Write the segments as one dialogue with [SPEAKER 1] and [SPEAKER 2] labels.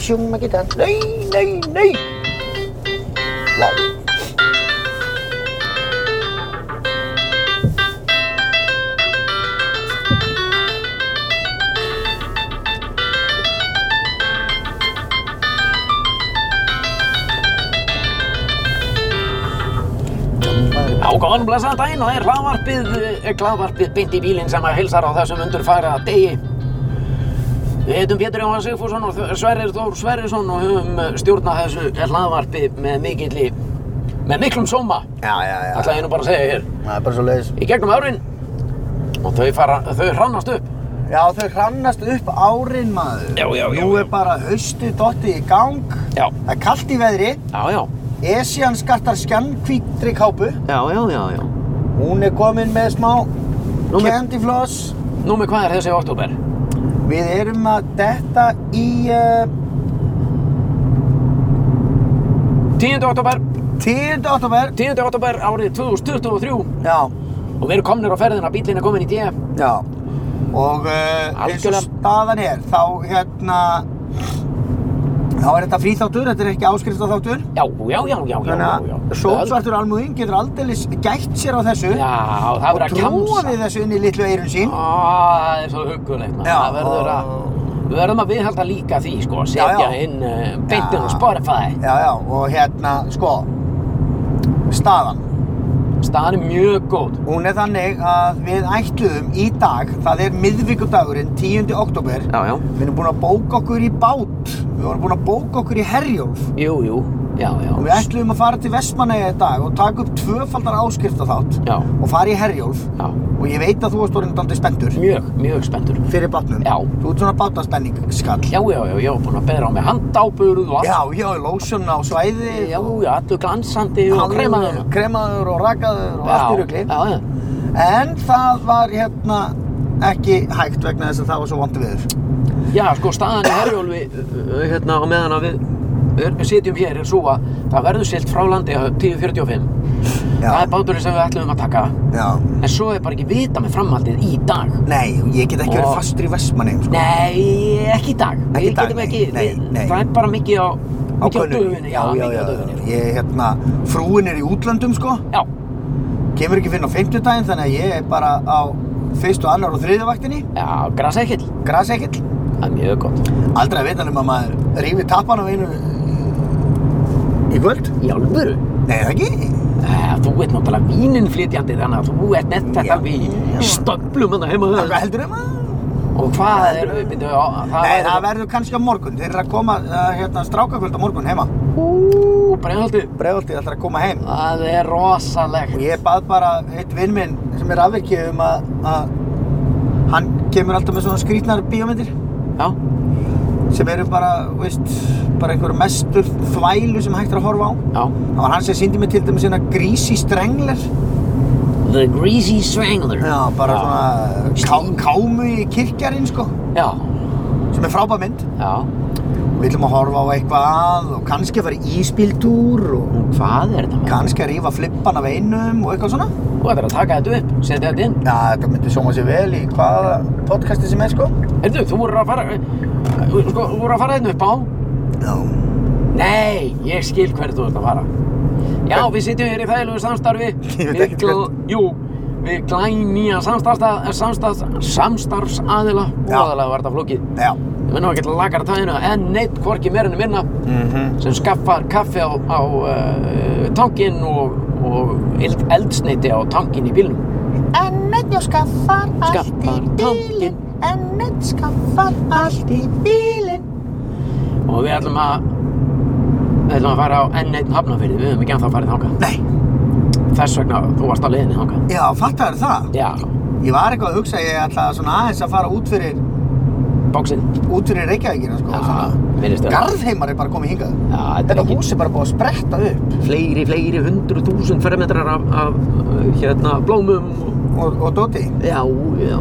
[SPEAKER 1] siyong makita. Nay, nay, nay! Wow.
[SPEAKER 2] Já, góðan blessaðan daginn, það er hlaðvarpið, eh, hlaðvarpið beint í bílinn sem að hilsar á þessum undurfæra degi. Við heitum Pétur Jóhann Sigfússon og Þ- Sverrir Þór Sverrisson og höfum eh, stjórnað þessu hlaðvarpi með mikilli, með miklum sóma,
[SPEAKER 1] Já, já, já.
[SPEAKER 2] ætla ég nú bara að segja hér,
[SPEAKER 1] Það er bara svo leiðis.
[SPEAKER 2] í gegnum árin og þau, fara, þau hrannast upp.
[SPEAKER 1] Já, þau hrannast upp árin maður.
[SPEAKER 2] Já, já, já,
[SPEAKER 1] Nú
[SPEAKER 2] já.
[SPEAKER 1] er bara haustu dottið í gang.
[SPEAKER 2] Já,
[SPEAKER 1] Það er kallt í veðri.
[SPEAKER 2] já, já,
[SPEAKER 1] Esjan skattar skjannkvítri kápu.
[SPEAKER 2] já, já, já, já.
[SPEAKER 1] Hún er komin með smá
[SPEAKER 2] Nú með-
[SPEAKER 1] candy floss.
[SPEAKER 2] Nú með hvað er þessi oktober?
[SPEAKER 1] Við erum að detta í uh,
[SPEAKER 2] 10. oktober,
[SPEAKER 1] 10. oktober.
[SPEAKER 2] 10. oktober árið 2023
[SPEAKER 1] Já,
[SPEAKER 2] og við erum komnir á ferðina, bílinn er komin í dæja.
[SPEAKER 1] já. Og uh, eins og
[SPEAKER 2] Algjörlega.
[SPEAKER 1] staðan er, þá hérna, þá er þetta fríþáttur, þetta er ekki áskriftaþáttur.
[SPEAKER 2] Já, já, já, já, já, já,
[SPEAKER 1] Þannig
[SPEAKER 2] já.
[SPEAKER 1] að sótsvartur almúðin getur aldeilis gætt sér á þessu
[SPEAKER 2] Já, það
[SPEAKER 1] og
[SPEAKER 2] verður að
[SPEAKER 1] trúa
[SPEAKER 2] kjamsa.
[SPEAKER 1] við þessu inn í litlu eirun sín.
[SPEAKER 2] Á, það er svo huggulegt maður.
[SPEAKER 1] Já,
[SPEAKER 2] Það verður að, við verðum að viðhalda líka því sko, að
[SPEAKER 1] Já,
[SPEAKER 2] setja
[SPEAKER 1] já.
[SPEAKER 2] inn uh, beintin
[SPEAKER 1] Já.
[SPEAKER 2] og Spotify.
[SPEAKER 1] Já, já, og hérna, sko, staðan.
[SPEAKER 2] Staðan er mjög góð.
[SPEAKER 1] Hún er þannig að við ætluðum í dag, það er miðvíkudagurinn, 10. oktober,
[SPEAKER 2] Já, já.
[SPEAKER 1] við erum búin að bóka okkur í bát, við vorum búin að bóka okkur í Herjólf
[SPEAKER 2] Jú, jú, já, já.
[SPEAKER 1] og við ætluðum að fara til Vestmannaeyja í dag og taka upp tvöfaldar áskriftaþátt
[SPEAKER 2] Já,
[SPEAKER 1] og fara í Herjólf
[SPEAKER 2] já.
[SPEAKER 1] og ég veit að þú varst orðin daldið spenntur
[SPEAKER 2] Mjög, mjög spenntur.
[SPEAKER 1] fyrir bátnum.
[SPEAKER 2] Já.
[SPEAKER 1] Þú ert svona bátaspenningskall.
[SPEAKER 2] Já, já, já, ég var búinn að beðra á mig handáburð og allt.
[SPEAKER 1] Já, já, lósjón á svæði.
[SPEAKER 2] Já, já, allur glansandi og
[SPEAKER 1] hárið-
[SPEAKER 2] kremaður.
[SPEAKER 1] Kremaður og rakaður og allt í rugli.
[SPEAKER 2] Já, já.
[SPEAKER 1] En það var hérna ekki hægt vegna þess að það var svo vandi viður.
[SPEAKER 2] Já, sko, staðan í Herjólfi, uh, hérna, á meðan að við er, sitjum hér er svo að það verður silt frá landi á 10.45.
[SPEAKER 1] Já.
[SPEAKER 2] Það er báturinn sem við ætlum að taka.
[SPEAKER 1] Já.
[SPEAKER 2] En svo er bara ekki vita með framhaldið í dag.
[SPEAKER 1] Nei, ég get ekki verið
[SPEAKER 2] Og-
[SPEAKER 1] fastur í Vestmanneim, sko.
[SPEAKER 2] Nei, ekki í dag.
[SPEAKER 1] Ekki í
[SPEAKER 2] við
[SPEAKER 1] dag,
[SPEAKER 2] getum
[SPEAKER 1] nei,
[SPEAKER 2] ekki,
[SPEAKER 1] nei,
[SPEAKER 2] við-
[SPEAKER 1] nei.
[SPEAKER 2] það er bara mikið á, mikið á
[SPEAKER 1] könnunni.
[SPEAKER 2] dögunni.
[SPEAKER 1] Já, já,
[SPEAKER 2] mikið
[SPEAKER 1] já.
[SPEAKER 2] á dögunni.
[SPEAKER 1] Ég, hérna, frúin er í útlöndum, sko.
[SPEAKER 2] Já,
[SPEAKER 1] Kemur ekki finn á fimmtudaginn, þannig að ég er bara á fyrstu, annar og þriðju vaktinni.
[SPEAKER 2] já, grasekill.
[SPEAKER 1] Grasekill.
[SPEAKER 2] Það er mjög gott.
[SPEAKER 1] Aldrei að vita um að maður rífi tappan á einu eh, í kvöld.
[SPEAKER 2] Í alvöru?
[SPEAKER 1] Nei, það ekki.
[SPEAKER 2] Eh, Þú ert náttúrulega víninflytjandi þannig að þú ert nett
[SPEAKER 1] Já,
[SPEAKER 2] þetta við
[SPEAKER 1] já.
[SPEAKER 2] stöflum hann heima
[SPEAKER 1] Það
[SPEAKER 2] höfð.
[SPEAKER 1] heldur um að...
[SPEAKER 2] Og hvað er, við byrjum á, það
[SPEAKER 1] Nei,
[SPEAKER 2] væri-
[SPEAKER 1] það verður kannski á morgun. Þeir eru að koma, uh, hérna, strákakvöld á morgun heima.
[SPEAKER 2] Ú, bregðaldið.
[SPEAKER 1] Breiðoltið ætlar að koma heim.
[SPEAKER 2] Það er
[SPEAKER 1] Og
[SPEAKER 2] rosalegt.
[SPEAKER 1] ég bað bara eitt vinn minn sem er afvirkið um að, að hann kemur alltaf með svona skrýtnar bíómyndir
[SPEAKER 2] Já,
[SPEAKER 1] sem eru bara, veist, bara einhverju mestu þvælu sem hægt er að horfa á.
[SPEAKER 2] já.
[SPEAKER 1] Það var hann sem síndi mér til dæmis hérna Greasy Strangler.
[SPEAKER 2] The Greasy Strangler.
[SPEAKER 1] Já, bara svona ká, kámu í kirkjarinn, sko,
[SPEAKER 2] Já,
[SPEAKER 1] sem er frábær mynd.
[SPEAKER 2] já.
[SPEAKER 1] Við ætlum að horfa á eitthvað og kannski að fara í íspíldúr og
[SPEAKER 2] Og Hvað er þetta? maður?
[SPEAKER 1] kannski að rífa flippan af einum og eitthvað svona.
[SPEAKER 2] Þú ættir að taka þetta upp, setja þetta inn.
[SPEAKER 1] Já, þetta myndi sjóma sér vel í hvaða podcasti sem er, sko.
[SPEAKER 2] Heyrðu, þú voru að fara, sko, þú voru að fara þetta upp á.
[SPEAKER 1] Já.
[SPEAKER 2] Nei, ég skil hverju þú ert að fara. Já, við sitjum hér í þægilegu samstarfi.
[SPEAKER 1] Ég veit
[SPEAKER 2] Við
[SPEAKER 1] ekkert
[SPEAKER 2] gl- Jú, við glæn nýja samstarfs, samstarfs, samstarfsaðila.
[SPEAKER 1] Já.
[SPEAKER 2] Úaðalega var þetta flókið.
[SPEAKER 1] Já.
[SPEAKER 2] Ég menn á ekkert lagar tæðina en neitt hvorki meira en minna.
[SPEAKER 1] Mm
[SPEAKER 2] sem skaffar kaffi á, á uh, tankin og, og eld, eldsneiti á tankin í bílnum.
[SPEAKER 3] Ennett já skaffar allt í
[SPEAKER 2] Skaffar
[SPEAKER 3] bílinn Ennett skaffar allt í bílinn
[SPEAKER 2] Og við ætlum að, við ætlum að fara á enn einn hafnafyrði, við höfum ekki ennþá farið þangað.
[SPEAKER 1] Nei,
[SPEAKER 2] Þess vegna þú varst á leiðinni þangað.
[SPEAKER 1] já, fattar það.
[SPEAKER 2] Já,
[SPEAKER 1] Ég var eitthvað að hugsa að ég ætla svona aðeins að fara út fyrir,
[SPEAKER 2] bóksinn.
[SPEAKER 1] út fyrir Reykjavíkina, sko.
[SPEAKER 2] Já,
[SPEAKER 1] svona.
[SPEAKER 2] virðist vera.
[SPEAKER 1] Garðheimar er bara komið hingað.
[SPEAKER 2] Já, þetta er
[SPEAKER 1] Þetta
[SPEAKER 2] ekki
[SPEAKER 1] hús er bara búið að spretta upp
[SPEAKER 2] fleiri, fleiri hundru þúsund fermetrar af, af uh, hérna, blómum. og-
[SPEAKER 1] og, og dóti.
[SPEAKER 2] Já, já.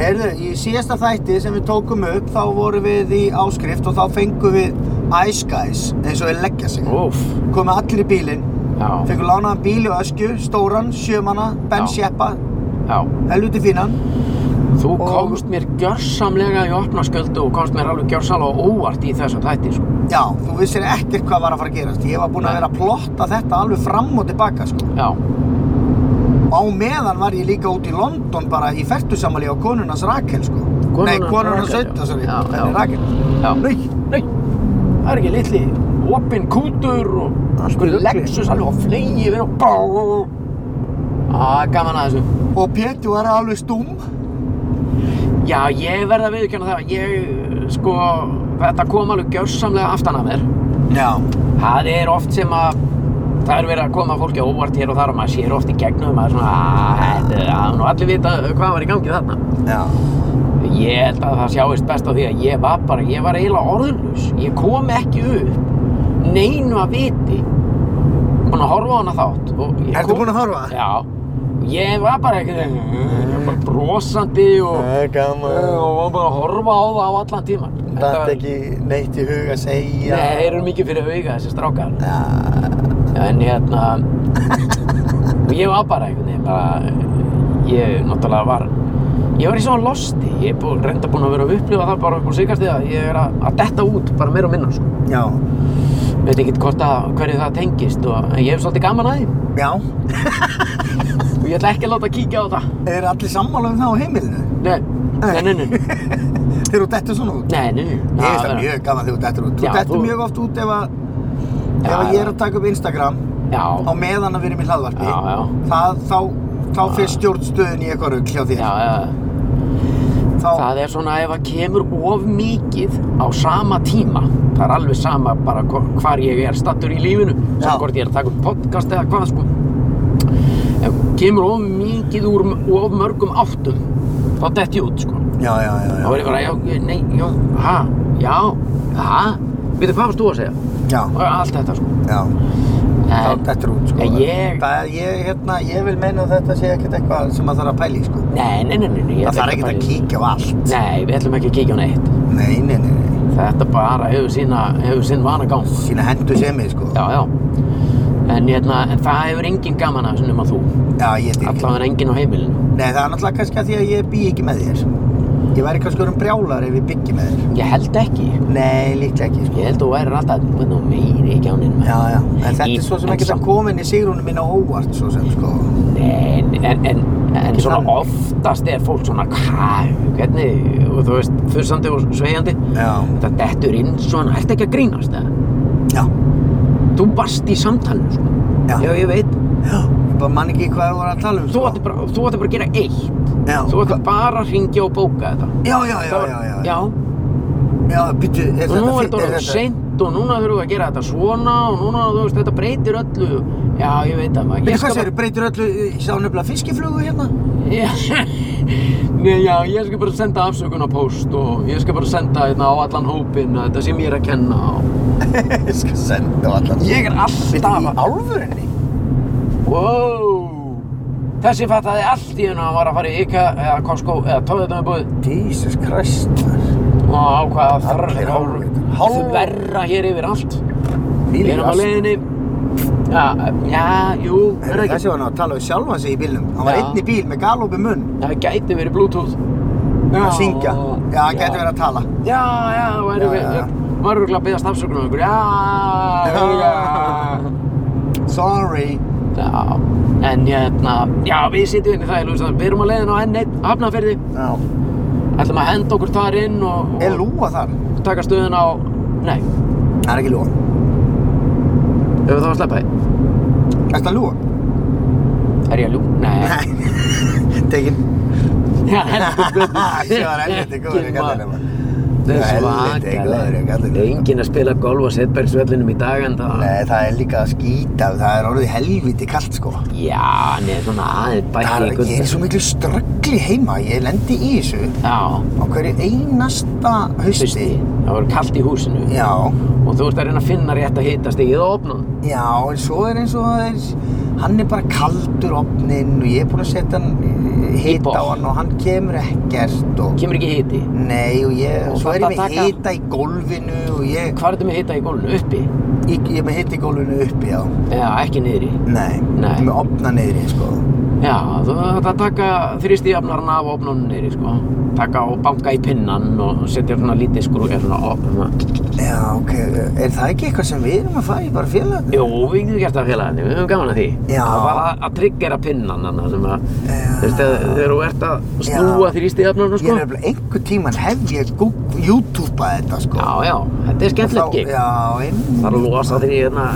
[SPEAKER 1] Heyrðu, í síðasta þætti sem við tókum upp, þá vorum við í áskrift og þá fengum við Ice Guys, eins og við leggja sig.
[SPEAKER 2] Óf,
[SPEAKER 1] Komið allir í bílinn,
[SPEAKER 2] já,
[SPEAKER 1] fengum lánaðan bíl og öskju, stóran, sjömanna, Ben
[SPEAKER 2] Já.
[SPEAKER 1] Sheppa,
[SPEAKER 2] já.
[SPEAKER 1] helviti fínan.
[SPEAKER 2] Þú
[SPEAKER 1] Og-
[SPEAKER 2] komst mér gjörsamlega í opna sköldu og komst mér alveg gjörsamlega óvart í þessum þætti sko.
[SPEAKER 1] Já, þú vissir ekkert hvað var að fara að gerast. Ég var búinn að
[SPEAKER 2] Nei.
[SPEAKER 1] vera að plotta þetta alveg fram og tilbaka, sko.
[SPEAKER 2] Já,
[SPEAKER 1] Á meðan var ég líka út í London bara í fertusamali á konunans Rakel, sko.
[SPEAKER 2] Konunans
[SPEAKER 1] Nei, konunans
[SPEAKER 2] Rakel,
[SPEAKER 1] Ötta,
[SPEAKER 2] já.
[SPEAKER 1] sorry.
[SPEAKER 2] Já, já.
[SPEAKER 1] Henni Rakel.
[SPEAKER 2] já.
[SPEAKER 1] Nei,
[SPEAKER 2] Nei, það er ekki litli opinn kútur og
[SPEAKER 1] Allt í
[SPEAKER 2] skur
[SPEAKER 1] rugli.
[SPEAKER 2] Lexus alveg og flegi yfir og bá Það er gaman að þessu
[SPEAKER 1] og Pétur var alveg stúm.
[SPEAKER 2] Já, ég verð að viðurkenna það Ég, sko, þetta kom alveg gjörsamlega aftan að mér
[SPEAKER 1] Já,
[SPEAKER 2] Það er oft sem að það er verið að koma fólki á óvart hér og þar og maður sér oft í gegnum að svona, "Ah, þetta- að nú allir vita hvað var í gangi þarna
[SPEAKER 1] já.
[SPEAKER 2] Ég held að það sjáist best á því að ég var bara, ég var eiginlega orðinlus. Ég kom ekki upp, neinu að viti. Búin að horfa á hana þátt. og ég
[SPEAKER 1] Ertu
[SPEAKER 2] kom-
[SPEAKER 1] búinn að horfa?
[SPEAKER 2] Já. Ég var bara ekki þeim, ég var bara brosandi og,
[SPEAKER 1] er gaman.
[SPEAKER 2] og var bara að horfa á það á allan tíman.
[SPEAKER 1] Datt ekki neitt í hug að segja.
[SPEAKER 2] Nei, þeir eru mikið fyrir auga þessi strákar.
[SPEAKER 1] Já,
[SPEAKER 2] En hérna, ég var bara einhvern veginn, bara, ég náttúrulega var, ég var í svona losti, ég er bú, reynda búinn að vera að upplifa það bara upp á sigast eða ég er að, að detta út, bara meira og minna, sko.
[SPEAKER 1] já.
[SPEAKER 2] Ég veit ekki hvort að hverju það tengist og en ég hef svolítið gaman að því
[SPEAKER 1] Já,
[SPEAKER 2] og ég ætla ekki að láta kíkja á það.
[SPEAKER 1] er allir sammála um það á heimilinu?
[SPEAKER 2] Nei, nei, nei, nei, nei,
[SPEAKER 1] Þegar þú dettur svona út?
[SPEAKER 2] nei, nei, nei.
[SPEAKER 1] Ég finnst
[SPEAKER 2] það
[SPEAKER 1] það
[SPEAKER 2] verður-
[SPEAKER 1] mjög gaman þegar þú dettur út. Þú
[SPEAKER 2] Já,
[SPEAKER 1] dettur
[SPEAKER 2] þú-
[SPEAKER 1] mjög oft út ef að, ef
[SPEAKER 2] Já,
[SPEAKER 1] að ég
[SPEAKER 2] já.
[SPEAKER 1] er að taka upp Instagram á
[SPEAKER 2] Já,
[SPEAKER 1] meðan að við erum í hlaðvarpi.
[SPEAKER 2] Já, já.
[SPEAKER 1] Það, þá, þá fyrir stjórnstöðin í eitthvað rugg hjá þér.
[SPEAKER 2] já, já,
[SPEAKER 1] þá,
[SPEAKER 2] það er svona ef að kemur of mikið á sama tíma, það er alveg sama bara hvo- hvar ég er stattur í lífinu,
[SPEAKER 1] Já.
[SPEAKER 2] sem hvort ég er að taka upp podcast eða hvað, sko. Ef kemur of mikið úr m- of mörgum áttum, þá dett ég út, sko.
[SPEAKER 1] já, já, já,
[SPEAKER 2] Þá
[SPEAKER 1] já.
[SPEAKER 2] er ég bara, já, nei, já, ha, já, ha, veitir hvað varst þú að segja?
[SPEAKER 1] Já,
[SPEAKER 2] Og allt þetta, sko.
[SPEAKER 1] já. Þá
[SPEAKER 2] En,
[SPEAKER 1] dettur út, sko.
[SPEAKER 2] En ég-
[SPEAKER 1] Það er, ég, hérna, ég vil meina að þetta sé ekkert eitthvað sem maður þarf að pæla í, sko.
[SPEAKER 2] nei, nei, nei, nei, nei. ég
[SPEAKER 1] Það þarf
[SPEAKER 2] ætla
[SPEAKER 1] ekkert að
[SPEAKER 2] bara-
[SPEAKER 1] kíkja á allt.
[SPEAKER 2] Nei, við ætlum ekki að kíkja á neitt.
[SPEAKER 1] Nei, nei, nei, nei.
[SPEAKER 2] Þetta bara hefur sína, hefur sín vanagang.
[SPEAKER 1] Sína hendur sem ég, sko.
[SPEAKER 2] Já, já. En, hérna, en það hefur enginn gaman að þessu nema þú.
[SPEAKER 1] Já, ég til.
[SPEAKER 2] Allavega enginn á heimilinu.
[SPEAKER 1] Nei, það er náttúrulega kannski að því að ég bý ekki með þér. Ég væri kannski um brjálar ef ég byggi með þér.
[SPEAKER 2] Ég held ekki.
[SPEAKER 1] Nei, líklega ekki, sko.
[SPEAKER 2] Ég held að þú værir alltaf hvernig þú meiri ekki á neinu.
[SPEAKER 1] Já, já, en þetta
[SPEAKER 2] Í-
[SPEAKER 1] er svo sem
[SPEAKER 2] en
[SPEAKER 1] ekkert að
[SPEAKER 2] samt-
[SPEAKER 1] koma inn í sigrunum mín á óvart, svo sem, sko.
[SPEAKER 2] Nei, en, en, en, en
[SPEAKER 1] Ekki
[SPEAKER 2] svona
[SPEAKER 1] þannig.
[SPEAKER 2] oftast er fólk svona, hvað, hvernig, og þú veist, þursandi og sveigjandi.
[SPEAKER 1] Já.
[SPEAKER 2] Það dettur inn svona, ert ekki að grínast það?
[SPEAKER 1] Já,
[SPEAKER 2] Þú varst í samtalinu, sko.
[SPEAKER 1] Já.
[SPEAKER 2] ég veit.
[SPEAKER 1] já, ég bara man ekki hvað þú voru að tala um,
[SPEAKER 2] Þú ætti bara, þú ætti bara að gera eitt.
[SPEAKER 1] Já,
[SPEAKER 2] Þú ætti bara að ringja og bóka þetta.
[SPEAKER 1] já, já, já,
[SPEAKER 2] Það var-
[SPEAKER 1] já, já,
[SPEAKER 2] já.
[SPEAKER 1] já, býttu, er
[SPEAKER 2] Og
[SPEAKER 1] þetta,
[SPEAKER 2] nú er
[SPEAKER 1] fi-
[SPEAKER 2] þetta orðið seint og núna þurfum við að gera þetta svona og núna, þú veist, þetta breytir öllu. Já, ég veit það maður.
[SPEAKER 1] Býttu, hvað segir, breytir öllu, ég sá nefnilega fiskiflugu hérna?
[SPEAKER 2] Já, Nei, já, ég skal bara senda afsökun á post og ég skal bara senda hérna á allan hópinn að þetta sem ég er að kenna og...
[SPEAKER 1] ég skal senda á allan.
[SPEAKER 2] Ég er alltaf
[SPEAKER 1] Býttu, í
[SPEAKER 2] að-
[SPEAKER 1] álfurinni?
[SPEAKER 2] Wow! Þessi fattaði allt í hennu að hann var að fara í IKEA eða Costco eða Tóðutumubúð
[SPEAKER 1] Jesus Christ, maður.
[SPEAKER 2] og ákvaða
[SPEAKER 1] Allir hálfvitar.
[SPEAKER 2] hálf verra hér yfir allt. Ég
[SPEAKER 1] Þvílík
[SPEAKER 2] erum á
[SPEAKER 1] asni.
[SPEAKER 2] leiðinni. Já, já, jú, er það ekki?
[SPEAKER 1] Þessi var nú að tala um sjálfan sig í bílnum. Hann var
[SPEAKER 2] Já.
[SPEAKER 1] einn í bíl með galopið munn
[SPEAKER 2] Það gæti verið Bluetooth.
[SPEAKER 1] að syngja. Já, hann gæti verið að tala.
[SPEAKER 2] Já, já, það væri
[SPEAKER 1] Já,
[SPEAKER 2] við,
[SPEAKER 1] já, já.
[SPEAKER 2] maður eru að beðast afsökunum ykkur, já, já,
[SPEAKER 1] Sorry.
[SPEAKER 2] já, en hérna, já, við sitjum inn í það, Lúsa, við erum að leiðin á N1, hafnaferði,
[SPEAKER 1] Já.
[SPEAKER 2] ætlum að henda okkur þar inn og,
[SPEAKER 1] Er
[SPEAKER 2] og
[SPEAKER 1] lúa þar?
[SPEAKER 2] taka stöðun á, nei,
[SPEAKER 1] Það er ekki lúa.
[SPEAKER 2] ef það var að sleppa því,
[SPEAKER 1] Þetta lúa?
[SPEAKER 2] er ég að ljú, nei,
[SPEAKER 1] Tekin.
[SPEAKER 2] já, heldur betur.
[SPEAKER 1] Þessi var helviti góður í
[SPEAKER 2] Enginn
[SPEAKER 1] kallinu.
[SPEAKER 2] maður.
[SPEAKER 1] Helviti góður í
[SPEAKER 2] Svakalega,
[SPEAKER 1] kallinu.
[SPEAKER 2] enginn að spila golf á setbergsvellinum í dag en það,
[SPEAKER 1] Nei, það er líka að skýta, það er orðið helviti kallt sko.
[SPEAKER 2] já, neða svona aðeins
[SPEAKER 1] Það
[SPEAKER 2] bætti
[SPEAKER 1] er, ég er svo miklu ströggli heima, ég lendi í þessu
[SPEAKER 2] já,
[SPEAKER 1] á hverju einasta hausti.
[SPEAKER 2] Fyrsti, það voru kallt í húsinu
[SPEAKER 1] Já,
[SPEAKER 2] og þú ert að reyna að finna rétt að hita stigið og opna hann.
[SPEAKER 1] já, en svo er eins og það er, hann er bara kaldur opnin og ég er búinn að setja hann eh, hita á
[SPEAKER 2] botn.
[SPEAKER 1] hann og hann kemur ekkert og...
[SPEAKER 2] Kemur ekki hiti.
[SPEAKER 1] Nei, og ég,
[SPEAKER 2] Og
[SPEAKER 1] svo er
[SPEAKER 2] þarf
[SPEAKER 1] ég
[SPEAKER 2] að
[SPEAKER 1] með
[SPEAKER 2] taka-
[SPEAKER 1] hita í gólfinu og ég,
[SPEAKER 2] Hvað ertu með hita í gólfinu? Uppi?
[SPEAKER 1] ég, ég er með hita í gólfinu uppi, já.
[SPEAKER 2] Já, ekki niðri.
[SPEAKER 1] Nei,
[SPEAKER 2] Nei.
[SPEAKER 1] með opna niðri, sko.
[SPEAKER 2] Já, þú þarf að taka þrýstijafnarna af opnunum niður, sko. Taka og banka í pinnan og setja svona lítið skrú, eða svona opna.
[SPEAKER 1] Já, ok, er það ekki eitthvað sem við erum að fara í bara félag?
[SPEAKER 2] Jú, við getum gert það félaginu, við höfum gaman að því.
[SPEAKER 1] Já.
[SPEAKER 2] Það var að, að tryggjera pinnan hann sem að,
[SPEAKER 1] Já.
[SPEAKER 2] þú veist, þegar þegar þú ert að
[SPEAKER 1] Já.
[SPEAKER 2] snúa þrýstijafnarna,
[SPEAKER 1] Ég er
[SPEAKER 2] sko.
[SPEAKER 1] nefnilega einhver tíman hef ég Google- YouTube-að þetta sko.
[SPEAKER 2] Já, já, þetta er skemmtilegt gig.
[SPEAKER 1] Já, einmitt.
[SPEAKER 2] Það er að losa því, hérna,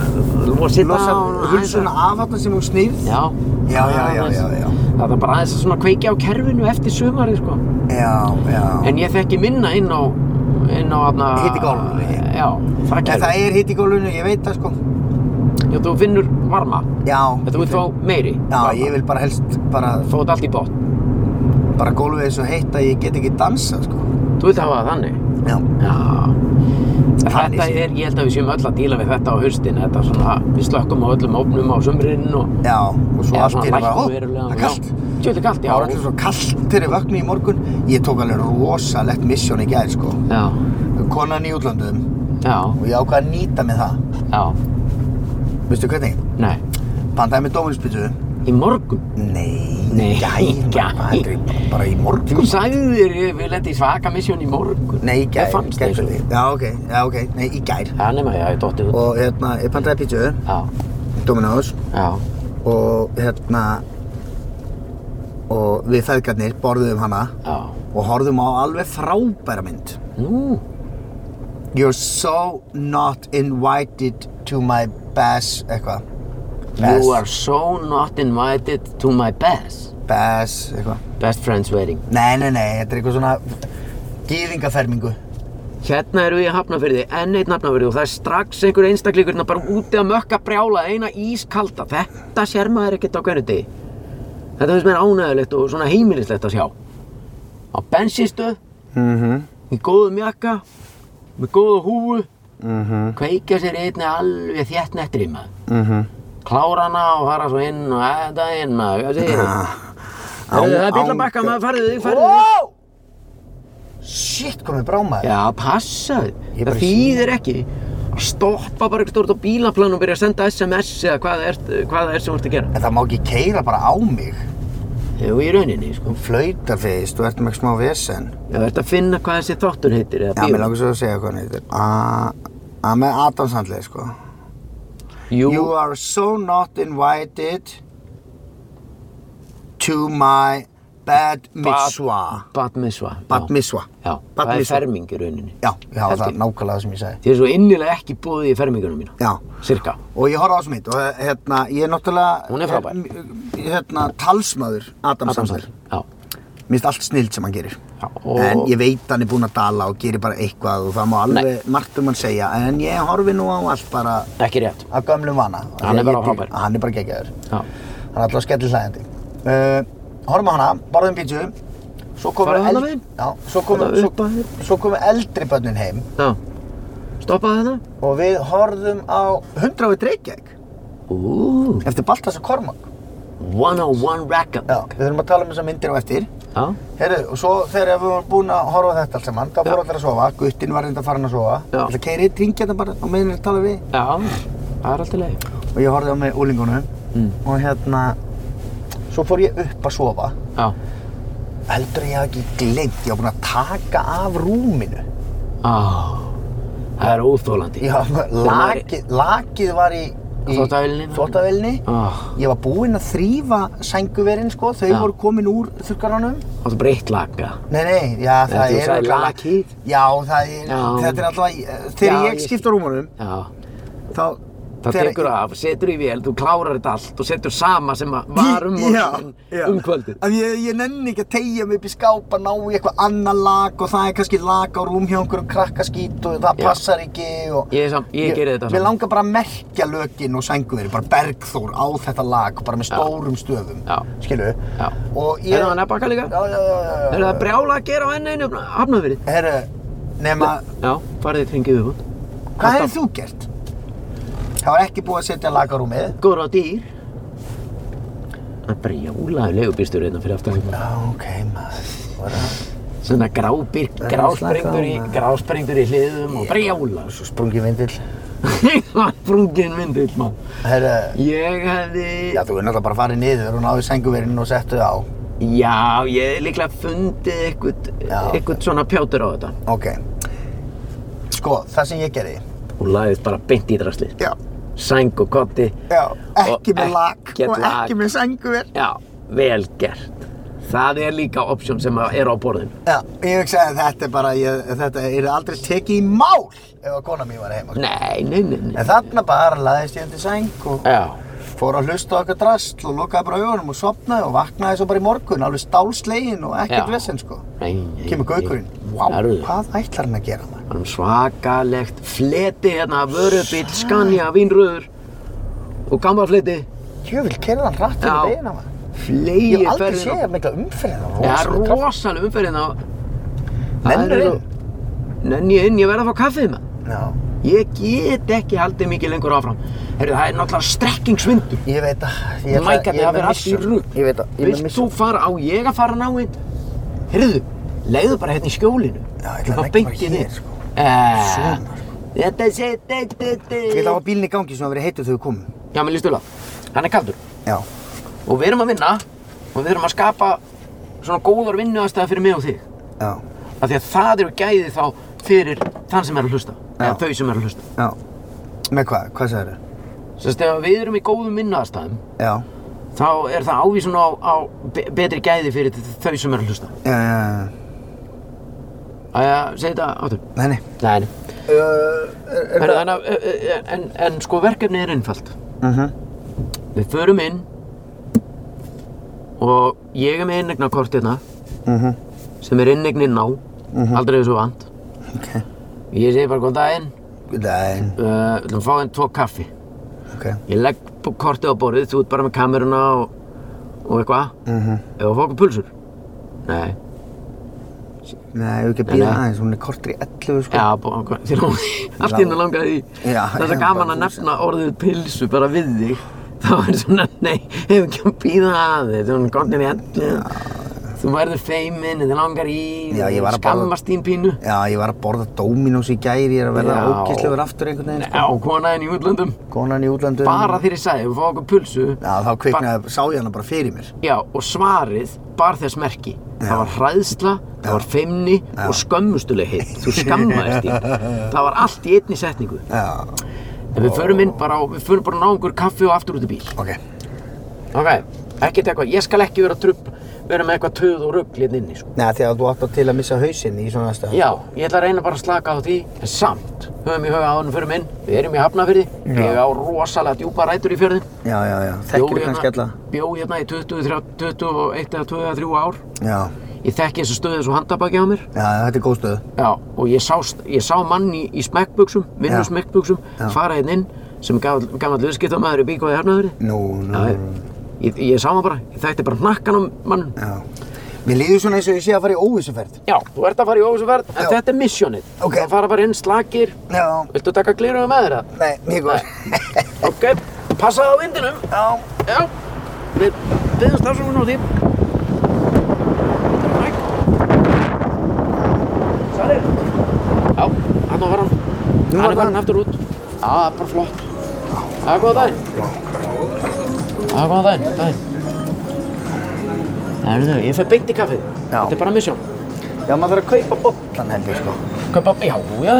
[SPEAKER 2] losa þetta
[SPEAKER 1] Losa
[SPEAKER 2] og-
[SPEAKER 1] hulsuna af þarna sem hún snýrð.
[SPEAKER 2] Já.
[SPEAKER 1] Já, já, já, já, já.
[SPEAKER 2] Það er bara aðeins að svona kveikja á kerfinu eftir sumarið, sko.
[SPEAKER 1] Já, já.
[SPEAKER 2] En ég þekki minna inn á, inn á, aðna...
[SPEAKER 1] Hitt í gólfinu.
[SPEAKER 2] Já, það
[SPEAKER 1] En
[SPEAKER 2] kerfi.
[SPEAKER 1] það er hitt í gólfinu, ég veit það sko.
[SPEAKER 2] Já, þú finnur varma.
[SPEAKER 1] Já.
[SPEAKER 2] Þetta vilt fá meiri.
[SPEAKER 1] Já,
[SPEAKER 2] varma.
[SPEAKER 1] ég vil bara helst bara,
[SPEAKER 2] Fá þetta allt í bótt.
[SPEAKER 1] bara gólfið er svo heitt að ég get ekki dansa sko.
[SPEAKER 2] Þú vilt hafa það þannig.
[SPEAKER 1] Já.
[SPEAKER 2] Já.
[SPEAKER 1] Þannig
[SPEAKER 2] Þetta
[SPEAKER 1] sé.
[SPEAKER 2] er, ég held að við séum öll að díla við þetta á haustin. Þetta er svona, við slökkum á öllum ofnum á sumrinn og...
[SPEAKER 1] Já, og svo
[SPEAKER 2] eða
[SPEAKER 1] allt
[SPEAKER 2] svona
[SPEAKER 1] er bara,
[SPEAKER 2] lækkum
[SPEAKER 1] ó,
[SPEAKER 2] verulega.
[SPEAKER 1] það er kallt.
[SPEAKER 2] Já, Djöfull er kallt,
[SPEAKER 1] Það var alltaf
[SPEAKER 2] já.
[SPEAKER 1] svo kallt þegar ég vaknaði í morgun. Ég tók alveg rosalegt misjón í gær sko.
[SPEAKER 2] Já,
[SPEAKER 1] Konan í útlöndum
[SPEAKER 2] já,
[SPEAKER 1] og ég ákvað að nýta með það.
[SPEAKER 2] já.
[SPEAKER 1] Veistu hvernig?
[SPEAKER 2] Nei.
[SPEAKER 1] Pantaði með dóminspítu.
[SPEAKER 2] Í morgun.
[SPEAKER 1] Nei,
[SPEAKER 2] Nei,
[SPEAKER 1] gær,
[SPEAKER 2] í gær.
[SPEAKER 1] bara, bara, bara í
[SPEAKER 2] Þú
[SPEAKER 1] morgun.
[SPEAKER 2] Sko, sagði þér, ég vil lenda í svaka misjón í morgun.
[SPEAKER 1] Nei, í gær.
[SPEAKER 2] Það fannst
[SPEAKER 1] gær
[SPEAKER 2] þér sko. svo.
[SPEAKER 1] kvöldi. Já, ok, já, ok, nei, í gær.
[SPEAKER 2] Já, nema, já, ég dótti út.
[SPEAKER 1] Og hérna, ég pantaði pítsu,
[SPEAKER 2] Já,
[SPEAKER 1] Dominos,
[SPEAKER 2] já,
[SPEAKER 1] og hérna, og við feðgarnir borðuðum hana
[SPEAKER 2] já.
[SPEAKER 1] og horfðum á alveg frábæra mynd.
[SPEAKER 2] Nú,
[SPEAKER 1] You're so not invited to my bass, eitthvað.
[SPEAKER 2] you are so not invited to my best.
[SPEAKER 1] Bass, eitthvað.
[SPEAKER 2] Best friends wedding.
[SPEAKER 1] Nei, nei, nei, þetta er eitthvað svona gýðingafermingu.
[SPEAKER 2] Hérna eru við í Hafnarfyrði, enn eitt Hafnarfyrði og það er strax einhver einstaklingur hérna bara úti að mökka brjála eina ískalda. Þetta sér maður ekkert á hvernig degi. Þetta finnst mér ánægilegt og svona heimilislegt að sjá. Á bensinstöð,
[SPEAKER 1] Mhm,
[SPEAKER 2] í góðum jakka, með góða húfu,
[SPEAKER 1] mhm,
[SPEAKER 2] kveikja sér einni alveg þétt nettri maður.
[SPEAKER 1] mhm.
[SPEAKER 2] klára hana og fara svo inn og þetta inn maður, hvað segir þið?
[SPEAKER 1] Ah,
[SPEAKER 2] Það er bíl að bakka maður, farðu þig, farðu þig.
[SPEAKER 1] Wow! Shit, hvað mér brá maður.
[SPEAKER 2] Já, passaðu.
[SPEAKER 1] Ég
[SPEAKER 2] Það
[SPEAKER 1] bara
[SPEAKER 2] þýðir ekki að stoppa bara eitthvað stort á bílaplan og byrja að senda SMS eða hvað það er, hvað það er sem þú ert að gera.
[SPEAKER 1] En það má ekki keyra bara á mig.
[SPEAKER 2] Jú, í rauninni, sko.
[SPEAKER 1] Þú flautar fyrst, þú ert með smá vesen.
[SPEAKER 2] Já, þú ert að finna hvað þessi þáttur heitir
[SPEAKER 1] Já,
[SPEAKER 2] eða
[SPEAKER 1] mér
[SPEAKER 2] bíó.
[SPEAKER 1] langar svo að segja hvað hann heitir. A- Að með Adamshandlið, sko. You
[SPEAKER 2] Jú,
[SPEAKER 1] are so not invited to my bad mitzvah.
[SPEAKER 2] Bad Miswa.
[SPEAKER 1] Bad mitzvah.
[SPEAKER 2] Já,
[SPEAKER 1] Bad
[SPEAKER 2] það er
[SPEAKER 1] Mitzvah.
[SPEAKER 2] ferming í rauninni.
[SPEAKER 1] Já, já,
[SPEAKER 2] Held
[SPEAKER 1] það
[SPEAKER 2] ég.
[SPEAKER 1] er nákvæmlega það sem ég segi.
[SPEAKER 2] Þið er svo innilega ekki búið í fermingunum mína.
[SPEAKER 1] Já,
[SPEAKER 2] Cirka.
[SPEAKER 1] og ég horfði á þessu mynd og eh, hérna, ég er náttúrulega...
[SPEAKER 2] Hún er frábær.
[SPEAKER 1] eh, Hérna, talsmaður Adam Sandler.
[SPEAKER 2] Já.
[SPEAKER 1] Mér finnst allt snild sem hann gerir.
[SPEAKER 2] Já, og-
[SPEAKER 1] En ég veit hann er búinn að dala og gerir bara eitthvað og það má alveg margt um hann segja. En ég horfi nú á allt bara
[SPEAKER 2] Ekki rétt.
[SPEAKER 1] af gömlum vana. Af
[SPEAKER 2] Hann
[SPEAKER 1] því
[SPEAKER 2] er
[SPEAKER 1] að ég
[SPEAKER 2] bara
[SPEAKER 1] dýr-
[SPEAKER 2] frábær.
[SPEAKER 1] Hann er bara geggjaður.
[SPEAKER 2] Já.
[SPEAKER 1] Hann er alltaf skellir hlæðandi. Uh, horfum á hana, borðum pítsu. Svo komu,
[SPEAKER 2] Farðu
[SPEAKER 1] eld,
[SPEAKER 2] þarna megin?
[SPEAKER 1] já, svo, komu,
[SPEAKER 2] Þetta upp
[SPEAKER 1] svo,
[SPEAKER 2] að þér?
[SPEAKER 1] svo komu eldri börnin heim
[SPEAKER 2] Já. Stoppaðu þetta?
[SPEAKER 1] og við horfðum á 100 við Reykjavík
[SPEAKER 2] Ú,
[SPEAKER 1] eftir Baltas og Kormak.
[SPEAKER 2] 101 Rackham.
[SPEAKER 1] Já, við þurfum að tala um þessar myndir á eftir.
[SPEAKER 2] oh Já,
[SPEAKER 1] Heyrðu, og svo þegar við vorum búin að horfa á þetta allt saman, þá
[SPEAKER 2] Já.
[SPEAKER 1] fór allir að sofa, guttinn var reynda að fara hann að sofa.
[SPEAKER 2] Já.
[SPEAKER 1] Það keiri, ringi þetta hérna bara og meðin er að tala við.
[SPEAKER 2] já, það er alltaf leið.
[SPEAKER 1] Og ég horfði á með úlingunum
[SPEAKER 2] Mm.
[SPEAKER 1] og hérna, svo fór ég upp að sofa.
[SPEAKER 2] Já,
[SPEAKER 1] Heldur ég hafi ekki gleymt, ég var búin að taka af rúminu.
[SPEAKER 2] á, það er óþólandi.
[SPEAKER 1] Já, lakið, lakið var í, í
[SPEAKER 2] Þvottavélinni.
[SPEAKER 1] þvottavélinni.
[SPEAKER 2] Á,
[SPEAKER 1] Ég var búinn að þrýfa sænguverin, sko, þau
[SPEAKER 2] Já.
[SPEAKER 1] voru komin úr þurrkaranum.
[SPEAKER 2] það er breytt laga.
[SPEAKER 1] Nei, nei, já, það
[SPEAKER 2] þú
[SPEAKER 1] er...
[SPEAKER 2] sagði
[SPEAKER 1] örugglega-
[SPEAKER 2] lakið.
[SPEAKER 1] Já, það er,
[SPEAKER 2] Já.
[SPEAKER 1] þetta er alltaf, þegar
[SPEAKER 2] Já,
[SPEAKER 1] ég
[SPEAKER 2] ég
[SPEAKER 1] skipta rúmunum,
[SPEAKER 2] Já,
[SPEAKER 1] þá...
[SPEAKER 2] það
[SPEAKER 1] þegar-
[SPEAKER 2] tekur af, setur í vél, þú klárar þetta allt og setur sama sem að var um morgunin
[SPEAKER 1] Já, já.
[SPEAKER 2] um kvöldið.
[SPEAKER 1] Af ég, ég nenni ekki að tegja mig upp í skáp að ná í eitthvað annað lag og það er kannski lag á rúm hjá einhverjum krakkaskít og það
[SPEAKER 2] Já.
[SPEAKER 1] passar ekki og...
[SPEAKER 2] Ég, er sam, ég, ég gerði
[SPEAKER 1] Mér
[SPEAKER 2] þetta saman.
[SPEAKER 1] langar bara að merkja lögin og sænguverin, bara bergþór á þetta lag, bara með stórum stöfum,
[SPEAKER 2] Já.
[SPEAKER 1] skilu.
[SPEAKER 2] Já.
[SPEAKER 1] Og ég...
[SPEAKER 2] Er það hann að baka líka?
[SPEAKER 1] Já, já, já, já, já.
[SPEAKER 2] Er það brjála að gera á enn einu hafnafyrir?
[SPEAKER 1] Herru, nema,
[SPEAKER 2] Já, farið þitt hringið upp.
[SPEAKER 1] hvað hefur þú gert? Það var ekki búið að setja lag á rúmið.
[SPEAKER 2] Góður á dýr. Það er brjálaður legubýrstur hérna fyrir aftan.
[SPEAKER 1] Já, ok, maður. Bara-
[SPEAKER 2] Svona grábir,
[SPEAKER 1] Það er slakað
[SPEAKER 2] gráspringdur
[SPEAKER 1] á
[SPEAKER 2] í,
[SPEAKER 1] það.
[SPEAKER 2] gráspringdur í hliðum og sko. brjála.
[SPEAKER 1] Svo sprungi vindill.
[SPEAKER 2] Brungin myndill, mann.
[SPEAKER 1] Herra,
[SPEAKER 2] Ég hefði...
[SPEAKER 1] já, þú er náttúrulega bara farið niður og náði senguverinn og settu á.
[SPEAKER 2] Já, ég hef líklega fundið eitthvað,
[SPEAKER 1] Já.
[SPEAKER 2] eitthvað svona pjátur á þetta.
[SPEAKER 1] Ok. Sko, það sem ég gerði.
[SPEAKER 2] Hún lagðist bara beint í draslið.
[SPEAKER 1] Já.
[SPEAKER 2] Sæng og kotti.
[SPEAKER 1] Já, ekki
[SPEAKER 2] Og
[SPEAKER 1] með lag
[SPEAKER 2] ekkert
[SPEAKER 1] og
[SPEAKER 2] lag.
[SPEAKER 1] ekki með senguver.
[SPEAKER 2] Já, vel gert. Það er líka option sem að er á borðinu.
[SPEAKER 1] Já, ég hugsaði að þetta er bara, ég, þetta er aldrei tekið í mál ef að kona mín var heima. sko.
[SPEAKER 2] Nei, nei, nei, nei.
[SPEAKER 1] En þarna bara laðist ég undir sæng og
[SPEAKER 2] Já.
[SPEAKER 1] fór að hlusta á okkar drast og lokaði bara augunum og sopnaði og vaknaði svo bara í morgun, alveg stálslegin og ekkert
[SPEAKER 2] Já.
[SPEAKER 1] vesen sko.
[SPEAKER 2] Nei, nei,
[SPEAKER 1] Kemur
[SPEAKER 2] nei.
[SPEAKER 1] gaukurinn, vá,
[SPEAKER 2] Herðu,
[SPEAKER 1] hvað ætlar hann að gera maður?
[SPEAKER 2] hann svakalegt fleti hérna, vörubill, skanja, vínröður og gamla fleti.
[SPEAKER 1] Jöfnvel, kerði hann hratt
[SPEAKER 2] Já.
[SPEAKER 1] fyrir veginn maður? Ég
[SPEAKER 2] Flegið
[SPEAKER 1] hef aldrei séð það mikla umferðina.
[SPEAKER 2] Já, rosalega um umferðin á...
[SPEAKER 1] Nennirðu inn?
[SPEAKER 2] Nenn ég inn, ég verð að fá kaffið maður.
[SPEAKER 1] Já,
[SPEAKER 2] Ég get ekki haldið mikið lengur áfram. Heyrðu, það er náttúrulega strekkingsvindur.
[SPEAKER 1] ég veit að, ég
[SPEAKER 2] Mæ
[SPEAKER 1] ég
[SPEAKER 2] gæti
[SPEAKER 1] er
[SPEAKER 2] að
[SPEAKER 1] með
[SPEAKER 2] vera allt í
[SPEAKER 1] missur.
[SPEAKER 2] rugg.
[SPEAKER 1] Ég veit að, ég er með
[SPEAKER 2] Vilt þú
[SPEAKER 1] missur.
[SPEAKER 2] fara á ég að fara náinn? Heyrðu, leiðu bara hérna í skjólinu.
[SPEAKER 1] Já, ég ætla að
[SPEAKER 2] Klukkan
[SPEAKER 1] leggja
[SPEAKER 2] beint
[SPEAKER 1] bara
[SPEAKER 2] í
[SPEAKER 1] hér,
[SPEAKER 2] þig.
[SPEAKER 1] sko.
[SPEAKER 2] Eh,
[SPEAKER 1] Svona, sko.
[SPEAKER 2] Þetta sé, þetta, þetta.
[SPEAKER 1] Ég ætla að hafa bílinn í gangi sem að vera heitur þegar við komum.
[SPEAKER 2] Já, mér líst vel á. Hann er kaldur.
[SPEAKER 1] Já.
[SPEAKER 2] Og við erum að vinna og við erum að skapa svona góðar vinnuastæða fyrir mig og þig.
[SPEAKER 1] Já.
[SPEAKER 2] Af því að það eru gæði þá fyrir þann sem er að hlusta.
[SPEAKER 1] Já.
[SPEAKER 2] Eða þau sem er að hlusta.
[SPEAKER 1] Já. Með hvað? Hvað sagður
[SPEAKER 2] Sérst, ef við erum í góðum vinnuastæðum,
[SPEAKER 1] Já.
[SPEAKER 2] þá er það ávísun á, á be- betri gæði fyrir þau sem eru að hlusta.
[SPEAKER 1] Já, já, já.
[SPEAKER 2] Æja, segi þetta áttur.
[SPEAKER 1] Nei, nei.
[SPEAKER 2] Nei, nei.
[SPEAKER 1] Uh,
[SPEAKER 2] Heru, en, e, en, en sko verkefni er einfalt.
[SPEAKER 1] uh -huh.
[SPEAKER 2] Við förum inn og ég er með innegnakortið hérna
[SPEAKER 1] Uh -huh.
[SPEAKER 2] sem er innegninn á, aldrei þessu vant.
[SPEAKER 1] Mhm. Ok.
[SPEAKER 2] Ég segi bara góðan daginn,
[SPEAKER 1] Nei.
[SPEAKER 2] uh, við ætlum að fá einn tvo kaffi.
[SPEAKER 1] Ok.
[SPEAKER 2] Ég legg b- kortið á borðið, þú ert bara með kameruna og, og eitthvað.
[SPEAKER 1] Uh -huh.
[SPEAKER 2] Eða fá okkur pulsur? Nei.
[SPEAKER 1] Nei, ég hef ekki að býða
[SPEAKER 2] Nei, nei.
[SPEAKER 1] aðeins. Hún er kortur í 11, sko.
[SPEAKER 2] Já, bó- ok, þér á allt hérna langaði því
[SPEAKER 1] Já,
[SPEAKER 2] það er svo
[SPEAKER 1] ég
[SPEAKER 2] gaman
[SPEAKER 1] bara
[SPEAKER 2] að
[SPEAKER 1] fúsa.
[SPEAKER 2] nefna orðið pilsu bara við þig þá er svona, nei, hefur ekki að býða að þig þú er gott í ellu þú verður feimin, þið langar í
[SPEAKER 1] Já, ég var að borða-
[SPEAKER 2] skammast þín pínu
[SPEAKER 1] Já, ég var að borða Dominos í gæri. Ég er að verða
[SPEAKER 2] Já.
[SPEAKER 1] ógíslegur aftur einhvern veginn, sko.
[SPEAKER 2] á konaðin í útlöndum
[SPEAKER 1] Konan í útlandum.
[SPEAKER 2] bara þegar ég sagði, við fáum okkur pulsu
[SPEAKER 1] Já, þá kviknaði, sá ég hana bara fyrir mér.
[SPEAKER 2] já, og svarið bar þess merki það var hræðsla, það var feimni og skömmustulegheit, þú skammaðist þín það var allt í einni setningu
[SPEAKER 1] Já.
[SPEAKER 2] En við förum inn bara og við förum bara að ná einhver kaffi og aftur út í bíl.
[SPEAKER 1] Ok.
[SPEAKER 2] Ok, ekkert eitthvað, ég skal ekki vera trupp, vera með eitthvað töð og rugl hérna inni, sko.
[SPEAKER 1] Nei, því að þú átt að til að missa hausinn í svona aðstæðum.
[SPEAKER 2] Já, ég ætla að reyna bara að slaka á því, en samt, höfum í huga áðunum förum inn, við erum í Hafnafyrði, ég á rosalega djúpa rætur í fjörðin.
[SPEAKER 1] Já, já, já.
[SPEAKER 2] Bjó
[SPEAKER 1] Þekkir kannski alla.
[SPEAKER 2] Bjó hérna í 20, 30, 21 eða 2 eða 3 ár.
[SPEAKER 1] Já.
[SPEAKER 2] Ég þekki þessu stöðu þessu handabaki á mér.
[SPEAKER 1] Já, þetta er góð stöð.
[SPEAKER 2] Já, og ég sá, ég sá mann í, í smekkbuksum, vinnu
[SPEAKER 1] Já.
[SPEAKER 2] smekkbuksum,
[SPEAKER 1] Já.
[SPEAKER 2] fara hérna inn, sem gamall gamall viðskiptamæður í bíkóði Hafnafyrði.
[SPEAKER 1] Nú, nú,
[SPEAKER 2] Já,
[SPEAKER 1] nú.
[SPEAKER 2] ég, ég sá hann bara, ég þekkti bara hnakkan á mann
[SPEAKER 1] Mm. Já. Mér líður svona eins og ég sé að fara í óvissuferð.
[SPEAKER 2] Já, þú ert að fara í óvissuferð, en
[SPEAKER 1] Já.
[SPEAKER 2] þetta er missionið
[SPEAKER 1] Ok.
[SPEAKER 2] Það fara bara inn slakir,
[SPEAKER 1] Já.
[SPEAKER 2] viltu taka glirunum með þér það?
[SPEAKER 1] Nei, mjög góð.
[SPEAKER 2] Ok, passaðu á vindinum
[SPEAKER 1] Já.
[SPEAKER 2] Já, við byggjum stafsókun á því Þetta er mæk Sælir Já, hann var hann
[SPEAKER 1] Nú var
[SPEAKER 2] Hann er
[SPEAKER 1] hann.
[SPEAKER 2] farin aftur út Já, það er bara flott Það er góða daginn Það er góða daginn, daginn Herðu, ég fer beint í kaffið
[SPEAKER 1] Já.
[SPEAKER 2] Þetta er bara misjón
[SPEAKER 1] Já, maður þarf að kaupa bollan held ég, sko.
[SPEAKER 2] Kaupa, já, já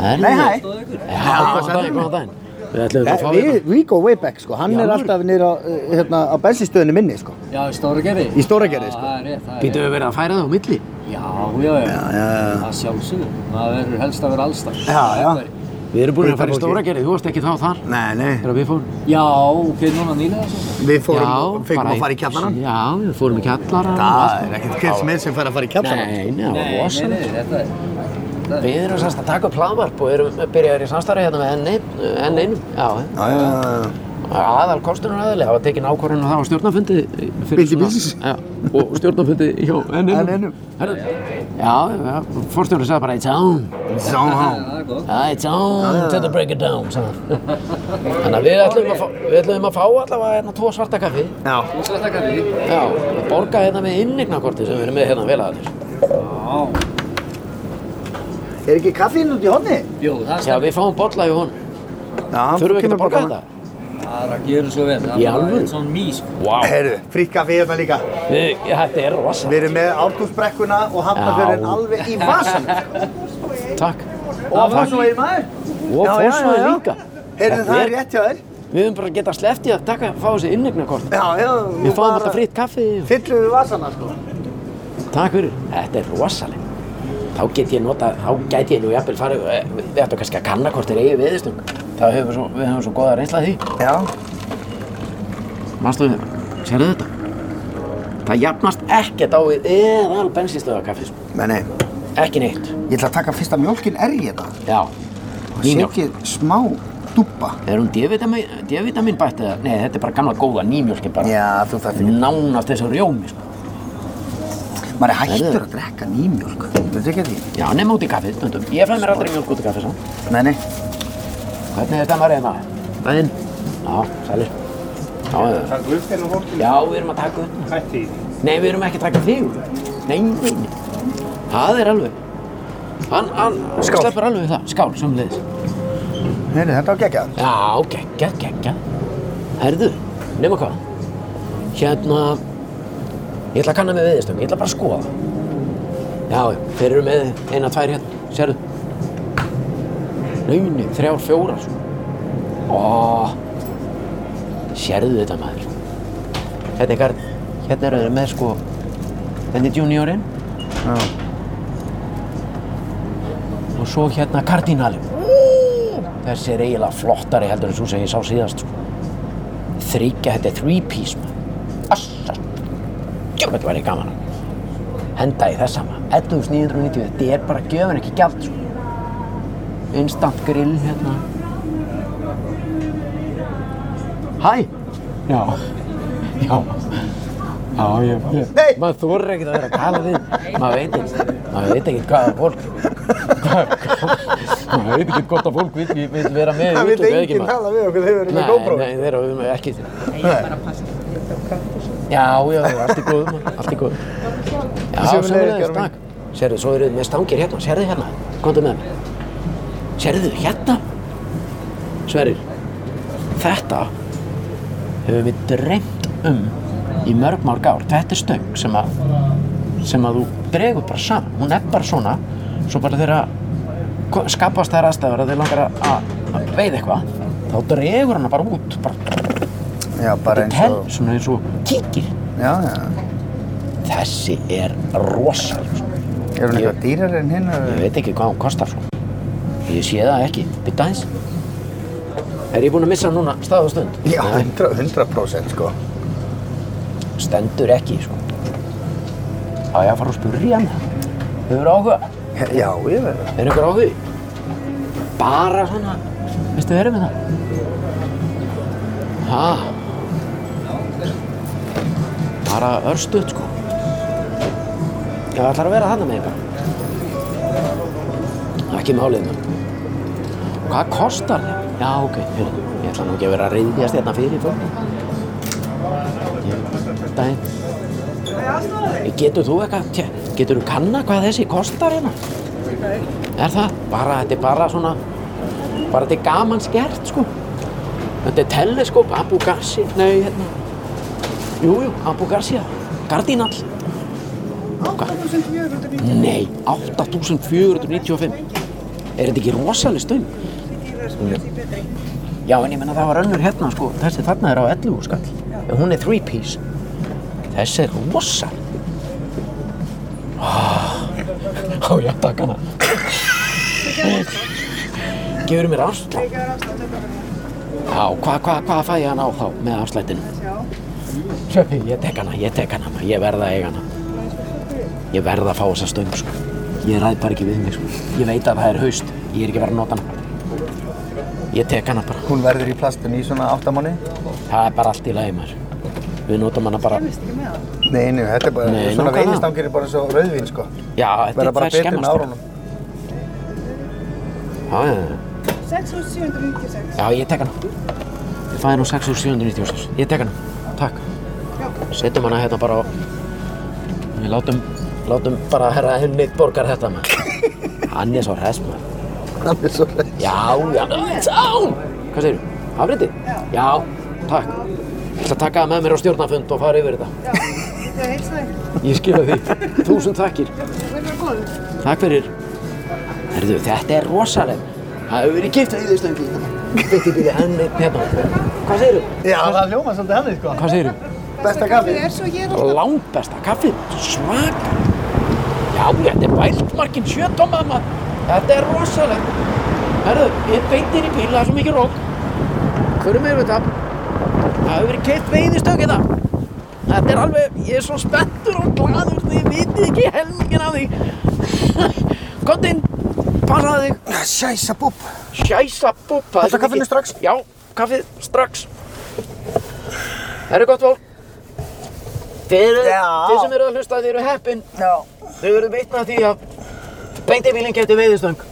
[SPEAKER 2] Herðu.
[SPEAKER 1] Nei, hæ.
[SPEAKER 2] Já, góða daginn, góða daginn Við ætlum að fá
[SPEAKER 1] við,
[SPEAKER 2] við
[SPEAKER 1] we go way back, sko. Hann
[SPEAKER 2] Já,
[SPEAKER 1] er
[SPEAKER 2] nú-
[SPEAKER 1] alltaf niður á, uh, hérna, á bensinstöðinu minni, sko.
[SPEAKER 4] Já, í Stóragerði.
[SPEAKER 1] Í Stóragerði,
[SPEAKER 4] já,
[SPEAKER 1] sko.
[SPEAKER 4] Það er rétt, það er
[SPEAKER 2] Býtu
[SPEAKER 4] rétt.
[SPEAKER 2] við verið að færa það á milli
[SPEAKER 4] Já, já, já.
[SPEAKER 1] Já, já, já.
[SPEAKER 4] Það sjálfsögðu. Það verður helst að vera allstar.
[SPEAKER 1] Já, já.
[SPEAKER 2] Við erum búin
[SPEAKER 1] Hitta
[SPEAKER 2] að fara í
[SPEAKER 1] fólkið.
[SPEAKER 2] stóra gerði, þú varst ekki þá þar
[SPEAKER 1] Nei, nei.
[SPEAKER 2] Þegar við fórum
[SPEAKER 4] Já, ok, núna nýlega svo.
[SPEAKER 1] Við fórum, já, fengum að fara í kjallarann.
[SPEAKER 2] Já, við fórum í kjallarann
[SPEAKER 1] Það er ekkert hver sem er sem fær að fara í kjallarann.
[SPEAKER 2] Nei, nei, það var
[SPEAKER 4] nei,
[SPEAKER 2] rosalega
[SPEAKER 4] nei, þetta er... þetta er-
[SPEAKER 2] Við erum semst að taka upp hlaðvarp og erum byrjaðir í samstarfi hérna með enn einum, enn einum, já,
[SPEAKER 1] Já, já, já.
[SPEAKER 2] aðal kostunar aðali hafa tekin ákvarðinu það á stjórnafundi fyrir
[SPEAKER 1] Bindi bílsins.
[SPEAKER 2] já, og stjórnafundi hjá
[SPEAKER 1] NNum.
[SPEAKER 2] NNum Herðu, já, já, forstjórnum sagði bara it's on
[SPEAKER 1] Sáhán.
[SPEAKER 4] það er gott.
[SPEAKER 2] Ah, it's on to the break it down sagði hann. þannig að við ætlum að fá, við ætlum að fá allavega hérna tvo svarta kaffi
[SPEAKER 1] Já.
[SPEAKER 4] Þú sætt að kalli.
[SPEAKER 2] já, og borga hérna með innignakorti sem við erum með hérna velaðalir
[SPEAKER 4] Já.
[SPEAKER 1] Er ekki kaffin út í honni?
[SPEAKER 4] Jú, það er
[SPEAKER 2] já,
[SPEAKER 4] stefn.
[SPEAKER 2] við fáum bolla í honum
[SPEAKER 1] Já,
[SPEAKER 2] þurfum við ekki að borga
[SPEAKER 1] hana.
[SPEAKER 2] þetta?
[SPEAKER 4] Það er að gera svo vel.
[SPEAKER 2] Í alvöru?
[SPEAKER 4] Svon mís. sko.
[SPEAKER 2] Vá,
[SPEAKER 1] Herru, fritt kaffi hérna líka.
[SPEAKER 2] Við- þetta er rosa
[SPEAKER 1] Við erum með árkúmsbrekkuna og hafnafjörðin
[SPEAKER 2] Já.
[SPEAKER 1] alveg í vasanum.
[SPEAKER 2] Takk
[SPEAKER 1] Og fórsvæði maður.
[SPEAKER 2] Og
[SPEAKER 1] Já, já,
[SPEAKER 2] fórsvæði
[SPEAKER 1] já, já.
[SPEAKER 2] líka
[SPEAKER 1] Heyrðu,
[SPEAKER 2] Þetta
[SPEAKER 1] það
[SPEAKER 2] er-
[SPEAKER 1] er rétt hjá þér.
[SPEAKER 2] Við höfum bara getað sleppt í að taka, fá þessi innegnakorti.
[SPEAKER 1] Já, já.
[SPEAKER 2] Við fáum alltaf fritt kaffi og
[SPEAKER 1] Fyllum við vasana, sko.
[SPEAKER 2] takk fyrir. Þetta er rosaleg. Þá get ég nota, þá gæti ég nú jafnvel farið, eh, við ættum kannski að kanna hvort þeir eigi viðistung. Það höfum við svo, við höfum svo goða reynsla af því.
[SPEAKER 1] Já.
[SPEAKER 2] Manstu þið, sérðu þetta? Það jafnast ekkert á við eðal bensinstöða kaffið, sko.
[SPEAKER 1] Nei, nei.
[SPEAKER 2] Ekki neitt.
[SPEAKER 1] Ég ætla að taka fyrsta mjólkin er í þetta.
[SPEAKER 2] Já.
[SPEAKER 1] Og
[SPEAKER 2] Nýmjólk.
[SPEAKER 1] setja smá dúbba.
[SPEAKER 2] Er hún D-vitamin, D-vitamin bætt eða? Nei, þetta er bara gamla góða nýmjólkin bara.
[SPEAKER 1] Já, þú þarft ekki.
[SPEAKER 2] Nánast þessu rjómi, sko.
[SPEAKER 1] Maður er hættur
[SPEAKER 2] Heyrðu.
[SPEAKER 1] að drekka nýmjólk. Þú tekja því?
[SPEAKER 2] Já, nema út í kaffið, stundum. Ég fæ mér aldrei mjólk út í kaffið, samt.
[SPEAKER 1] Nei, nei.
[SPEAKER 2] Hvernig er þetta maður hérna? Daginn. Já, sælir. Já, já.
[SPEAKER 5] Það er guðstinn og fólkinn
[SPEAKER 2] já, við erum að taka upp.
[SPEAKER 5] hérna hætti í því.
[SPEAKER 2] Nei, við erum ekki að taka þig. upp. Nei, nei, nei. Það er alveg. Hann, hann,
[SPEAKER 1] Skál.
[SPEAKER 2] sleppur alveg við það. Skál, sem leiðis.
[SPEAKER 1] Heyrðu, þetta var geggjað.
[SPEAKER 2] Já, geggjað, geggjað. Herðu, nema hvað. Hérna, ég ætla að kanna með viðistum. Ég ætla bara að skoða. Já, já, þeir eru með eina, tvær hérna. Sérðu. Nauni, þrjár, fjórar. Ó, sérðu þetta maður. Hérna er garð, hérna eru þeir með sko, þetta er juniorinn.
[SPEAKER 1] Já.
[SPEAKER 2] Og svo hérna kardínalinn. Þessi er eiginlega flottari heldur en svo sem ég sá síðast. sko. Þryggja, þetta er three piece maður. Assast. Jú, þetta væri gaman að henda í þessa maður. 11.990, þetta er bara gjöfun ekki gjald sko. Instant grill hérna. Hæ? Já. Já. Já, ég, ég.
[SPEAKER 1] Nei.
[SPEAKER 2] Maður þorir ekkert að vera að tala við. Maður veit ekkert, maður veit ekkert hvaða fólk. Hvað, hvað, maður veit ekkert hvort að fólk vil, vil vera með í
[SPEAKER 1] Það vil
[SPEAKER 2] útvarpi eða
[SPEAKER 1] enginn
[SPEAKER 2] maður.
[SPEAKER 1] hala við okkur þegar við erum með
[SPEAKER 2] Nei,
[SPEAKER 1] GoPro.
[SPEAKER 2] nei, þeir eru ekki Ég er bara að passa Já, já, já, allt í góðu, maður, allt í góðu Já,
[SPEAKER 1] Sömuleiðis,
[SPEAKER 2] samanlega,
[SPEAKER 1] Bjarmi.
[SPEAKER 2] takk Sérðu, svo eru þið með stangir hérna, sérðu hérna Komdu með mér Sérðu, hérna Sverrir, þetta hefur við dreymt um í mörg mörg ár Þetta er stöng sem að sem að þú dregur bara saman hún er bara svona, svo bara þegar ko- skapast þær aðstæður að þeir langar að- að að veiða eitthvað þá dregur hana bara út bara
[SPEAKER 1] Já, bara eins
[SPEAKER 2] tel,
[SPEAKER 1] og...
[SPEAKER 2] svona eins og kíkir
[SPEAKER 1] Já, já.
[SPEAKER 2] þessi er sko. rosal
[SPEAKER 1] Er hún eitthvað dýrar en hinn?
[SPEAKER 2] ég veit ekki hvað hún kostar sko. ég sé það ekki, byrja aðeins er ég búinn að missa núna stað og stund?
[SPEAKER 1] Já,
[SPEAKER 2] Nei,
[SPEAKER 1] 100%, 100% sko.
[SPEAKER 2] stendur ekki sko. á ég að fara og spurja hana hefur áhuga
[SPEAKER 1] Já, ég veit það.
[SPEAKER 2] Er einhver á því? Bara svona, veistu verið með það? Ha? Bara örstuðt sko. Ég ætlar að vera þarna með einhver. Ekki málið maður. Hvað kostar þið? Já, ok, heyrðu, ég ætla nú ekki að vera að reyðjast hérna fyrir fólk. Ég, daginn. Getur þú eitthvað, tjá, getur þú kanna hvað þessi kostar hérna? Er það? Bara, þetta er bara svona, bara þetta er gaman skert, sko. Þetta er teleskóp, Abu Gassi, nei, hérna. Jú, jú, Abu Gassi, gardínall. 8.495. Nei, 8.495. Er þetta ekki rosaleg stöng? Já, en ég menna það var önnur hérna, sko. Þessi þarna er á 11 skall. En hún er 3 piece. Þessi er rosaleg. Ah, Á, já, takk hana. Gefur mér afslátt? Já, hvað hva, hva fæ ég hann á þá með afslættinu? Sjá. Ég tek hana, ég tek hana, maður, ég verða að eiga hana. Ég verða að fá þessa stöng, sko. Ég ræð bara ekki við mig, sko. Ég veit að það er haust, ég er ekki verið að nota hana. Ég tek hana bara.
[SPEAKER 1] Hún verður í plastinu í svona áttamáni?
[SPEAKER 2] Það er bara allt í lagi maður. Við notum hana bara,
[SPEAKER 1] Nei, nei, þetta er bara,
[SPEAKER 2] Nei,
[SPEAKER 1] svona
[SPEAKER 2] nákvæmlega.
[SPEAKER 1] veiðistangir er bara svo rauðvín, sko.
[SPEAKER 2] já, þetta
[SPEAKER 1] Verða
[SPEAKER 2] er sko.
[SPEAKER 1] bara betri
[SPEAKER 2] þær
[SPEAKER 1] með
[SPEAKER 2] skemmast.
[SPEAKER 1] árunum.
[SPEAKER 2] Já, já, já.
[SPEAKER 5] 6796
[SPEAKER 2] Já, ég tek hana. Ég fæði nú 6 úr 796. Ég tek hana. Takk. Setjum hana hérna bara á... Við látum, látum bara herra hennið borgar þetta maður. Hann er svo hress maður.
[SPEAKER 1] Það er svo rauð.
[SPEAKER 2] Já, já, tán! Hvað segir þú? Afréttið? Já. takk. Ég ætla að taka það með mér á stjórnafund og fara yfir þetta.
[SPEAKER 5] Já, þetta er heilsa þig
[SPEAKER 2] Ég skilja því. Þúsund þakkir.
[SPEAKER 5] Þú verður að góður
[SPEAKER 2] Takk fyrir. Herðu, þetta er rosaleg. Það hefur verið gift að yfirstöngi. Þetta er bíðið henni hérna. Hvað segir þú?
[SPEAKER 1] Já, það hljóma svolítið hann, sko.
[SPEAKER 2] Hvað segir þú?
[SPEAKER 1] Besta kaffi.
[SPEAKER 5] Þú er svo hér alltaf
[SPEAKER 2] Langt besta kaffið. Svaka. Já, þetta er bæltmarkin sjötómað maður. Þetta er rosaleg. Herðu, ég beintir í bíl, það er svo mikið rók. Förum við þetta. Það hefur verið keitt veiðistöng hérna. Þetta er alveg, ég er svo spenntur og gladur því ég vitið ekki helmingin af því. Kottinn, passaðu þig.
[SPEAKER 1] Sjæsa búb.
[SPEAKER 2] Sjæsa búb, það
[SPEAKER 1] Haltu
[SPEAKER 2] svo
[SPEAKER 1] kaffinu
[SPEAKER 2] mikið-
[SPEAKER 1] strax?
[SPEAKER 2] Já, kaffið strax Það eru gott fólk Þeir,
[SPEAKER 1] Já.
[SPEAKER 2] þeir sem eru að hlusta, þeir eru heppin
[SPEAKER 1] Já.
[SPEAKER 2] Þeir eru veitna því að Beintibílinn getur veiðistöng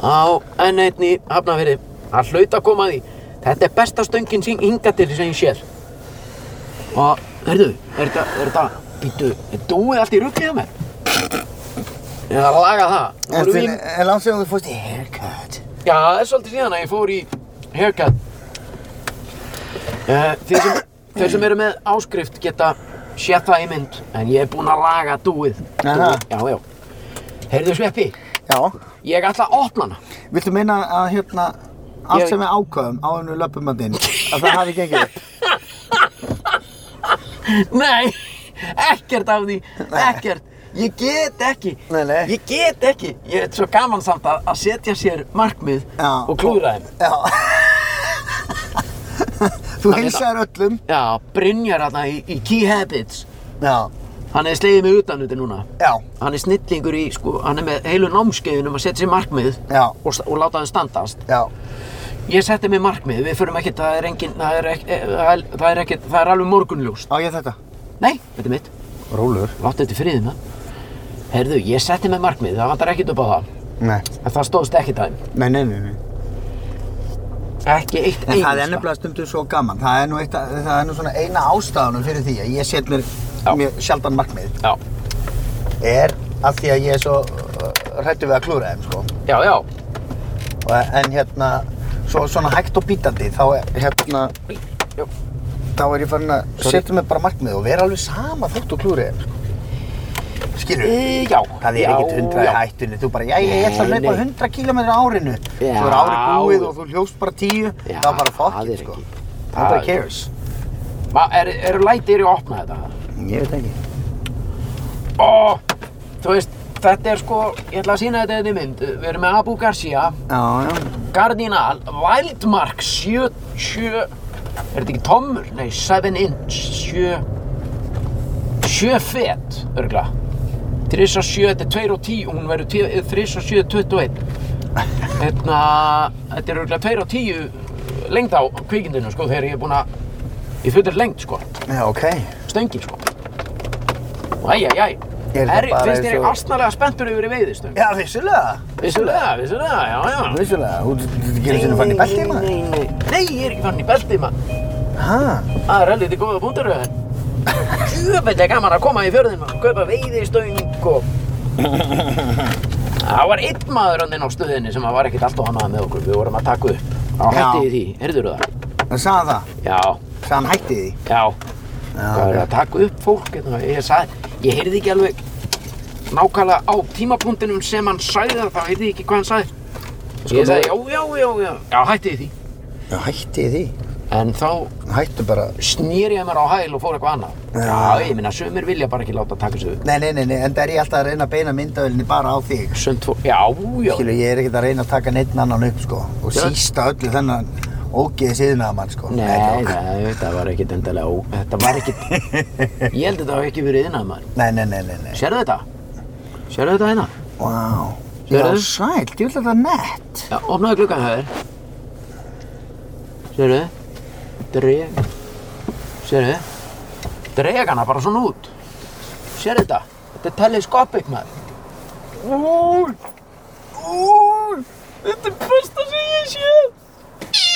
[SPEAKER 2] Á enn einn í hafnafyrði Það hlaut að koma að því Þetta er besta stöngin sem hinga til sem ég séð Og, heyrðu, er þetta, er þetta Býttu, er dúið allt í ruglið að mér? Ég þarf að laga það Nú erum
[SPEAKER 1] Er
[SPEAKER 2] við í-
[SPEAKER 1] er langt síðan þú fórst í haircut?
[SPEAKER 2] Já, það er svolítið síðan að ég fór í haircut. Uh, þeir, sem, þeir sem eru með áskrift geta séð það í mynd, en ég er búinn að laga dúið.
[SPEAKER 1] Aha.
[SPEAKER 2] Dúið, Já, já. Heyrðu Sveppi,
[SPEAKER 1] Já.
[SPEAKER 2] ég ætla að opna hana.
[SPEAKER 1] Viltu meina að hérna, allt
[SPEAKER 2] Ég-
[SPEAKER 1] sem við ákvaðum á hennu löpumöndin, að það hafi gengið upp?
[SPEAKER 2] Nei, ekkert af því, ekkert. Ég get ekki,
[SPEAKER 1] Nei, nei.
[SPEAKER 2] ég get ekki. Ég er svo gaman samt að, að setja sér markmið
[SPEAKER 1] Já.
[SPEAKER 2] og klúðra þeim.
[SPEAKER 1] Já. þú heilsaðir öllum.
[SPEAKER 2] Já, Brynjar þarna í, í Key Habits.
[SPEAKER 1] Já.
[SPEAKER 2] Hann hefði slegið mig utan út núna.
[SPEAKER 1] Já.
[SPEAKER 2] hann er snillingur í, sko, hann er með heilu námskeiðin um að setja sér markmið
[SPEAKER 1] Já.
[SPEAKER 2] og, sta- og láta hann standast.
[SPEAKER 1] Já.
[SPEAKER 2] Ég setti mér markmið, við förum ekkert, það er engin, það er ekkert, það er, það er ekkert, það er alveg morgunljóst.
[SPEAKER 1] Á ég þetta?
[SPEAKER 2] Nei, þetta er mitt,
[SPEAKER 1] Rólur.
[SPEAKER 2] láttu þetta friðið með. Herðu, ég setti mér markmið, það vantar ekkert upp á það,
[SPEAKER 1] Nei.
[SPEAKER 2] en það stóðst ekkert að þeim.
[SPEAKER 1] Nei, nei, nei, nei.
[SPEAKER 2] Ekki eitt
[SPEAKER 1] En það er
[SPEAKER 2] einasta.
[SPEAKER 1] nefnilega stundum svo gaman. Það er nú, eitt, að- það er nú svona eina ástafanum fyrir því að ég set mér
[SPEAKER 2] Já.
[SPEAKER 1] mjög sjaldan markmið.
[SPEAKER 2] Já,
[SPEAKER 1] Er að því að ég er svo hrættu við að klúra þeim, sko.
[SPEAKER 2] já, já,
[SPEAKER 1] Og- En hérna, svo, svona hægt og bítandi, þá er, hérna,
[SPEAKER 2] já.
[SPEAKER 1] þá er ég farin að
[SPEAKER 2] Sorry.
[SPEAKER 1] setja mér bara markmið og vera alveg sama þótt og klúra þeim, sko. Skilur?
[SPEAKER 2] E, já.
[SPEAKER 1] Það er
[SPEAKER 2] já,
[SPEAKER 1] ekkert hundra í
[SPEAKER 2] já.
[SPEAKER 1] hættunni, þú bara, já, ég ætla að
[SPEAKER 2] Nei,
[SPEAKER 1] hlaupa
[SPEAKER 2] nei.
[SPEAKER 1] 100 km á árinu.
[SPEAKER 2] Já.
[SPEAKER 1] Svo er árið búið og þú hljófst bara 10,
[SPEAKER 2] Já,
[SPEAKER 1] það er bara fuck
[SPEAKER 2] það
[SPEAKER 1] it,
[SPEAKER 2] er
[SPEAKER 1] sko.
[SPEAKER 2] ekki.
[SPEAKER 1] Nobody
[SPEAKER 2] Það-
[SPEAKER 1] cares.
[SPEAKER 2] Ma- Eru er lætir í að opna þetta?
[SPEAKER 1] Ég veit ekki.
[SPEAKER 2] Ó, þú veist, þetta er sko, ég ætla að sína þetta þetta í mynd. Við erum með Abu Garcia,
[SPEAKER 1] Já, já.
[SPEAKER 2] Cardinal, Wildmark 7, 7, er þetta ekki tommur? Nei, 7 inch, 7, 7 fet, örgla. 3 og 7, þetta er 2 og 10, hún verður eh, 3 og 7, 21. Hérna, þetta er örgla 2 og 10 lengd á kvikindinu, sko, þegar ég er búinn að, ég fullir lengd, sko,
[SPEAKER 1] Já, ok.
[SPEAKER 2] stöngin, sko. Æjæjæj,
[SPEAKER 1] Er þetta bara
[SPEAKER 2] finnst þér
[SPEAKER 1] eins
[SPEAKER 2] ég
[SPEAKER 1] og-
[SPEAKER 2] astnalega spenntur yfir í veiðistöng?
[SPEAKER 1] Já, vissulega.
[SPEAKER 2] Vissulega, vissulega, já, já.
[SPEAKER 1] Vissulega, hún gerir sinni fann í beltið maður.
[SPEAKER 2] Nei, nei, nei, ég er ekki fann í beltið maður.
[SPEAKER 1] Hæ?
[SPEAKER 2] Það er helviti góða búndur Jöfnveldlega gaman að koma í fjörðin og kaupa veiðistöng og Það var einn maður hann inn á stöðinni sem var ekkert alltaf hannað með okkur Við vorum að taka upp Á
[SPEAKER 1] Já.
[SPEAKER 2] hætti í því, heyrður það?
[SPEAKER 1] Það sagði það,
[SPEAKER 2] Já,
[SPEAKER 1] sagði hann hætti því.
[SPEAKER 2] já,
[SPEAKER 1] Já,
[SPEAKER 2] það er að taka upp fólk hérna. Ég sagði, ég heyrði ekki alveg nákvæmlega á tímapunktinum sem hann sagði það, þá heyrði ég ekki hvað hann sagði
[SPEAKER 1] Sko,
[SPEAKER 2] Ég sagði, já, já, já, já, já, hætti í því
[SPEAKER 1] Já, hætti því.
[SPEAKER 2] En þá
[SPEAKER 1] Hættu bara.
[SPEAKER 2] snýr ég mér á hæl og fór eitthvað annað. Já, ég minna, sömur vilja bara ekki láta taka sig upp.
[SPEAKER 1] Nei, nei, nei, nei, en það er ég alltaf að reyna að beina myndavélinni bara á þig.
[SPEAKER 2] Sönd fór, já, já,
[SPEAKER 1] Skilu, ég er ekkert að reyna að taka neitt annan upp, sko. Og
[SPEAKER 2] Já.
[SPEAKER 1] sísta öllu þennan ógeðis yðnaðamann, sko.
[SPEAKER 2] Nei,
[SPEAKER 1] djók.
[SPEAKER 2] nei, þetta var ekkit endalega ó, þetta var ekkit, ég held að þetta hafi ekki verið innað maður.
[SPEAKER 1] Nei, nei, nei, nei, nei.
[SPEAKER 2] Sérðu þetta? Sérðu þetta hérna?
[SPEAKER 1] Vá. Já,
[SPEAKER 2] Sérðu?
[SPEAKER 1] sæl, ég vil þetta er nett.
[SPEAKER 2] Já, opnaðu gluggan hjá þér. Sérðu? Dreg. Sérðu? Dreg hana bara svona út. Sérðu þetta? Þetta er teleskopik maður. Úr! Úr! Þetta er besta sem ég sé.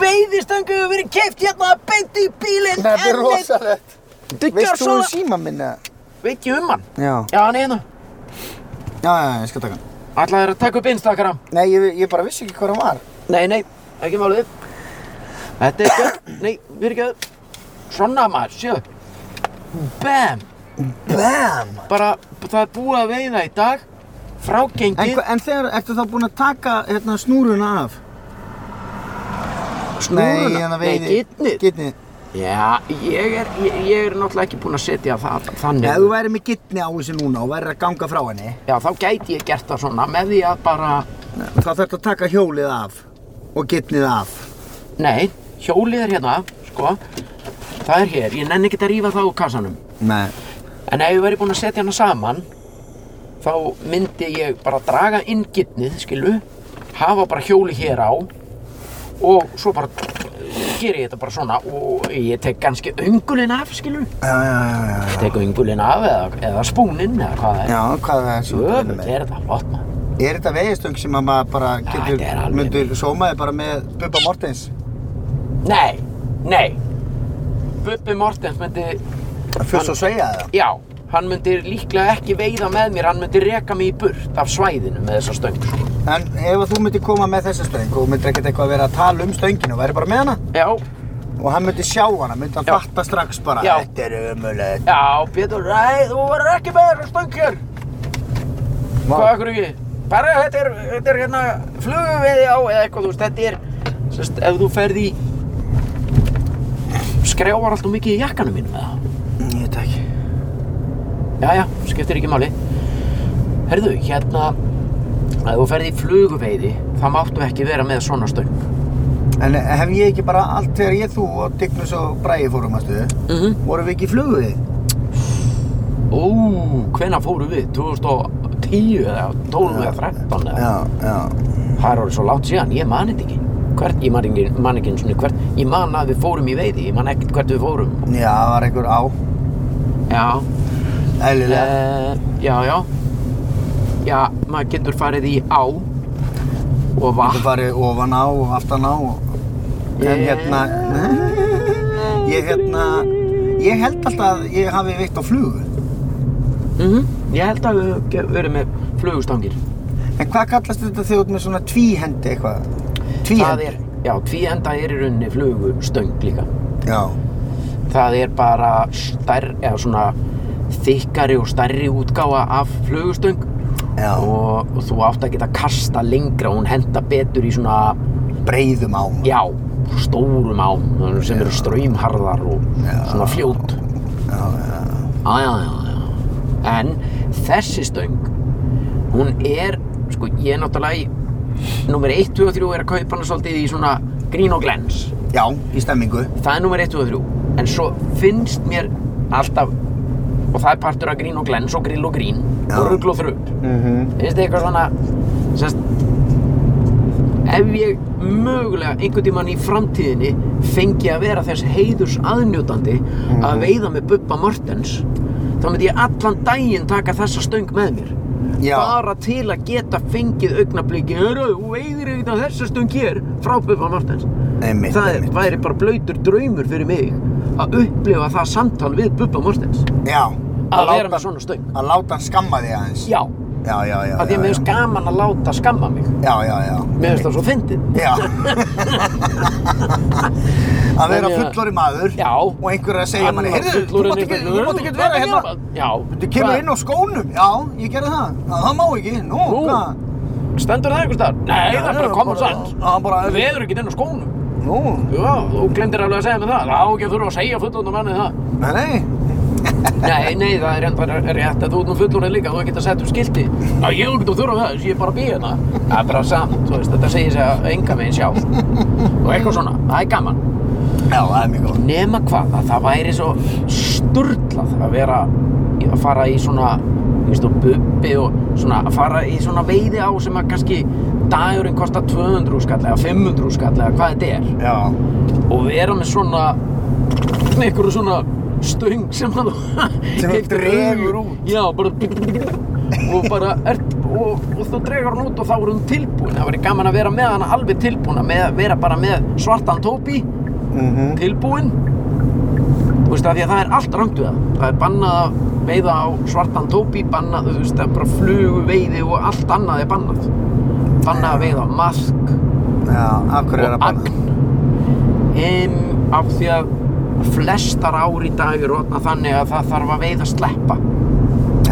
[SPEAKER 2] Veiðistöngu hefur verið keift hérna að beinti í bílinn.
[SPEAKER 1] Þetta er
[SPEAKER 2] enn einn-
[SPEAKER 1] rosalegt.
[SPEAKER 2] Þetta er
[SPEAKER 1] Veist þú um
[SPEAKER 2] gjörsamlega-
[SPEAKER 1] síma minna?
[SPEAKER 2] Veit ekki um hann.
[SPEAKER 1] Já.
[SPEAKER 2] Já, hann er hérna.
[SPEAKER 1] Já, já, ég skal taka hann.
[SPEAKER 2] Ætlaði þér að taka upp Instagram?
[SPEAKER 1] Nei, ég, ég bara vissi ekki hvað hann var.
[SPEAKER 2] Nei, nei, ekki málið. Þetta er gött. Nei, við erum ekki að... Svona maður, sjö. Bam!
[SPEAKER 1] Bam!
[SPEAKER 2] Bara, það er búið að veiða í dag.
[SPEAKER 1] En,
[SPEAKER 2] Frágengið.
[SPEAKER 1] hva- en þegar, ertu þá búinn að taka hérna snúruna af? Nei, hérna veiði.
[SPEAKER 2] Nei, gitnið.
[SPEAKER 1] Gitnið.
[SPEAKER 2] Já, ég er, ég, ég er náttúrulega ekki búinn að setja það
[SPEAKER 1] Ef
[SPEAKER 2] þannig.
[SPEAKER 1] þú væri með gitni á þessu núna og væri að ganga frá henni,
[SPEAKER 2] Já, þá gæti ég gert það svona með því að bara...
[SPEAKER 1] þá þarftu að taka hjólið af og gitnið af.
[SPEAKER 2] Nei, hjólið er hérna, sko. Það er hér. Ég nenni ekki að rífa það úr kassanum.
[SPEAKER 1] Nei.
[SPEAKER 2] En ef ég væri búinn að setja hana saman þá myndi ég bara draga inn gitnið, skilu hafa bara hjóli hér á og svo bara ger ég þetta bara svona og ég tek kannski öngulinn af, skilu
[SPEAKER 1] Já, já, já, já.
[SPEAKER 2] tek öngulinn af eða, eða spúninn eða hvað það er
[SPEAKER 1] Já, hvað það er sem þú ert að vinna
[SPEAKER 2] Jöfull,
[SPEAKER 1] með?
[SPEAKER 2] er þetta flott maður
[SPEAKER 1] Er þetta veiðistöng sem að maður bara getur,
[SPEAKER 2] þetta er alveg-
[SPEAKER 1] myndur sómaði bara með Bubba Mortens?
[SPEAKER 2] Nei, nei Bubbi Mortens myndi,
[SPEAKER 1] Fjöss og sveia það?
[SPEAKER 2] já hann myndi líklega ekki veiða með mér hann myndi reka mig í burt af svæðinu með þessa stöng sko.
[SPEAKER 1] En ef að þú myndir koma með þessa stöng og myndir ekkert eitthvað að vera að tala um stönginu og væri bara með hana
[SPEAKER 2] Já,
[SPEAKER 1] og hann myndir sjá hana, myndir hann
[SPEAKER 2] Já.
[SPEAKER 1] fatta strax bara
[SPEAKER 2] Já.
[SPEAKER 1] Þetta er umulegt
[SPEAKER 2] já, Pétur, nei, þú verður ekki með þessa stöng hér Hvað akkur ekki? Bara þetta er, þetta er hérna flugveiði á eða eitthvað, þú veist, þetta er sest, ef þú ferð í skrjávar alltaf mikið í jakkanum mínum eða?
[SPEAKER 1] Ég veit ekki
[SPEAKER 2] Jæja, skiptir ekki máli Herðu, hérna ef þú ferð í flugveiði þá máttu ekki vera með svona stöng
[SPEAKER 1] En hef ég ekki bara allt þegar ég þú og Dignus og Bræði fórum að stuðu
[SPEAKER 2] mm -hmm.
[SPEAKER 1] vorum við ekki í flugu við?
[SPEAKER 2] Ó, hvenær fóru við? 2010 eða 12 eða 13 eða?
[SPEAKER 1] Já, já
[SPEAKER 2] Það er orðið svo látt síðan, ég man þetta ekki Hvert, ég man ekki, man ekki einu sinni hvert Ég man að við fórum í veiði, ég man ekkert hvert við fórum
[SPEAKER 1] Já, það var einhver á,
[SPEAKER 2] Já,
[SPEAKER 1] eðlilega
[SPEAKER 2] Uh, já, já. Já, maður getur farið í á og
[SPEAKER 1] Þú
[SPEAKER 2] vatn.
[SPEAKER 1] farið ofan á og aftan á og... En
[SPEAKER 2] Ég-
[SPEAKER 1] hérna Ég hérna Ég held alltaf að ég hafi veitt á flugu
[SPEAKER 2] Mm Ég held að við ge- verið með flugustangir.
[SPEAKER 1] En hvað kallast þetta þegar þú ert með svona tvíhendi eitthvað?
[SPEAKER 2] Það
[SPEAKER 1] Tvíhendi?
[SPEAKER 2] er, já, tvíenda er í rauninni flugustöng líka.
[SPEAKER 1] Já.
[SPEAKER 2] Það er bara stærri, eða svona þykkari og stærri útgáfa af flugustöng
[SPEAKER 1] Já.
[SPEAKER 2] og, og þú átt að geta kasta lengra og hún henda betur í svona,
[SPEAKER 1] Breiðum ám.
[SPEAKER 2] já, stórum ám sem eru ströymharðar og svona fljót.
[SPEAKER 1] Já, já.
[SPEAKER 2] Já, já, já, já. En þessi stöng, hún er, sko, ég er náttúrulega í, nummer 1, 2 og 3 er að kaupa hana svolítið í svona grín og glens.
[SPEAKER 1] Já, í stemmingu.
[SPEAKER 2] Það er nummer 1, 2 og 3. En svo finnst mér alltaf, og það er partur af grín og glens og grill og grín
[SPEAKER 1] Já.
[SPEAKER 2] og rugl og þrugl.
[SPEAKER 1] Mhm.
[SPEAKER 2] Finnst þið eitthvað svona, sérst, ef ég mögulega einhvern tímann í framtíðinni fengi að vera þess heiðurs aðnjótandi
[SPEAKER 1] Mhm.
[SPEAKER 2] að veiða með Bubba Mortens þá myndi ég allan daginn taka þessa stöng með mér
[SPEAKER 1] Já.
[SPEAKER 2] bara til að geta fengið augnabliki Hörru, þú veiðir ekkert á þessa stöng hér frá Bubba Mortens
[SPEAKER 1] Einmitt,
[SPEAKER 2] það
[SPEAKER 1] einmitt.
[SPEAKER 2] væri bara blautur draumur fyrir mig að upplifa það samtal við Bubba Mortens
[SPEAKER 1] Já.
[SPEAKER 2] að vera
[SPEAKER 1] láta-
[SPEAKER 2] með svona stöng
[SPEAKER 1] Að láta hann skamma þig aðeins.
[SPEAKER 2] já,
[SPEAKER 1] Já, já, já.
[SPEAKER 2] að því
[SPEAKER 1] já,
[SPEAKER 2] að mér
[SPEAKER 1] já.
[SPEAKER 2] finnst gaman að láta skamma mig
[SPEAKER 1] Já, já, já.
[SPEAKER 2] mér finnst það svo fyndið
[SPEAKER 1] Já. að vera
[SPEAKER 2] Þannig að-
[SPEAKER 1] fullori maður
[SPEAKER 2] Já.
[SPEAKER 1] og einhver er að segja manni, heyrðu, þú mátt ekki, þú mátt ekki vera hérna.
[SPEAKER 2] Já.
[SPEAKER 1] Þú kemur inn á skónum, já, ég gerði það, Já, það má ekki, nú,
[SPEAKER 2] Nú.
[SPEAKER 1] hvað?
[SPEAKER 2] Stendur það einhvers staðar? Nei, það er bara common sense.
[SPEAKER 1] Já, bara-
[SPEAKER 2] Þú veður ekki inn á skónum.
[SPEAKER 1] Nú,
[SPEAKER 2] Já, þú glemdir alveg að segja mér það. Það á ekki að þurfa að segja fullorðnum manni það.
[SPEAKER 1] nei, nei,
[SPEAKER 2] Nei, nei, það er enda rétt að þú ert nú fullorðið líka. Þú getur að setja upp skilti. Já, ég er ekki að þurfa það, þess ég er bara að býja hérna. Það er bara samt, þú veist, þetta segir sig að enga meginn sjálf. Og eitthvað svona, það er gaman.
[SPEAKER 1] já, það er mjög góð.
[SPEAKER 2] Nema hvað, að það væri svo sturlað að vera að fara í svona, þú veist, og bubbi og svona, að fara í svona veiði á sem að kannski dagurinn kostar 200 skall eða 500 skall eða hvað þetta er
[SPEAKER 1] Já,
[SPEAKER 2] og vera með svona með einhverju svona stöng sem að
[SPEAKER 1] Sem að
[SPEAKER 2] keyptir
[SPEAKER 1] dregur
[SPEAKER 2] öðru-
[SPEAKER 1] út.
[SPEAKER 2] já, bara og bara ert, og, og þá dregur hann út og þá er hún tilbúin það væri gaman að vera með hana alveg tilbúin að með, vera bara með svartan tópi
[SPEAKER 1] mhm,
[SPEAKER 2] tilbúin þú veist að því að það er allt rangt við það það er bannað að veiða á svartan tópi bannað, þú veist, það er bara flugu veiði og allt annað er bannað bannað að veiða á mask
[SPEAKER 1] já, af hverju er
[SPEAKER 2] og
[SPEAKER 1] að banna?
[SPEAKER 2] agn um, af því að flestar ár í dag er orðna þannig að það þarf að veiða sleppa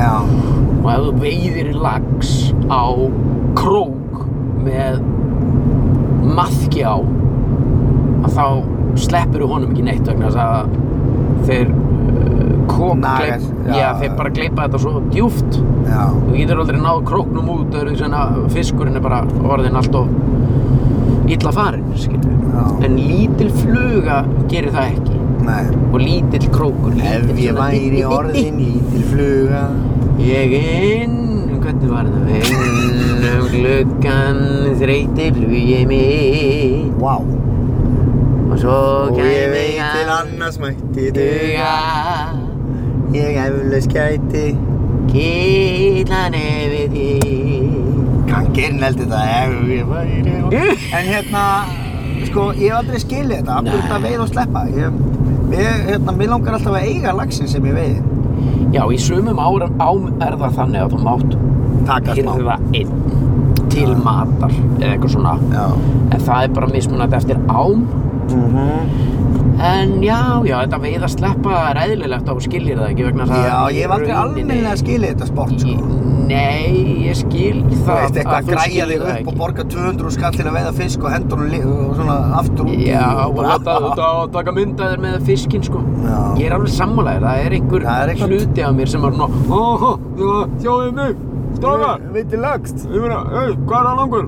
[SPEAKER 1] Já,
[SPEAKER 2] og ef þú veiðir lags á krók með maðki á að þá sleppur honum ekki neitt vegna þess að þeir uh, kók
[SPEAKER 1] Naga-
[SPEAKER 2] gleyp-
[SPEAKER 1] já.
[SPEAKER 2] já, þeir bara gleipa þetta svo djúft
[SPEAKER 1] já,
[SPEAKER 2] þú getur aldrei náð króknum út öðru sem að fiskurinn er bara orðinn allt of illa farinn skilur.
[SPEAKER 1] Já.
[SPEAKER 2] en lítil fluga gerir það ekki
[SPEAKER 1] nei.
[SPEAKER 2] og lítill krókur
[SPEAKER 1] Ef
[SPEAKER 2] lítill
[SPEAKER 1] ég
[SPEAKER 2] svona-
[SPEAKER 1] væri orðin lítil fluga
[SPEAKER 2] ég inn hvernig var það inn um gluggan þreytir flugið mig
[SPEAKER 1] Vá
[SPEAKER 2] og svo
[SPEAKER 1] Og ég
[SPEAKER 2] kæmi
[SPEAKER 1] veit til annars mætti duga
[SPEAKER 2] duga
[SPEAKER 1] Ég eflaust gæti
[SPEAKER 2] kýtlan yfir því
[SPEAKER 1] Gangirn heldur það ef ég væri orðin- En hérna, sko, ég hef aldrei skilið þetta Af hverju
[SPEAKER 2] Nei.
[SPEAKER 1] þetta veið og sleppa Ég, ég hérna, mér langar alltaf að eiga laxin sem ég veið
[SPEAKER 2] Já, í sumum árum ám er það þannig að þú mátt
[SPEAKER 1] Taka smá
[SPEAKER 2] hirða einn til matar eða eitthvað svona
[SPEAKER 1] Já
[SPEAKER 2] en það er bara mismunandi eftir ám
[SPEAKER 1] Mhm.
[SPEAKER 2] en já, já, þetta veið að sleppa er eðlilegt og þú skilir það ekki vegna þess að
[SPEAKER 1] Já, ég hef aldrei almennilega skilið þetta sport, sko
[SPEAKER 2] Ég- Nei, ég skil
[SPEAKER 1] Þú
[SPEAKER 2] það
[SPEAKER 1] veist, eitthvað að
[SPEAKER 2] þú
[SPEAKER 1] græja
[SPEAKER 2] skilur
[SPEAKER 1] þig upp
[SPEAKER 2] það
[SPEAKER 1] og
[SPEAKER 2] ekki.
[SPEAKER 1] borga 200 skall til að veiða fisk og hendur hún og svona aftur út í
[SPEAKER 2] Já, og
[SPEAKER 1] bara-
[SPEAKER 2] láta þetta að taka myndaðir með fiskinn sko
[SPEAKER 1] Já.
[SPEAKER 2] Ég er alveg sammálaðir, það er einhver
[SPEAKER 1] Það er eitthvað-
[SPEAKER 2] hluti af mér sem er nú Óhó, sjáðu mig, strákar
[SPEAKER 1] Viti lagst
[SPEAKER 2] Ég meina, hei, hvað er hann langur?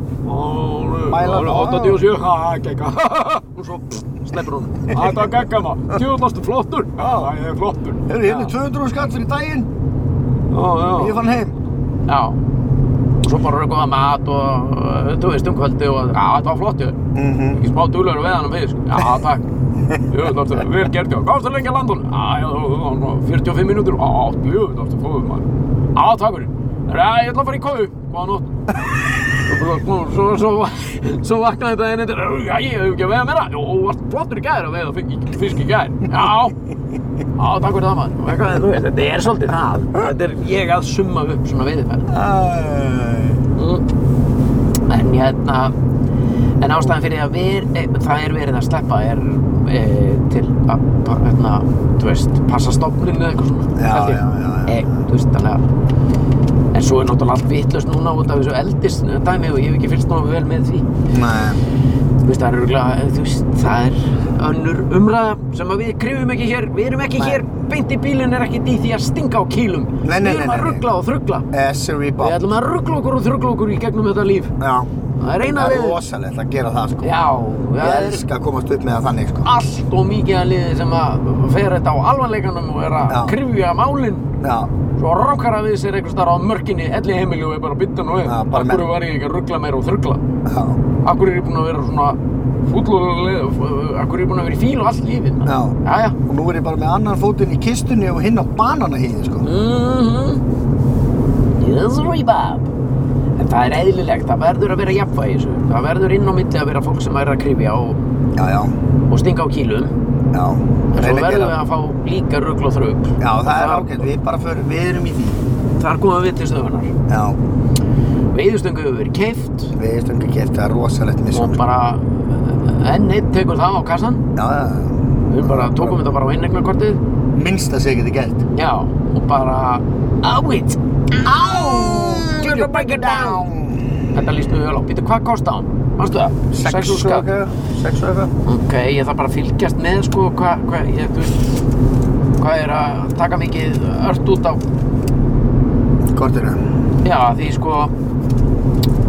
[SPEAKER 1] Mæla
[SPEAKER 2] Mælan,
[SPEAKER 1] það.
[SPEAKER 2] 87, ha, ha, gegga, ha, ha, ha, og svo pst, sleppur hún. Þetta er gegga maður, tjóðlastu flottur, já, ég er flottur.
[SPEAKER 1] Hörru, hérna er 200 skall fyrir daginn
[SPEAKER 2] Já,
[SPEAKER 1] Ég
[SPEAKER 2] já.
[SPEAKER 1] fann heim
[SPEAKER 2] Já, og svo bara rökum að mat og, uh, þú veist, umkvöldi og, já, þetta var flottur.
[SPEAKER 1] Mhm
[SPEAKER 2] Ekki smá dúlur við hann um fisk, já, takk. Jú, það varstu, vel gert, já, komstu lengi að landa hún? Já, já, þú- þú- þú- 45 mínútur, já, jú, það varstu, fóðum maður. Já, takk fyrir. Já, ég ætla að fara í kóðu, góða nótt. svo, svo, svo, svo vaknaði þetta einn eitthvað, já, ég hef ekki að veiða meira, og varst flottur í gær að veiða fisk- fisk í gær, já, já, takk fyrir það maður, og eitthvað, þú veist, þetta er svolítið það, þetta er ég að summa upp svona veiðifæri,
[SPEAKER 1] Æ,
[SPEAKER 2] mm. en hérna, en ástæðan fyrir að ver, e, það er verið að sleppa er e, til að, pa- hérna, þú veist, passa stofninu eða eitthvað svona,
[SPEAKER 1] Já,
[SPEAKER 2] held ég.
[SPEAKER 1] já, já, já.
[SPEAKER 2] E, þú veist, þannig að, En svo er náttúrulega allt vitlaust núna út af þessu eldis dæmi og ég hef ekki fylgst náðu vel með því.
[SPEAKER 1] Nei
[SPEAKER 2] Þú veist, það er örgulega, þú veist, það er önnur umræða sem að við krifum ekki hér, við erum ekki
[SPEAKER 1] Nei.
[SPEAKER 2] hér, beint í bílinn er ekki í því að stinga á kýlum.
[SPEAKER 1] Nei, nei, nei,
[SPEAKER 2] við erum að
[SPEAKER 1] nei, nei.
[SPEAKER 2] ruggla og þruggla.
[SPEAKER 1] Essery
[SPEAKER 2] Við
[SPEAKER 1] Bob
[SPEAKER 2] ætlum að ruggla okkur og þruggla okkur í gegnum þetta líf.
[SPEAKER 1] Já
[SPEAKER 2] Það er eina
[SPEAKER 1] Það er
[SPEAKER 2] liðið.
[SPEAKER 1] rosalegt að gera það, sko
[SPEAKER 2] Já, það
[SPEAKER 1] Ég
[SPEAKER 2] er
[SPEAKER 1] elska að komast upp með það þannig, sko
[SPEAKER 2] allt og mikið að liði sem að fer þetta á alvanleikanum og er að
[SPEAKER 1] Já.
[SPEAKER 2] krifja málinn.
[SPEAKER 1] Já
[SPEAKER 2] Svo rákar að við sér einhvers þar á mörkinni, elli heimili og er bara að bytta nú við.
[SPEAKER 1] Já, bara
[SPEAKER 2] Akkur
[SPEAKER 1] með-
[SPEAKER 2] var ég ekki að ruggla meira og þruggla.
[SPEAKER 1] Já
[SPEAKER 2] Akkur er ég búinn að vera svona fúllulega, akkur er ég búinn að vera í fíl og allt lífið. maður?
[SPEAKER 1] Já
[SPEAKER 2] Jæja.
[SPEAKER 1] Og nú er ég bara með annan fótinn í kistunni og hinn á bananahýði, sko
[SPEAKER 2] Mhm. Yes, Rebab. En það er eðlilegt, það verður að vera jafnvægi í þessu. Það verður inn á milli að vera fólk sem er að krifja og,
[SPEAKER 1] Já, já
[SPEAKER 2] og stinga á kýlum.
[SPEAKER 1] Já
[SPEAKER 2] En svo
[SPEAKER 1] Reyna að
[SPEAKER 2] verður
[SPEAKER 1] gera
[SPEAKER 2] við að fá líka rugl og þrugl.
[SPEAKER 1] Já, það er
[SPEAKER 2] Þar-
[SPEAKER 1] ágætt Við bara förum, við erum í því
[SPEAKER 2] Þar komum við til stöðunar.
[SPEAKER 1] Já
[SPEAKER 2] Veiðustöngu hefur verið keift
[SPEAKER 1] Við erum ekki gert það er rosalegt
[SPEAKER 2] og
[SPEAKER 1] misjón, sko.
[SPEAKER 2] bara eh, enn eitt tekur það á kassan.
[SPEAKER 1] Já, já
[SPEAKER 2] Við bara tókum þetta bara á innegnakortið.
[SPEAKER 1] Minnst að segja þetta gert
[SPEAKER 2] Já, og bara á it. Á! Get your break it down. Þetta líst mjög vel á. Býtu, hvað kosti hann? Manstu það?
[SPEAKER 1] Sex
[SPEAKER 2] Sex
[SPEAKER 1] og
[SPEAKER 2] skall.
[SPEAKER 1] eitthvað Sex og eitthvað
[SPEAKER 2] Ok, ég þarf bara að fylgjast með sko hvað, hvað, ég, þú veist, hvað er að taka mikið ört út á,
[SPEAKER 1] Kortinu
[SPEAKER 2] já því sko, þú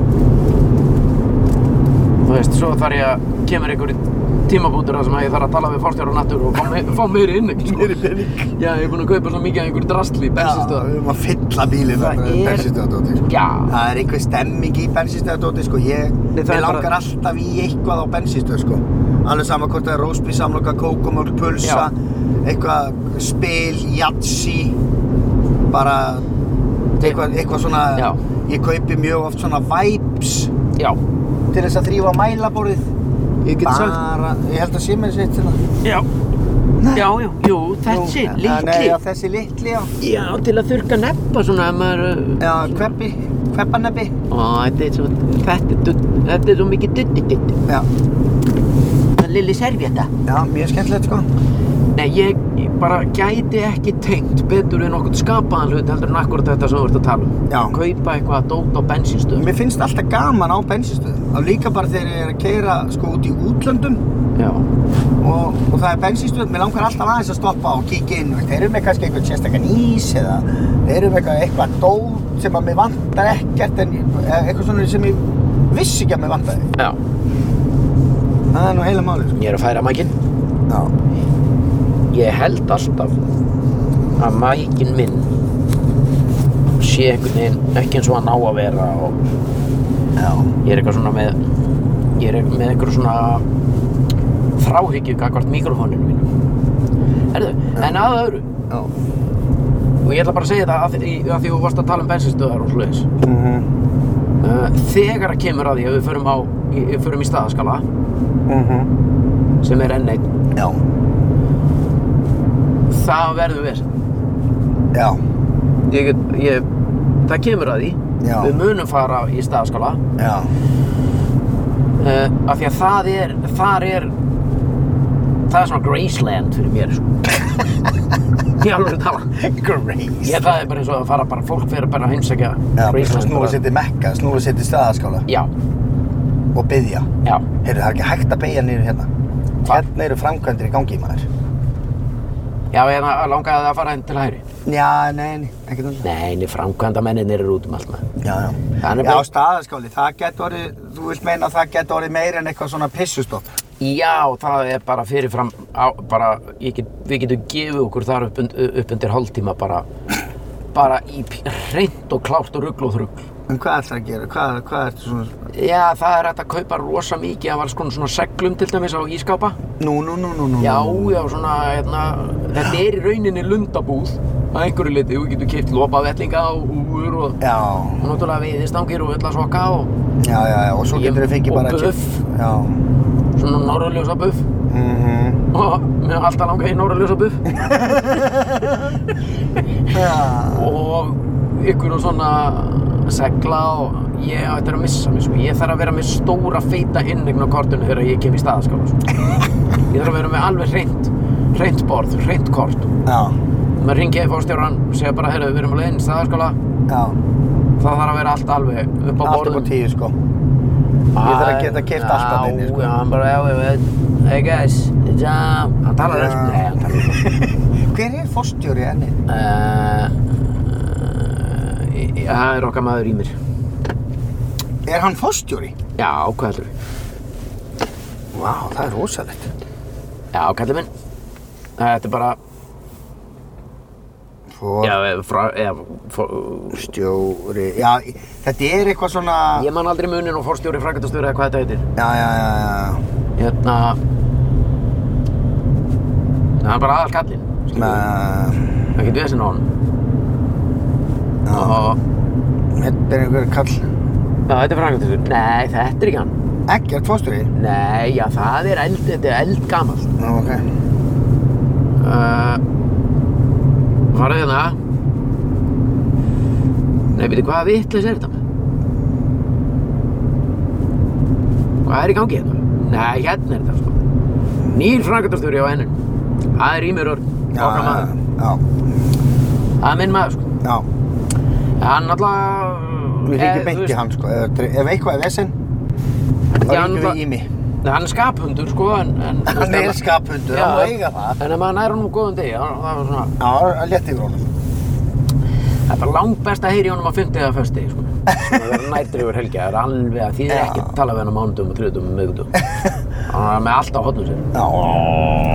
[SPEAKER 2] Þú veist, svo þarf ég að kemur einhver tímabútur þar sem að ég þarf að tala við forstjóra nattur og fá, me fá meiri inn
[SPEAKER 1] Meiri pening.
[SPEAKER 2] Já, ég er búinn að kaupa svo mikið af einhverju drastli í
[SPEAKER 1] við
[SPEAKER 2] bensinstöðar
[SPEAKER 1] erum að fylla bílinn
[SPEAKER 2] Það
[SPEAKER 1] þarna
[SPEAKER 2] er-
[SPEAKER 1] með bensínstöðardóti sko.
[SPEAKER 2] Já,
[SPEAKER 1] Það er einhver stemming í bensinstöðardóti sko. Ég
[SPEAKER 2] Nei,
[SPEAKER 1] Mér
[SPEAKER 2] það er bara-
[SPEAKER 1] langar alltaf í eitthvað á bensinstöð sko. Alveg sama hvort það er rósbí, samloka, kókomörk, pulsa,
[SPEAKER 2] Já.
[SPEAKER 1] eitthvað spil, jatsi, bara eitthvað, eitthvað svona,
[SPEAKER 2] Já.
[SPEAKER 1] ég kaupi mjög oft svona vibes
[SPEAKER 2] já,
[SPEAKER 1] til þess að þrýfa mælaborðið.
[SPEAKER 2] ég get sagt
[SPEAKER 1] Bara, ég held að sé með þessi eitt svona.
[SPEAKER 2] Já, já, já, jú, þessi,
[SPEAKER 1] Jú, Nei,
[SPEAKER 2] litli
[SPEAKER 1] já, þessi litli, já.
[SPEAKER 2] Já, til að þurka neppa svona ef maður uh,
[SPEAKER 1] Já, kveppi, kveppaneppi.
[SPEAKER 2] Ó, þetta er svo, þetta er, dutt- þetta er svo mikið dutti dutti
[SPEAKER 1] Já,
[SPEAKER 2] Lilli servjetta
[SPEAKER 1] já, mjög skemmtilegt sko.
[SPEAKER 2] Nei, ég ég bara gæti ekki tengt betur en okkur skapaðan hlut heldur en akkurat þetta sem þú ert að tala um
[SPEAKER 1] Já.
[SPEAKER 2] Kaupa eitthvað dót á bensinstöð
[SPEAKER 1] Mér finnst alltaf gaman á bensinstöðum og líka bara þegar ég er að keira sko út í útlöndum
[SPEAKER 2] Já,
[SPEAKER 1] og, og það er bensinstöð, mér langar alltaf aðeins að stoppa og kíkja inn, veist, þeir eru með kannski einhvern sérstakann ís eða þeir eru með eitthvað, eitthvað dót sem að mér vantar ekkert en eða eitthvað svona sem ég vissi ekki að mér vantaði
[SPEAKER 2] já,
[SPEAKER 1] það er nú heila máli sko.
[SPEAKER 2] ég er að færa mækin
[SPEAKER 1] Já.
[SPEAKER 2] Ég held alltaf að mækin minn sé einhvern veginn ekki eins og hann á að vera og
[SPEAKER 1] Já.
[SPEAKER 2] ég er eitthvað svona með ég er með eitthvað svona þráhyggju kakvart mikrofóninu mínu Herðu, en að öðru
[SPEAKER 1] Já.
[SPEAKER 2] og ég ætla bara að segja þetta að, því- að því þú varst að tala um bensinstöðar og slúðis
[SPEAKER 1] Mm
[SPEAKER 2] uh, þegar að kemur að því að við förum, á, í- í- förum í staðaskala
[SPEAKER 1] Mhm.
[SPEAKER 2] sem er enn einn
[SPEAKER 1] Já.
[SPEAKER 2] það verður við
[SPEAKER 1] Já.
[SPEAKER 2] ég, get- ég, það kemur að því
[SPEAKER 1] Já.
[SPEAKER 2] við munum fara í staðaskala
[SPEAKER 1] Já.
[SPEAKER 2] uh, af því að það er þar er það er svona Graceland fyrir mér sko. ég alveg að tala
[SPEAKER 1] Grace.
[SPEAKER 2] Ég það er bara eins og að fara bara, fólk fyrir bara að heimsækja
[SPEAKER 1] Já, bara
[SPEAKER 2] Graceland
[SPEAKER 1] snúa
[SPEAKER 2] bara.
[SPEAKER 1] sér til Mekka, snúa sér til staðaskála
[SPEAKER 2] Já,
[SPEAKER 1] og byggja.
[SPEAKER 2] já,
[SPEAKER 1] Heyrðu, það er ekki hægt að beigja niður hérna.
[SPEAKER 2] Hva?
[SPEAKER 1] Hérna eru framkvæmdir í gangi, maður.
[SPEAKER 2] já, ég langaði það að fara inn til hægri
[SPEAKER 1] Já, nei, nei, ekkert um alltaf.
[SPEAKER 2] Nei, nei, framkvæmdamenninir eru út um allt maður
[SPEAKER 1] Já, já.
[SPEAKER 2] Það er
[SPEAKER 1] Já,
[SPEAKER 2] bara-
[SPEAKER 1] staðaskáli, það getur orðið, þú vilt meina að það getur orðið meira en eitthvað svona pissustopp.
[SPEAKER 2] Já, það er bara fyrirfram á, bara, ég get, við getum gefið okkur þar upp, und, upp undir hálftíma bara bara í p- hreint og klárt og ruggl og þruggl
[SPEAKER 1] En hvað ætlar að gera? Hvað, hvað ertu svona...
[SPEAKER 2] Já, það er hægt að kaupa rosa mikið af alls konar svona seglum til dæmis á ískápa
[SPEAKER 1] Nú, nú, nú, nú, nú.
[SPEAKER 2] Já,
[SPEAKER 1] nú.
[SPEAKER 2] já, svona, hérna, þetta er í rauninni lundabúð að einhverju liti, þú getur keipt lopavellinga og húur og
[SPEAKER 1] Já,
[SPEAKER 2] og náttúrulega veiðistangir og öll að soka og
[SPEAKER 1] já, já, já, og svo
[SPEAKER 2] Ég-
[SPEAKER 1] getur þau fengið
[SPEAKER 2] og
[SPEAKER 1] bara...
[SPEAKER 2] buff.
[SPEAKER 1] Já.
[SPEAKER 2] svona norðurljósa buff
[SPEAKER 1] Mm
[SPEAKER 2] og mér er alltaf langað í norðurljósa buff
[SPEAKER 1] Já.
[SPEAKER 2] og ykkur og svona segla og ég á þetta að missa mig sko. ég þarf að vera með stóra feita innegn á kortinu þegar ég kem í staðaskála sko. ég þarf að vera með alveg hreint hreint borð, hreint kort
[SPEAKER 1] Já,
[SPEAKER 2] maður ringi í fórstjóran og segja bara, heyrðu, við erum alveg inn í staðaskála
[SPEAKER 1] já.
[SPEAKER 2] það þarf að vera allt alveg upp á
[SPEAKER 1] Allt upp
[SPEAKER 2] borðum
[SPEAKER 1] á tíu, sko. Ég þarf að geta keypt allt þarna inni, sko.
[SPEAKER 2] Já, hann bara, já, ég veit Hey guys, it's um Hann talar
[SPEAKER 1] Já.
[SPEAKER 2] öll Nei, hann talar
[SPEAKER 1] Hver er fórstjóri enni?
[SPEAKER 2] Uh, öll Það e, er okkar maður í mér
[SPEAKER 1] Er hann fórstjóri?
[SPEAKER 2] Já, hvað heldur við?
[SPEAKER 1] Vá, það er rosalegt.
[SPEAKER 2] Já, kallið minn Þetta er bara, já, eða frá, eða, for,
[SPEAKER 1] Fórstjóri, já, þetta er eitthvað svona...
[SPEAKER 2] ég man aldrei munin og forstjóri, frækastjóri eða hvað þetta heitir.
[SPEAKER 1] Já, já, já, já,
[SPEAKER 2] Hérna, það er bara aðal kallinn, skilur,
[SPEAKER 1] með...
[SPEAKER 2] það getur vesinn á hann.
[SPEAKER 1] Já.
[SPEAKER 2] Og,
[SPEAKER 1] Þetta er einhver kall...
[SPEAKER 2] já, þetta er frækastjóri. Nei, þetta er ekki hann.
[SPEAKER 1] Ekkert fórstjóri?
[SPEAKER 2] Nei, já, það er eld, þetta er eldgamalt.
[SPEAKER 1] Nú, ok.
[SPEAKER 2] Uh, farðu hérna. Nei, veitu, hvaða vitleis er þetta með? Hvað er í gangi hérna? Nei, hérna er þetta, sko. Nýr frangatastjóri á ennum. Það er Ímur Örn, okkar maður.
[SPEAKER 1] Já,
[SPEAKER 2] Það er minn maður, sko.
[SPEAKER 1] já, já.
[SPEAKER 2] Hann alltaf...
[SPEAKER 1] Við
[SPEAKER 2] eh,
[SPEAKER 1] ríkjum
[SPEAKER 2] þú
[SPEAKER 1] beint
[SPEAKER 2] veist,
[SPEAKER 1] í hann, sko. Ef, ef eitthvað er vesinn, þá
[SPEAKER 2] Já,
[SPEAKER 1] ríkjum
[SPEAKER 2] náttúrulega-
[SPEAKER 1] við í mig.
[SPEAKER 2] Hann er skaphundur, sko, en... en þú veist,
[SPEAKER 1] Hann er skaphundur, hann
[SPEAKER 2] Já.
[SPEAKER 1] má eiga það.
[SPEAKER 2] En ef maður nær honum á góðum degi, þá- það var svona...
[SPEAKER 1] Já, það er létt yfir honum.
[SPEAKER 2] Það er bara langt best að heyri honum á 50 eða föstegi, sko. Svona verður nærdrifur helgja, það er alveg að því er
[SPEAKER 1] Já.
[SPEAKER 2] ekki að tala við hann á mánudum og þriðdum og miðgudum. Hann er með allt á hotnum sér.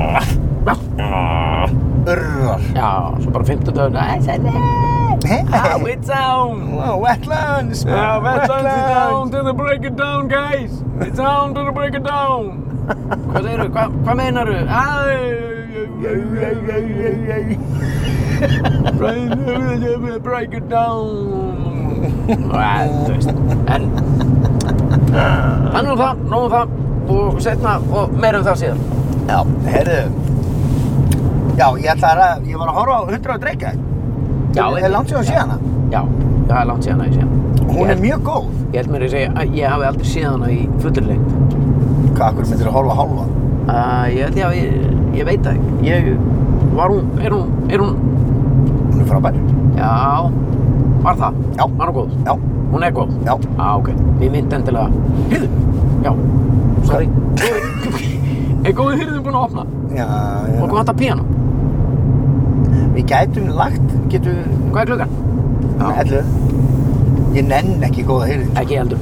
[SPEAKER 1] Urrar.
[SPEAKER 2] Já, svo bara 15 dagur, I said that,
[SPEAKER 1] Hey.
[SPEAKER 2] how it's on.
[SPEAKER 1] Oh, wetlands.
[SPEAKER 2] Yeah,
[SPEAKER 1] man,
[SPEAKER 2] veterans are down to the break it down, guys. It's down to the break it down. Hvað segirðu? Hva, hvað meinaru? Break it down. Æ, þú veist. En, þannig um það, nóg um það og setna og meira um það síðan.
[SPEAKER 1] Já, heyrðu. Já, ég ætlaði að, ég var að horfa á 100 og dreikja.
[SPEAKER 2] Já,
[SPEAKER 1] Það er langt sér að sé hana.
[SPEAKER 2] Já, það er langt síðan að ég sé hana.
[SPEAKER 1] Hún
[SPEAKER 2] Ég
[SPEAKER 1] er
[SPEAKER 2] held-
[SPEAKER 1] mjög góð.
[SPEAKER 2] Ég held mér að segja að ég hafi aldrei séð hana í fullri lengt.
[SPEAKER 1] Hvað, akkur myndir að horfa á hálfa?
[SPEAKER 2] Uh, ég held ég að ég, ég veit það ekki. Ég var hún, er hún, er hún,
[SPEAKER 1] Hún er frábær.
[SPEAKER 2] já, var það?
[SPEAKER 1] Já.
[SPEAKER 2] Var hún góð?
[SPEAKER 1] Já,
[SPEAKER 2] Hún er góð?
[SPEAKER 1] já.
[SPEAKER 2] Á, ok. Mér myndi endilega, hyrðu, já, sorry. Sorry. er góðið hyrðum búin að opna?
[SPEAKER 1] Já,
[SPEAKER 2] Og hvað
[SPEAKER 1] já.
[SPEAKER 2] vantar píano?
[SPEAKER 1] Við gætum lagt, getum,
[SPEAKER 2] Hvað er klukkan?
[SPEAKER 1] ellu. Ég nenn ekki góða heyrðin.
[SPEAKER 2] Ekki ég heldur.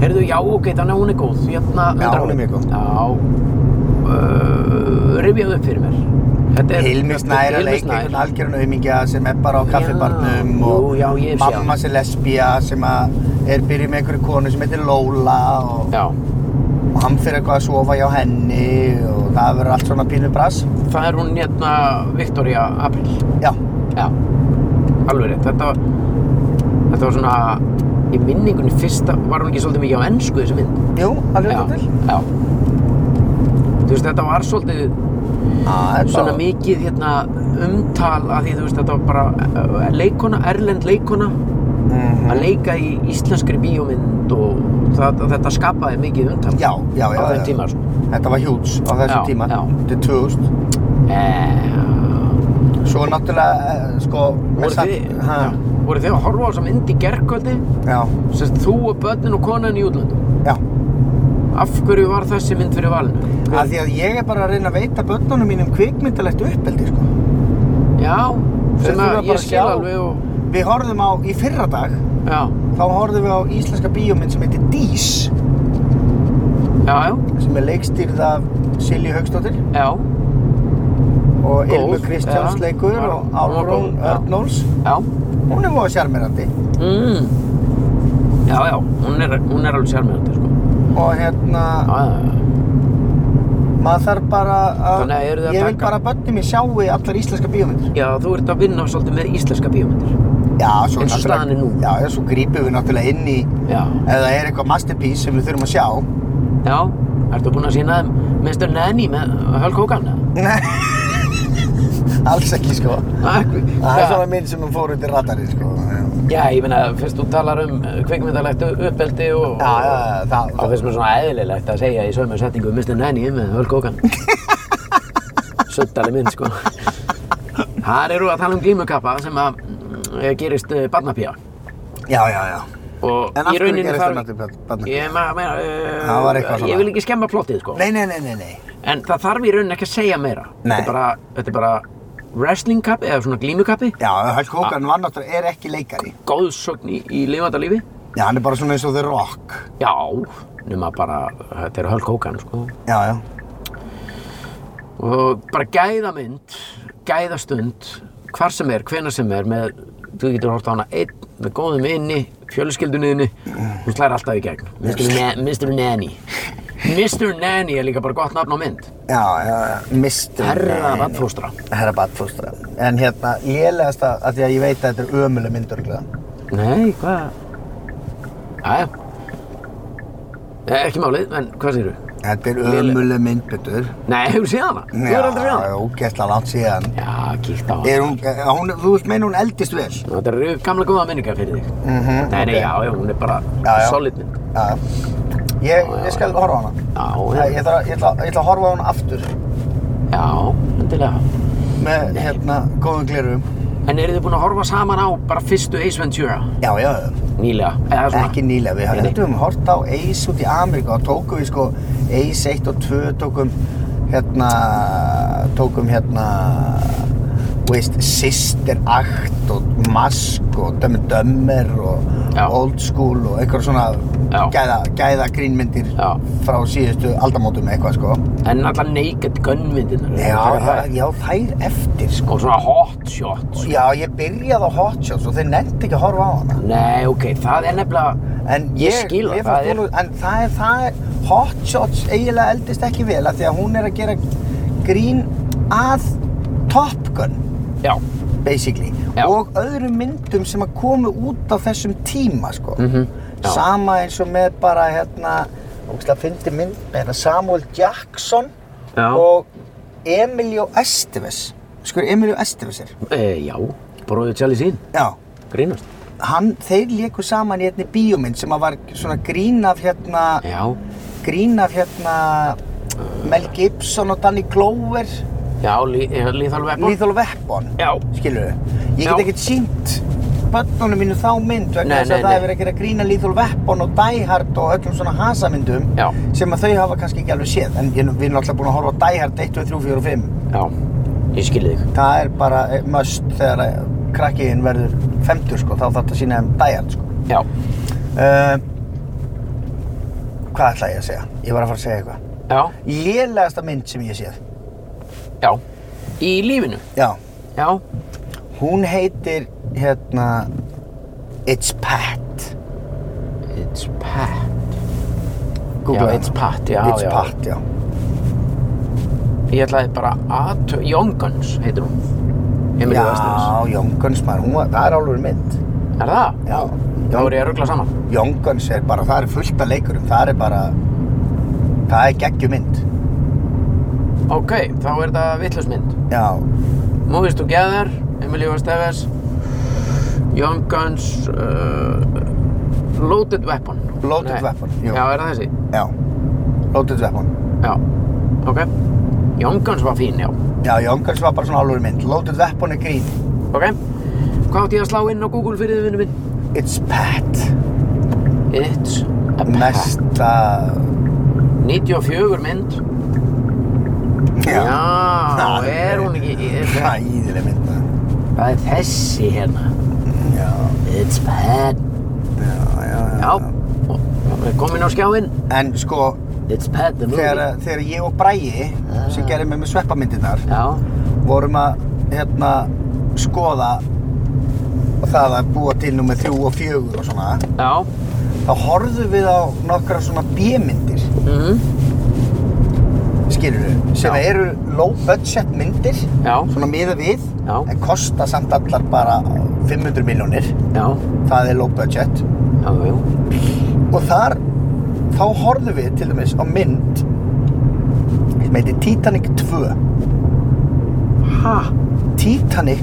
[SPEAKER 2] Hyrðu, já, ok, þannig að hún er góð. Hérna,
[SPEAKER 1] Já,
[SPEAKER 2] undrar
[SPEAKER 1] hún er
[SPEAKER 2] mig.
[SPEAKER 1] mjög góð.
[SPEAKER 2] Já, uh, rifjaðu upp fyrir mér. Þetta er-
[SPEAKER 1] Hilmi Snær að
[SPEAKER 2] Hilmir
[SPEAKER 1] leika hérna.
[SPEAKER 2] Snær.
[SPEAKER 1] einhvern algjörn auðmingja sem er bara á kaffibarnum
[SPEAKER 2] Já,
[SPEAKER 1] og
[SPEAKER 2] jú, já, ég sé
[SPEAKER 1] mamma
[SPEAKER 2] hann.
[SPEAKER 1] sem lesbía sem að er byrjuð með einhverju konu sem heitir Lóla og,
[SPEAKER 2] Já.
[SPEAKER 1] og hann fyrir eitthvað að sofa hjá henni og það verður allt svona pínu brass.
[SPEAKER 2] Það er hún hérna Victoria April.
[SPEAKER 1] Já,
[SPEAKER 2] Já. Alveg rétt. Þetta var, þetta var svona í minningunni fyrsta, var hún ekki svolítið mikið á ennsku þessi mynd?
[SPEAKER 1] jú, alveg
[SPEAKER 2] Já,
[SPEAKER 1] þetta til.
[SPEAKER 2] Já. Þú veist, þetta var svolítið
[SPEAKER 1] Á, Ah, þetta
[SPEAKER 2] Mm. svona
[SPEAKER 1] var-
[SPEAKER 2] mikið hérna umtal að því þú veist, þetta var bara uh, leikona, erlend leikona
[SPEAKER 1] Mhm.
[SPEAKER 2] að leika í íslenskri bíómynd og það, þetta skapaði mikið umtal
[SPEAKER 1] Já, já, já.
[SPEAKER 2] á
[SPEAKER 1] já.
[SPEAKER 2] þeim tíma. sko.
[SPEAKER 1] Þetta var hjúts á
[SPEAKER 2] Já,
[SPEAKER 1] þessum tíma.
[SPEAKER 2] já.
[SPEAKER 1] Þetta er 2000.
[SPEAKER 2] Eh,
[SPEAKER 1] Svo náttúrulega, eh, sko,
[SPEAKER 2] voruð þið,
[SPEAKER 1] ha,
[SPEAKER 2] já, voruð þið að horfa á þessa mynd í gerkvöldi?
[SPEAKER 1] já,
[SPEAKER 2] Sest, þú og börnin og konan í útlöndum.
[SPEAKER 1] já.
[SPEAKER 2] Af hverju var þessi mynd fyrir valinu?
[SPEAKER 1] Af því að ég er bara að reyna að veita börnunum mínum kvikmyndalegt uppeldi, sko.
[SPEAKER 2] Já,
[SPEAKER 1] Þeir
[SPEAKER 2] sem
[SPEAKER 1] þurfa
[SPEAKER 2] að
[SPEAKER 1] bara
[SPEAKER 2] ég
[SPEAKER 1] að
[SPEAKER 2] skil
[SPEAKER 1] sjá.
[SPEAKER 2] alveg og...
[SPEAKER 1] Við horfðum á í fyrra dag,
[SPEAKER 2] Já,
[SPEAKER 1] þá horfðum við á íslenska bíómynd sem heitir Dís,
[SPEAKER 2] já, já,
[SPEAKER 1] sem er leikstýrð af Silju Haugsdóttir
[SPEAKER 2] já,
[SPEAKER 1] og
[SPEAKER 2] Góð,
[SPEAKER 1] Ilmu Kristjáns
[SPEAKER 2] já.
[SPEAKER 1] leikur
[SPEAKER 2] Var-
[SPEAKER 1] og
[SPEAKER 2] hún var
[SPEAKER 1] Álrún
[SPEAKER 2] góð, já.
[SPEAKER 1] Örnóls.
[SPEAKER 2] já.
[SPEAKER 1] Hún er voða sjarmerandi
[SPEAKER 2] Mm. Já, já, hún er, hún er alveg sérmjöndi, sko.
[SPEAKER 1] og hérna,
[SPEAKER 2] Já, já, já.
[SPEAKER 1] maður þarf bara að,
[SPEAKER 2] Þannig að eruð þið að
[SPEAKER 1] ég vil
[SPEAKER 2] taka-
[SPEAKER 1] bara að börnum ég sjái allar íslenska bíómyndir.
[SPEAKER 2] Já, þú ert að vinna svolítið með íslenska bíómyndir.
[SPEAKER 1] Já, svo
[SPEAKER 2] Eins og
[SPEAKER 1] náttúrulega-
[SPEAKER 2] staðan er nú.
[SPEAKER 1] Já, já, svo grípum við náttúrulega inn í,
[SPEAKER 2] Já,
[SPEAKER 1] ef það er eitthvað masterpiece sem við þurfum að sjá.
[SPEAKER 2] já, ertu búinn að sína þeim Mr. Nanny með Hulk Hogan? eða?
[SPEAKER 1] Nei, alls ekki sko.
[SPEAKER 2] Ha, hver-
[SPEAKER 1] Það er
[SPEAKER 2] Já.
[SPEAKER 1] svona mynd sem hún fór undir radarinn sko.
[SPEAKER 2] Já, ég meina, fyrst þú talar um eh, kvikmyndalegt uppeldi og...
[SPEAKER 1] Já, já, já, það,
[SPEAKER 2] Það finnst mér svona eðlilegt að segja í sömu setningu Mr. Nanny með Hulk Hogan Suttali mynd sko Þar eru að tala um glímukappa sem að mm, gerist uh, barnapía
[SPEAKER 1] já, já, já.
[SPEAKER 2] og
[SPEAKER 1] En af
[SPEAKER 2] í
[SPEAKER 1] hverju
[SPEAKER 2] rauninni
[SPEAKER 1] gerist
[SPEAKER 2] þarf
[SPEAKER 1] það barna- barnapía?
[SPEAKER 2] Ég, ma, meina, uh,
[SPEAKER 1] Það var eitthvað svona.
[SPEAKER 2] ég vil ekki skemma plottið sko
[SPEAKER 1] Nei, nei, nei, nei, nei.
[SPEAKER 2] en það þarf í rauninni ekki að segja meira
[SPEAKER 1] Nei.
[SPEAKER 2] þetta er bara, þetta er bara wrestling kappi eða svona glímukappi
[SPEAKER 1] Já, Hulk Hogan var náttúrulega, er ekki leikari.
[SPEAKER 2] góðsögn í, í lifandalífi
[SPEAKER 1] Já, hann er bara svona eins og The Rock.
[SPEAKER 2] Já, nema bara þetta er Hulk Hogan sko
[SPEAKER 1] Já, já.
[SPEAKER 2] og bara gæðamynd, gæðastund, hvar sem er, hvena sem er, með, þú getur hort á hana einn, með góðum inni, fjölskyldunniðinni, hún slæðir alltaf í gegn. Mr. Na Mr. Nanny. Mr. Nanny er líka bara gott nafn á mynd.
[SPEAKER 1] Já, já, já. Mr.
[SPEAKER 2] Herra
[SPEAKER 1] Nanny.
[SPEAKER 2] vatnfóstra.
[SPEAKER 1] Herra Batfóstra. En hérna, lélegasta, af því að ég veit að þetta er ömuleg myndur glæða.
[SPEAKER 2] Nei, hvað? Jæja. Eh, Ekki málið, en hvað segir þú?
[SPEAKER 1] Þetta er
[SPEAKER 2] Léleg.
[SPEAKER 1] ömuleg myndur.
[SPEAKER 2] Nei, hefur séð hana? Þú er aldrei séð
[SPEAKER 1] Já,
[SPEAKER 2] hana?
[SPEAKER 1] ógeðslega langt síðan.
[SPEAKER 2] Já, kíkt á hana.
[SPEAKER 1] Er hún, eh, hún, þú veist meina hún eldist vel?
[SPEAKER 2] Þetta eru gamla góða minningar fyrir þig.
[SPEAKER 1] Mhm.
[SPEAKER 2] Nei, nei, já, já, hún er bara
[SPEAKER 1] Já, já.
[SPEAKER 2] solid mynd.
[SPEAKER 1] Já. Ég, ég skal horfa á hana.
[SPEAKER 2] Já,
[SPEAKER 1] Ég, ég, ætla, ég, ætla, ég ætla að horfa á hana aftur
[SPEAKER 2] já, endilega.
[SPEAKER 1] með hérna góðum glerum.
[SPEAKER 2] En eru þið búin að horfa saman á bara fyrstu Ace Ventura
[SPEAKER 1] Já, já, já.
[SPEAKER 2] nýlega? Eða svona?
[SPEAKER 1] Ekki nýlega, við
[SPEAKER 2] Nei, nei.
[SPEAKER 1] heldum við hort á Ace út í Ameríku og tókum við sko Ace 1 og 2 tókum hérna, tókum hérna þú veist, Sister Act og Mask og Dömmur Dömmur og
[SPEAKER 2] Já.
[SPEAKER 1] Old School og einhver svona
[SPEAKER 2] Já.
[SPEAKER 1] gæða, gæða grínmyndir
[SPEAKER 2] Já.
[SPEAKER 1] frá síðustu aldamótum eitthvað sko.
[SPEAKER 2] En alltaf naked gun myndina.
[SPEAKER 1] Já, það, já, þær eftir sko.
[SPEAKER 2] Og svona hot shots.
[SPEAKER 1] Já, ég byrjaði á Hot Shots og þeir nefndi ekki að horfa á hana.
[SPEAKER 2] Nei, ok, það er nefnilega...
[SPEAKER 1] En
[SPEAKER 2] Ég
[SPEAKER 1] ég,
[SPEAKER 2] skil það,
[SPEAKER 1] mér
[SPEAKER 2] það
[SPEAKER 1] fannst
[SPEAKER 2] er-
[SPEAKER 1] hún, en það er, það er, Hot Shots eiginlega eldist ekki vel af því að hún er að gera grín að Top Gun,
[SPEAKER 2] Já,
[SPEAKER 1] basically,
[SPEAKER 2] Já.
[SPEAKER 1] og öðrum myndum sem að komu út á þessum tíma, sko.
[SPEAKER 2] Mhm, já.
[SPEAKER 1] Sama eins og með bara, hérna, ógæslega fyndi mynd með hérna Samuel Jackson
[SPEAKER 2] Já.
[SPEAKER 1] og Emilio Estevez. Skur, Emilio Estevez er.
[SPEAKER 2] e, já, bróðið Charlie sín,
[SPEAKER 1] Já.
[SPEAKER 2] grínast.
[SPEAKER 1] hann, þeir léku saman í einni bíómynd sem að var svona grín af hérna,
[SPEAKER 2] Já,
[SPEAKER 1] grín af hérna Mel Gibson og Danny Glover,
[SPEAKER 2] já, lí, líþal veppa.
[SPEAKER 1] Lethal Weapon,
[SPEAKER 2] Já,
[SPEAKER 1] skilur Ég
[SPEAKER 2] Já.
[SPEAKER 1] get ekkert sínt börnunum mínu þá mynd
[SPEAKER 2] Nei,
[SPEAKER 1] vegna þess
[SPEAKER 2] nei,
[SPEAKER 1] að það
[SPEAKER 2] nei.
[SPEAKER 1] hefur verið að gera grína Lethal Weapon og Die Hard og öllum svona hasamyndum
[SPEAKER 2] Já.
[SPEAKER 1] sem að þau hafa kannski ekki alveg séð en ég- við erum alltaf búin að horfa á Die Hard 1, 2, 3, 4 og 5
[SPEAKER 2] já, ég skilði þig.
[SPEAKER 1] Það er bara eh, must þegar að krakkiðin verður 50 sko, þá þarf þetta að sína þeim Die Hard sko
[SPEAKER 2] Já,
[SPEAKER 1] Uh, hvað ætlaði ég að segja? Ég var að fara að segja eitthvað.
[SPEAKER 2] já,
[SPEAKER 1] Lélegasta mynd sem ég séð.
[SPEAKER 2] já. Í lífinu,
[SPEAKER 1] Já.
[SPEAKER 2] já,
[SPEAKER 1] Hún heitir, hérna, It's Pat.
[SPEAKER 2] it's Pat.
[SPEAKER 1] Google
[SPEAKER 2] Já,
[SPEAKER 1] hana.
[SPEAKER 2] It's Pat, já,
[SPEAKER 1] It's
[SPEAKER 2] já.
[SPEAKER 1] Pat, já.
[SPEAKER 2] Ég ætlaði bara að... Young Guns heitir hún. Emil
[SPEAKER 1] já,
[SPEAKER 2] Vestins.
[SPEAKER 1] Young Guns, maður, hún var, það er alveg mynd.
[SPEAKER 2] Er það?
[SPEAKER 1] Já.
[SPEAKER 2] Þá voru ég að ruggla saman.
[SPEAKER 1] Young Guns er bara, það er fullt af leikurum, það er bara, það er geggjumynd.
[SPEAKER 2] Ok, þá er þetta vitlausmynd.
[SPEAKER 1] Já,
[SPEAKER 2] Movies Together, Emilio Estevez, Young Guns, uh, Loaded Weapon.
[SPEAKER 1] Loaded Weapon, jú.
[SPEAKER 2] Já, er það þessi?
[SPEAKER 1] já. Lotus Weapon.
[SPEAKER 2] Já, ok. Young Guns var fín, já.
[SPEAKER 1] Já, Young Guns var bara svona alveg mynd. Lotus Weapon er grín.
[SPEAKER 2] Ok. Hvað átti ég að slá inn á Google fyrir þið, vinnu minn?
[SPEAKER 1] It's Pat.
[SPEAKER 2] It's a pack.
[SPEAKER 1] Mesta...
[SPEAKER 2] 94 mynd. Já, er hún ekki... Er það,
[SPEAKER 1] Æðileg mynd maður.
[SPEAKER 2] það er þessi hérna.
[SPEAKER 1] Já,
[SPEAKER 2] It's bad.
[SPEAKER 1] já, já, já.
[SPEAKER 2] Já, komin á skjáinn.
[SPEAKER 1] En sko,
[SPEAKER 2] It's bad the movie.
[SPEAKER 1] þegar, þegar ég og Bræi, sem gerði mig með sveppamyndirnar,
[SPEAKER 2] Já,
[SPEAKER 1] vorum að hérna, skoða það að búa til nummer þrjú og fjögur og svona,
[SPEAKER 2] já.
[SPEAKER 1] þá horfðum við á nokkra svona B-myndir,
[SPEAKER 2] Mhm.
[SPEAKER 1] skilur við, sem
[SPEAKER 2] Já.
[SPEAKER 1] eru low-budget myndir,
[SPEAKER 2] Já,
[SPEAKER 1] svona miða við,
[SPEAKER 2] Já.
[SPEAKER 1] en kosta samt allar bara 500 milljónir,
[SPEAKER 2] já,
[SPEAKER 1] það er low-budget.
[SPEAKER 2] já, já.
[SPEAKER 1] og þar þá horfðum við til dæmis á mynd sem heitir Titanic 2
[SPEAKER 2] Hæ?
[SPEAKER 1] Titanic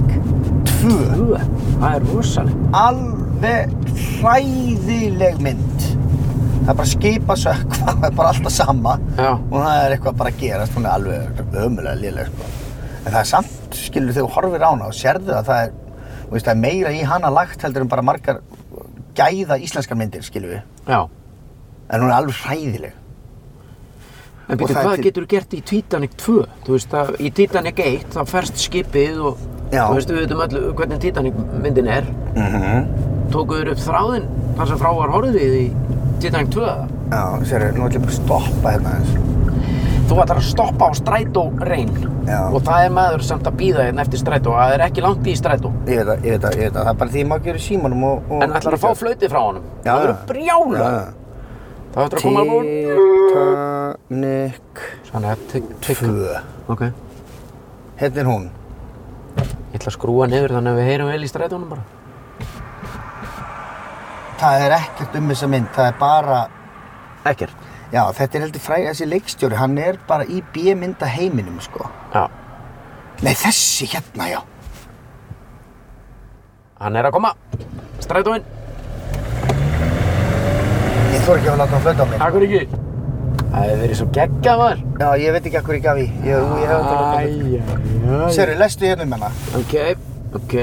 [SPEAKER 1] 2
[SPEAKER 2] Guð, það er rosaleg.
[SPEAKER 1] alveg hræðileg mynd það er bara skipa sökk það er bara alltaf sama
[SPEAKER 2] Já.
[SPEAKER 1] og það er eitthvað bara að gerast hún er alveg ömulega léleg sko. en það er samt skilur þegar þú horfir á hana og sérðu að það er, þú veist, það er meira í hana lagt heldur en bara margar gæða íslenskar myndir skilur við
[SPEAKER 2] Já.
[SPEAKER 1] en hún er alveg hræðileg
[SPEAKER 2] En býttu,
[SPEAKER 1] það er
[SPEAKER 2] hvað
[SPEAKER 1] til-
[SPEAKER 2] getur gert í Titanic 2? Þú veist að í Titanic 1 þá ferst skipið og
[SPEAKER 1] Já.
[SPEAKER 2] þú veist við veitum öll hvernig Titanic myndin er.
[SPEAKER 1] mm -hmm.
[SPEAKER 2] Mhm. Tókuður upp þráðinn þar sem frá var horfið í Titanic 2 eða?
[SPEAKER 1] Já, sérðu, nú ætlum ég bara að stoppa hérna aðeins.
[SPEAKER 2] Þú ætlar að stoppa á strætó reyn
[SPEAKER 1] Já.
[SPEAKER 2] og það er maður samt að býða hérna eftir strætó. Það er ekki langt í strætó.
[SPEAKER 1] Ég veit það, ég veit það, ég veit það. Það er bara því ég má ekki verið símanum og... og
[SPEAKER 2] En ætlar að fá flöytið frá honum.
[SPEAKER 1] Já,
[SPEAKER 2] það verður
[SPEAKER 1] já.
[SPEAKER 2] brjála. Það ætlar að koma að búin.
[SPEAKER 1] Titanic
[SPEAKER 2] Þannig að tek, tek,
[SPEAKER 1] 2.
[SPEAKER 2] ok.
[SPEAKER 1] Hérna er hún.
[SPEAKER 2] Ég ætla að skrúa niður þannig að við heyrum vel í strætónum bara.
[SPEAKER 1] Það er ekkert um þessa mynd, það er bara...
[SPEAKER 2] Ekkert.
[SPEAKER 1] Já, þetta er heldur fræðið þessi leikstjóri, hann er bara í B-mynda heiminum, sko.
[SPEAKER 2] Já,
[SPEAKER 1] Nei, þessi hérna, já.
[SPEAKER 2] hann er að koma. Strætóinn.
[SPEAKER 1] Ég þor ekki að láta hann flöta á mig.
[SPEAKER 2] Akkur ekki. Það hefur verið svo geggjað maður.
[SPEAKER 1] Já, ég veit ekki að hverju ég gaf í. Ég, ú, ég hef þetta að láta hann.
[SPEAKER 2] Æja,
[SPEAKER 1] Sérðu, lestu hérna um hana.
[SPEAKER 2] Ok, ok.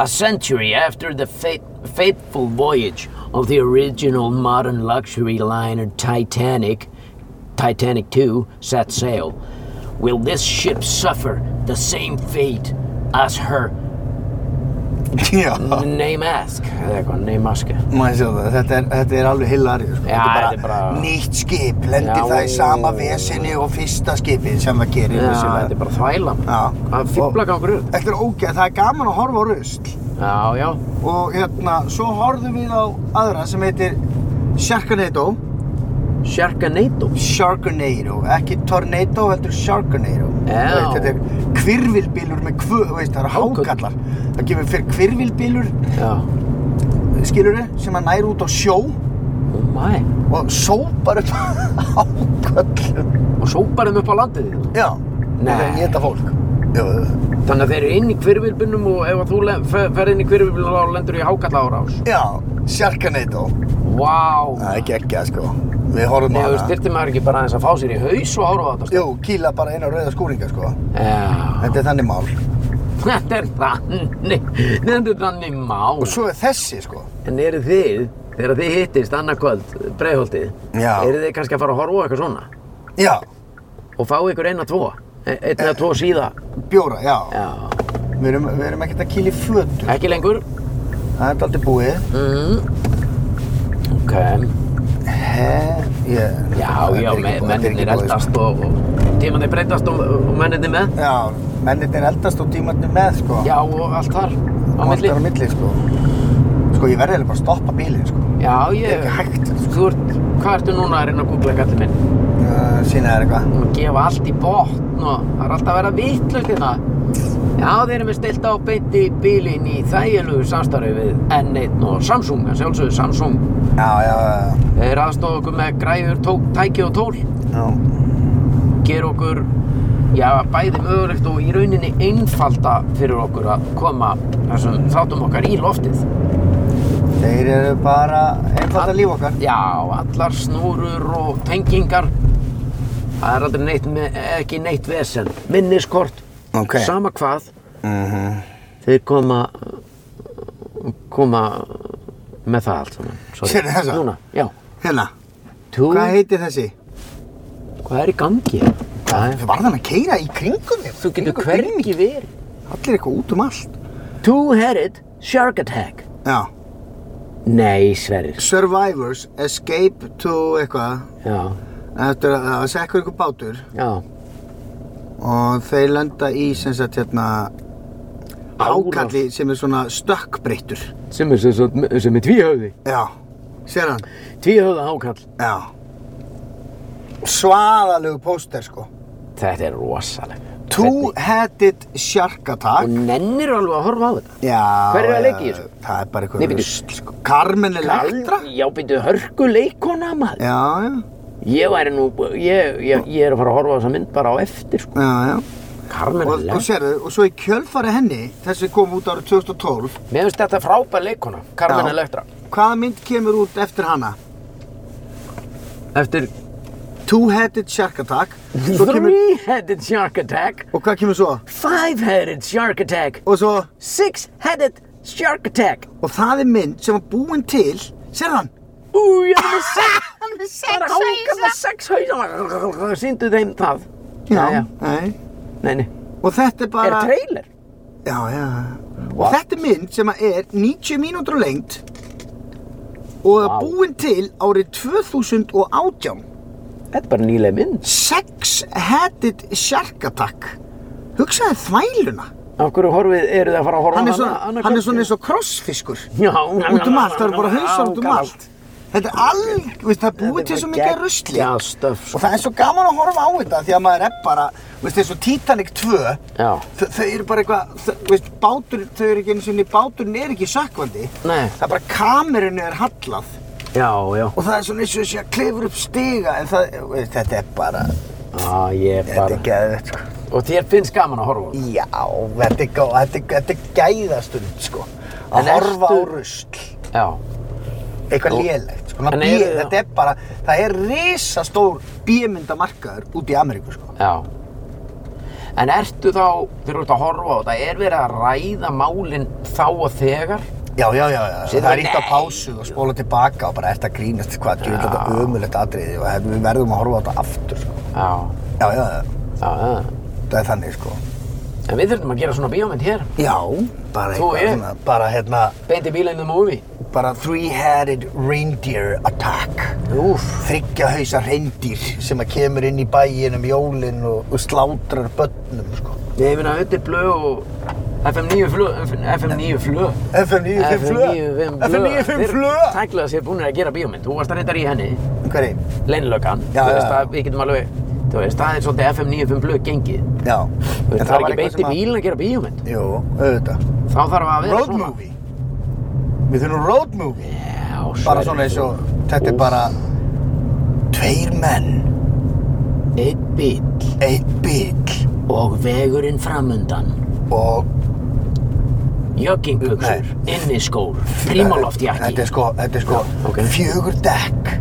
[SPEAKER 2] A century after the fate, fateful voyage of the original modern luxury liner Titanic, Titanic II, set sail, will this ship suffer the same fate as her
[SPEAKER 1] Já,
[SPEAKER 2] name ask? Eða eitthvað, name ask.
[SPEAKER 1] maður sjá það, þetta er, þetta er alveg hillarið, sko.
[SPEAKER 2] Já,
[SPEAKER 1] þetta
[SPEAKER 2] þetta
[SPEAKER 1] er
[SPEAKER 2] er
[SPEAKER 1] bara
[SPEAKER 2] bara-
[SPEAKER 1] nýtt skip, lendir
[SPEAKER 2] Já.
[SPEAKER 1] það í sama vesinni og fyrsta skipið sem það gerir.
[SPEAKER 2] Já,
[SPEAKER 1] vissulega.
[SPEAKER 2] þetta er bara þvæla.
[SPEAKER 1] Já.
[SPEAKER 2] Hvað fýblagangur upp?
[SPEAKER 1] Þetta er ógeð, það er gaman að horfa á rusl
[SPEAKER 2] Já, já.
[SPEAKER 1] og hérna, svo horfðum við á aðra sem heitir Sharknado
[SPEAKER 2] Sharknado.
[SPEAKER 1] Sharknado, ekki Tornado heldur Sharknado
[SPEAKER 2] Já.
[SPEAKER 1] Þú veist, Þetta er hvirvilbílur með kvö, þú veist, það eru
[SPEAKER 2] Hákarl.
[SPEAKER 1] hákallar Það gefur fyrir hvirvilbílur,
[SPEAKER 2] Já.
[SPEAKER 1] skilur sem að nær út á sjó
[SPEAKER 2] Oh my.
[SPEAKER 1] og sópar upp hákallum
[SPEAKER 2] Og sópar þeim upp á landið þitt.
[SPEAKER 1] Já,
[SPEAKER 2] Nei.
[SPEAKER 1] það er geta fólk Jú,
[SPEAKER 2] Þannig að þeir eru inn í hvirvilbunum og ef að þú le- fer- ferð inn í hvirvilbunum þá lendur í hákalla árás.
[SPEAKER 1] Já, Sharknado,
[SPEAKER 2] Vá.
[SPEAKER 1] það er geggjað sko Við horfum
[SPEAKER 2] Nei,
[SPEAKER 1] á
[SPEAKER 2] þú veist,
[SPEAKER 1] hana
[SPEAKER 2] þyrfti maður ekki bara aðeins að fá sér í haus og horfa á þetta?
[SPEAKER 1] Jú, kýla bara inn á rauða skúringa sko
[SPEAKER 2] Já,
[SPEAKER 1] Þetta er þannig mál.
[SPEAKER 2] þetta er þannig, þetta er þannig mál.
[SPEAKER 1] Og svo er þessi, sko.
[SPEAKER 2] En eru þið, þegar þið hittist annarkvöld breiðholtið,
[SPEAKER 1] Já.
[SPEAKER 2] eru þið kannski að fara að horfa á eitthvað svona?
[SPEAKER 1] Já,
[SPEAKER 2] Og fá ykkur eina tvo, e- einn eða tvo síða?
[SPEAKER 1] bjóra, já.
[SPEAKER 2] Já,
[SPEAKER 1] Við erum, við erum ekkert að kýla í fötu.
[SPEAKER 2] ekki lengur?
[SPEAKER 1] Það er aldrei búið.
[SPEAKER 2] Mm. Ok,
[SPEAKER 1] He, ég...
[SPEAKER 2] já,
[SPEAKER 1] þetta er
[SPEAKER 2] já,
[SPEAKER 1] ekki
[SPEAKER 2] me-
[SPEAKER 1] búið, þetta ekki
[SPEAKER 2] mennirnir
[SPEAKER 1] búið,
[SPEAKER 2] eldast og, og tímanir breytast og, og mennirnir með?
[SPEAKER 1] sko. Já, mennirnir eldast og tímarnir með, sko.
[SPEAKER 2] Já, og allt þar á
[SPEAKER 1] Allt
[SPEAKER 2] milli?
[SPEAKER 1] er á milli, sko. Sko, ég verði eiginlega bara að stoppa bílinn, sko.
[SPEAKER 2] Já, ég...
[SPEAKER 1] Þetta er ekki hægt,
[SPEAKER 2] Þú ert, hvað ertu núna að reyna að googla gallið minn?
[SPEAKER 1] Uh, Sýna þér eitthvað.
[SPEAKER 2] og gefa allt í botn og það er alltaf að vera vitlust hérna. Já, þeir eru með stilt á beinti bílinn í þægilegu samstarfi við N1 og Samsung, að sjálfsögðu Samsung.
[SPEAKER 1] Já, já, já,
[SPEAKER 2] Þeir aðstofa okkur með græfur, tók, tæki og tól,
[SPEAKER 1] já.
[SPEAKER 2] gera okkur, já, bæði mögulegt og í rauninni einfalda fyrir okkur að koma þessum þáttum okkar í loftið.
[SPEAKER 1] Þeir eru bara einfalda líf okkar.
[SPEAKER 2] Já, allar snúrur og tengingar. Það er aldrei neitt, með, ekki neitt vesen. Minniskort,
[SPEAKER 1] Ok.
[SPEAKER 2] sama hvað,
[SPEAKER 1] Mhm.
[SPEAKER 2] þeir koma koma með það allt saman Sorry.
[SPEAKER 1] Sérðu þessa?
[SPEAKER 2] Núna, já
[SPEAKER 1] Hérna,
[SPEAKER 2] Tú,
[SPEAKER 1] hvað heitir þessi?
[SPEAKER 2] hvað er í gangi? Hvað er?
[SPEAKER 1] Var það að keira í kringum mig?
[SPEAKER 2] Þú getur
[SPEAKER 1] Kringum bílinn.
[SPEAKER 2] hvergi verið
[SPEAKER 1] Allir eitthvað út um allt.
[SPEAKER 2] Two-headed shark attack
[SPEAKER 1] Já.
[SPEAKER 2] Nei, Sverrir
[SPEAKER 1] Survivors Escape to eitthvað
[SPEAKER 2] Já,
[SPEAKER 1] eftir að það var sekkur ykkur bátur
[SPEAKER 2] já
[SPEAKER 1] og þeir lenda í sem sagt hérna ákalli sem er svona stökkbreyttur
[SPEAKER 2] sem er, sem, sem, sem er tvíhöfði
[SPEAKER 1] já, sér hann
[SPEAKER 2] Tvíhöfða ákall
[SPEAKER 1] já svaðalegu póster sko
[SPEAKER 2] Þetta er rosaleg
[SPEAKER 1] Two-headed shark
[SPEAKER 2] Og
[SPEAKER 1] attack
[SPEAKER 2] nennir alveg að horfa á þetta
[SPEAKER 1] já,
[SPEAKER 2] Hver er að
[SPEAKER 1] já,
[SPEAKER 2] leika í þessu?
[SPEAKER 1] það er bara
[SPEAKER 2] Nei,
[SPEAKER 1] eitthvað
[SPEAKER 2] bíddu.
[SPEAKER 1] rusl sko. Carmen Electra
[SPEAKER 2] Já, byrju, hörku leikona maður
[SPEAKER 1] já, já,
[SPEAKER 2] Ég væri nú, ég, ég, ég er að fara að horfa á þessa mynd bara á eftir sko.
[SPEAKER 1] já, já.
[SPEAKER 2] Carmen
[SPEAKER 1] og, og
[SPEAKER 2] Electra.
[SPEAKER 1] sérðu, og svo í kjölfari henni þessi kom út árið 2012
[SPEAKER 2] sko, Mér finnst þetta frábær leikona, Carmen
[SPEAKER 1] Já.
[SPEAKER 2] Electra.
[SPEAKER 1] hvaða mynd kemur út eftir hana?
[SPEAKER 2] Eftir
[SPEAKER 1] Two-headed shark attack Svo kemur,
[SPEAKER 2] Three-headed shark attack,
[SPEAKER 1] Og hvað kemur svo?
[SPEAKER 2] five-headed shark attack,
[SPEAKER 1] Og svo
[SPEAKER 2] six-headed shark attack.
[SPEAKER 1] Og það er mynd sem var búin til Sér hann?
[SPEAKER 2] Új, ég er með sex,
[SPEAKER 3] Hann er
[SPEAKER 2] það
[SPEAKER 3] sex
[SPEAKER 2] er hákan
[SPEAKER 3] hausa.
[SPEAKER 2] með sex hausa. Sýndu þeim það. Jæja.
[SPEAKER 1] Nei.
[SPEAKER 2] Nei, nei.
[SPEAKER 1] Og þetta er
[SPEAKER 2] Er
[SPEAKER 1] bara
[SPEAKER 2] trailer?
[SPEAKER 1] Já, já Og þetta er mynd sem að er 90 mínútur á lengt Og wow.
[SPEAKER 2] Vá.
[SPEAKER 1] búin til árið 2018
[SPEAKER 2] Þetta er bara nýlega mynd.
[SPEAKER 1] Sex-headed shark attack Hugsaði þvæluna
[SPEAKER 2] Af hverju horfið eru þið að fara að horfa á
[SPEAKER 1] Hann er
[SPEAKER 2] hana
[SPEAKER 1] svona,
[SPEAKER 2] annað
[SPEAKER 1] hann er
[SPEAKER 2] kvöld?
[SPEAKER 1] svona eins og krossfiskur
[SPEAKER 2] Já,
[SPEAKER 1] Út um allt, það eru bara hausar út um
[SPEAKER 2] Ákall.
[SPEAKER 1] allt Þetta er alveg, veist, það er búið
[SPEAKER 2] Þetta
[SPEAKER 1] til
[SPEAKER 2] var
[SPEAKER 1] svo mikið af
[SPEAKER 2] gegg-
[SPEAKER 1] rusli
[SPEAKER 2] Já, stöf. sko.
[SPEAKER 1] Og það er svo gaman að horfa á þetta því að maður er bara, veist eins og Titanic 2
[SPEAKER 2] Já.
[SPEAKER 1] þau- Þau eru bara eitthvað, þau- veist, bátur, þau eru ekki einu sinni, báturinn er ekki sökkvandi
[SPEAKER 2] Nei.
[SPEAKER 1] Það er bara kamerunni er hallað
[SPEAKER 2] Já, já.
[SPEAKER 1] Og það er svona eins og þessi að klefur upp stiga En það, veist, þetta er bara,
[SPEAKER 2] Ah, ég er
[SPEAKER 1] þetta
[SPEAKER 2] bara...
[SPEAKER 1] er geðvett sko
[SPEAKER 2] Og þér finnst gaman að horfa á það?
[SPEAKER 1] Já, þetta er, gó- þetta er, þetta er gæðastund sko Að
[SPEAKER 2] En
[SPEAKER 1] horfa á
[SPEAKER 2] ertu-
[SPEAKER 1] rusl
[SPEAKER 2] Já.
[SPEAKER 1] eitthvað
[SPEAKER 2] Nú.
[SPEAKER 1] lélegt sko. Ná,
[SPEAKER 2] En
[SPEAKER 1] B,
[SPEAKER 2] eru það-
[SPEAKER 1] þetta er bara, það er risastór bímyndamarkaður út í Ameríku sko.
[SPEAKER 2] Já. En ertu þá, þegar þú ert að horfa á þetta, er verið að ræða málinn þá og þegar?
[SPEAKER 1] já, já, já, já. það
[SPEAKER 2] Sér
[SPEAKER 1] er
[SPEAKER 2] það-
[SPEAKER 1] ítt á
[SPEAKER 2] Nei.
[SPEAKER 1] pásu og spóla tilbaka og bara ert að grínast hvað, djú, þetta er ömulegt atriði og við verðum að horfa á þetta aftur sko.
[SPEAKER 2] Já.
[SPEAKER 1] já, já, já,
[SPEAKER 2] Já, já.
[SPEAKER 1] það er þannig sko
[SPEAKER 2] En við þurfum að gera svona bíómynd hér.
[SPEAKER 1] já, bara
[SPEAKER 2] Þú,
[SPEAKER 1] eitthvað
[SPEAKER 2] ég?
[SPEAKER 1] svona bara hérna,
[SPEAKER 2] Beint í bílænum móvi.
[SPEAKER 1] bara three-headed reindeer attack
[SPEAKER 2] Úf.
[SPEAKER 1] þryggja hausa reyndir sem að kemur inn í bæin um jólin og, og slátrar börnum sko.
[SPEAKER 2] Ég finna Öttir Blöð og FM 9 Flöð. FM 9 Flöð.
[SPEAKER 1] FM 95 flö FM 95 flö
[SPEAKER 2] Tækla sér búinir að gera bíómynd. Þú varst að reyndar í henni.
[SPEAKER 1] Hverri?
[SPEAKER 2] Leinlökan.
[SPEAKER 1] Já,
[SPEAKER 2] Þú
[SPEAKER 1] já,
[SPEAKER 2] veist
[SPEAKER 1] já.
[SPEAKER 2] að við getum alveg, þú veist, það er svolítið FM 95 Flöð gengið.
[SPEAKER 1] Já
[SPEAKER 2] Þú veist,
[SPEAKER 1] En
[SPEAKER 2] það er
[SPEAKER 1] var
[SPEAKER 2] ekki
[SPEAKER 1] eitthvað
[SPEAKER 2] beint í
[SPEAKER 1] sem að-
[SPEAKER 2] bílinn að gera bíómynd.
[SPEAKER 1] Jú, auðvitað
[SPEAKER 2] Þá þarf að vera
[SPEAKER 1] Road
[SPEAKER 2] svona.
[SPEAKER 1] movie Við þurfum road movie
[SPEAKER 2] Já,
[SPEAKER 1] Bara
[SPEAKER 2] Sverrir.
[SPEAKER 1] svona eins og Þetta
[SPEAKER 2] Úff.
[SPEAKER 1] er bara Tveir menn
[SPEAKER 2] Einn bíl
[SPEAKER 1] Eitt bíl
[SPEAKER 2] og vegurinn framundan.
[SPEAKER 1] Og
[SPEAKER 2] Joggingbuxur, inniskór, frímaloftjakki.
[SPEAKER 1] Þetta er sko, þetta er sko
[SPEAKER 2] ok.
[SPEAKER 1] Fjögur dekk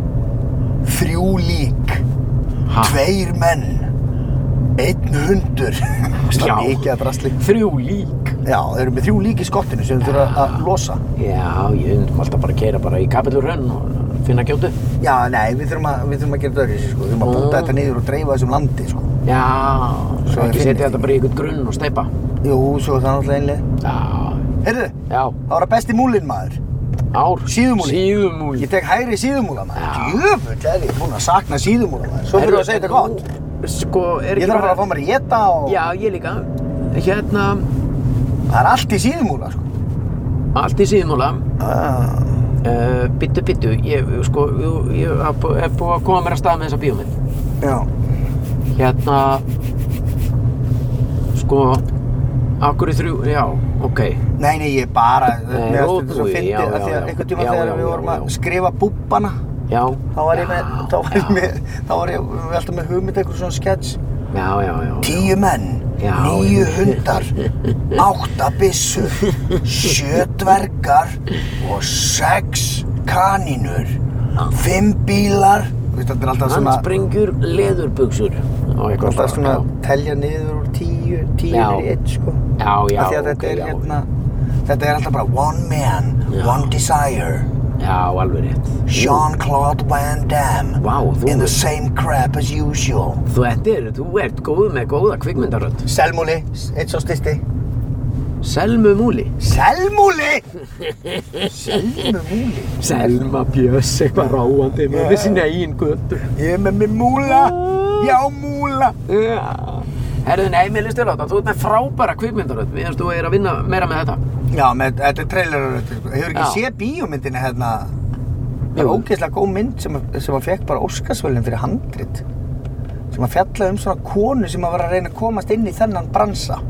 [SPEAKER 1] Þrjú lík sko
[SPEAKER 2] Ha?
[SPEAKER 1] Tveir menn Einn hundur Það
[SPEAKER 2] Já.
[SPEAKER 1] er mikið að drasli
[SPEAKER 2] Þrjú lík.
[SPEAKER 1] Já, þeir eru með þrjú lík í skottinu sem þeir þurfa að losa
[SPEAKER 2] Já, ég undum alltaf bara að keira bara í kapillurhönn og finna gjótu.
[SPEAKER 1] Já, nei, við þurfum að, við þurfum að gera þetta öðruvísi, sko Við þurfum að búta
[SPEAKER 2] Mm.
[SPEAKER 1] þetta niður og dreifa þessum landi, sko
[SPEAKER 2] Já,
[SPEAKER 1] Svo
[SPEAKER 2] svo ekki
[SPEAKER 1] finnist
[SPEAKER 2] setja
[SPEAKER 1] þín.
[SPEAKER 2] þetta bara í einhvern grunn og steipa.
[SPEAKER 1] Jú, svo er það náttúrulega einlega
[SPEAKER 2] Já,
[SPEAKER 1] Heyrðu,
[SPEAKER 2] já,
[SPEAKER 1] það var að besti múlinn, maður
[SPEAKER 2] ár.
[SPEAKER 1] Síðumúli.
[SPEAKER 2] Síðumúli.
[SPEAKER 1] Ég tek hægri síðumúla,
[SPEAKER 2] Já.
[SPEAKER 1] maður Jöfull er ég búinn að sakna síðumúla, maður Svo fyrir að segja þetta gott
[SPEAKER 2] Sko,
[SPEAKER 1] Ég
[SPEAKER 2] er ekki
[SPEAKER 1] þarf að fara að fá mér í geta og
[SPEAKER 2] Já, ég líka. Hérna,
[SPEAKER 1] það er allt í síðumúla, sko
[SPEAKER 2] allt í síðumúla.
[SPEAKER 1] ah.
[SPEAKER 2] Uh, bittu, bittu, ég, sko, ég- ég er bú- er búið að koma mér að stað með þessa bíómynd.
[SPEAKER 1] Já,
[SPEAKER 2] Hérna, sko, akkur í þrjú, já, ok.
[SPEAKER 1] nei, nei, ég bara
[SPEAKER 2] Nei,
[SPEAKER 1] mér fannst þetta svo
[SPEAKER 2] rótmúi,
[SPEAKER 1] fyndið,
[SPEAKER 2] já,
[SPEAKER 1] af því að
[SPEAKER 2] já, já.
[SPEAKER 1] Einhvern tíma
[SPEAKER 2] Já,
[SPEAKER 1] þegar
[SPEAKER 2] já,
[SPEAKER 1] við
[SPEAKER 2] já,
[SPEAKER 1] vorum að
[SPEAKER 2] já.
[SPEAKER 1] skrifa búbbana
[SPEAKER 2] Já,
[SPEAKER 1] Þá var ég með,
[SPEAKER 2] já,
[SPEAKER 1] þá var ég
[SPEAKER 2] já.
[SPEAKER 1] með, þá var ég, við ættum með hugmynd eitthvað svona sketch
[SPEAKER 2] Já, já, já.
[SPEAKER 1] Tíu menn,
[SPEAKER 2] Já,
[SPEAKER 1] níu
[SPEAKER 2] já.
[SPEAKER 1] hundar, átta byssur, sjö dvergar og sex kanínur, fimm bílar. Veist, Þetta er alltaf svona,
[SPEAKER 2] Handsprengjur, leðurbuxur og eitthvað
[SPEAKER 1] alltaf svona
[SPEAKER 2] já.
[SPEAKER 1] telja niður úr tíu, tíu
[SPEAKER 2] Já.
[SPEAKER 1] er í eitt sko.
[SPEAKER 2] Já, já,
[SPEAKER 1] Af því að
[SPEAKER 2] ok,
[SPEAKER 1] þetta er
[SPEAKER 2] já,
[SPEAKER 1] hérna, þetta er alltaf bara one man,
[SPEAKER 2] Já.
[SPEAKER 1] one desire,
[SPEAKER 2] Já, alveg rétt.
[SPEAKER 1] Jean-Claude Van Damme.
[SPEAKER 2] Vá, þú,
[SPEAKER 1] In the same crap as usual.
[SPEAKER 2] þú, er, þú ert góð með góða kvikmyndarönd.
[SPEAKER 1] Selmúli, eitt svo styrsti.
[SPEAKER 2] Selmu Múli.
[SPEAKER 1] Selmúli! Selmúli?
[SPEAKER 2] Selma Björs, eitthvað ráandi með þessi negin göttu.
[SPEAKER 1] Ég er með mér múla, já múla.
[SPEAKER 2] Já. Herðu, nei, mér listu láta, þú ert með frábæra kvikmyndarönd. Mér finnst þú er að vinna meira með þetta.
[SPEAKER 1] Já, með, þetta er trailerur, hefur ekki
[SPEAKER 2] Já.
[SPEAKER 1] séð bíómyndina hérna? Það er
[SPEAKER 2] Jú.
[SPEAKER 1] ógeðslega góð mynd sem, sem að fekk bara Óskarsvölinn fyrir handrit. Sem að fjalla um svona konu sem að vera að reyna að komast inn í þennan bransa.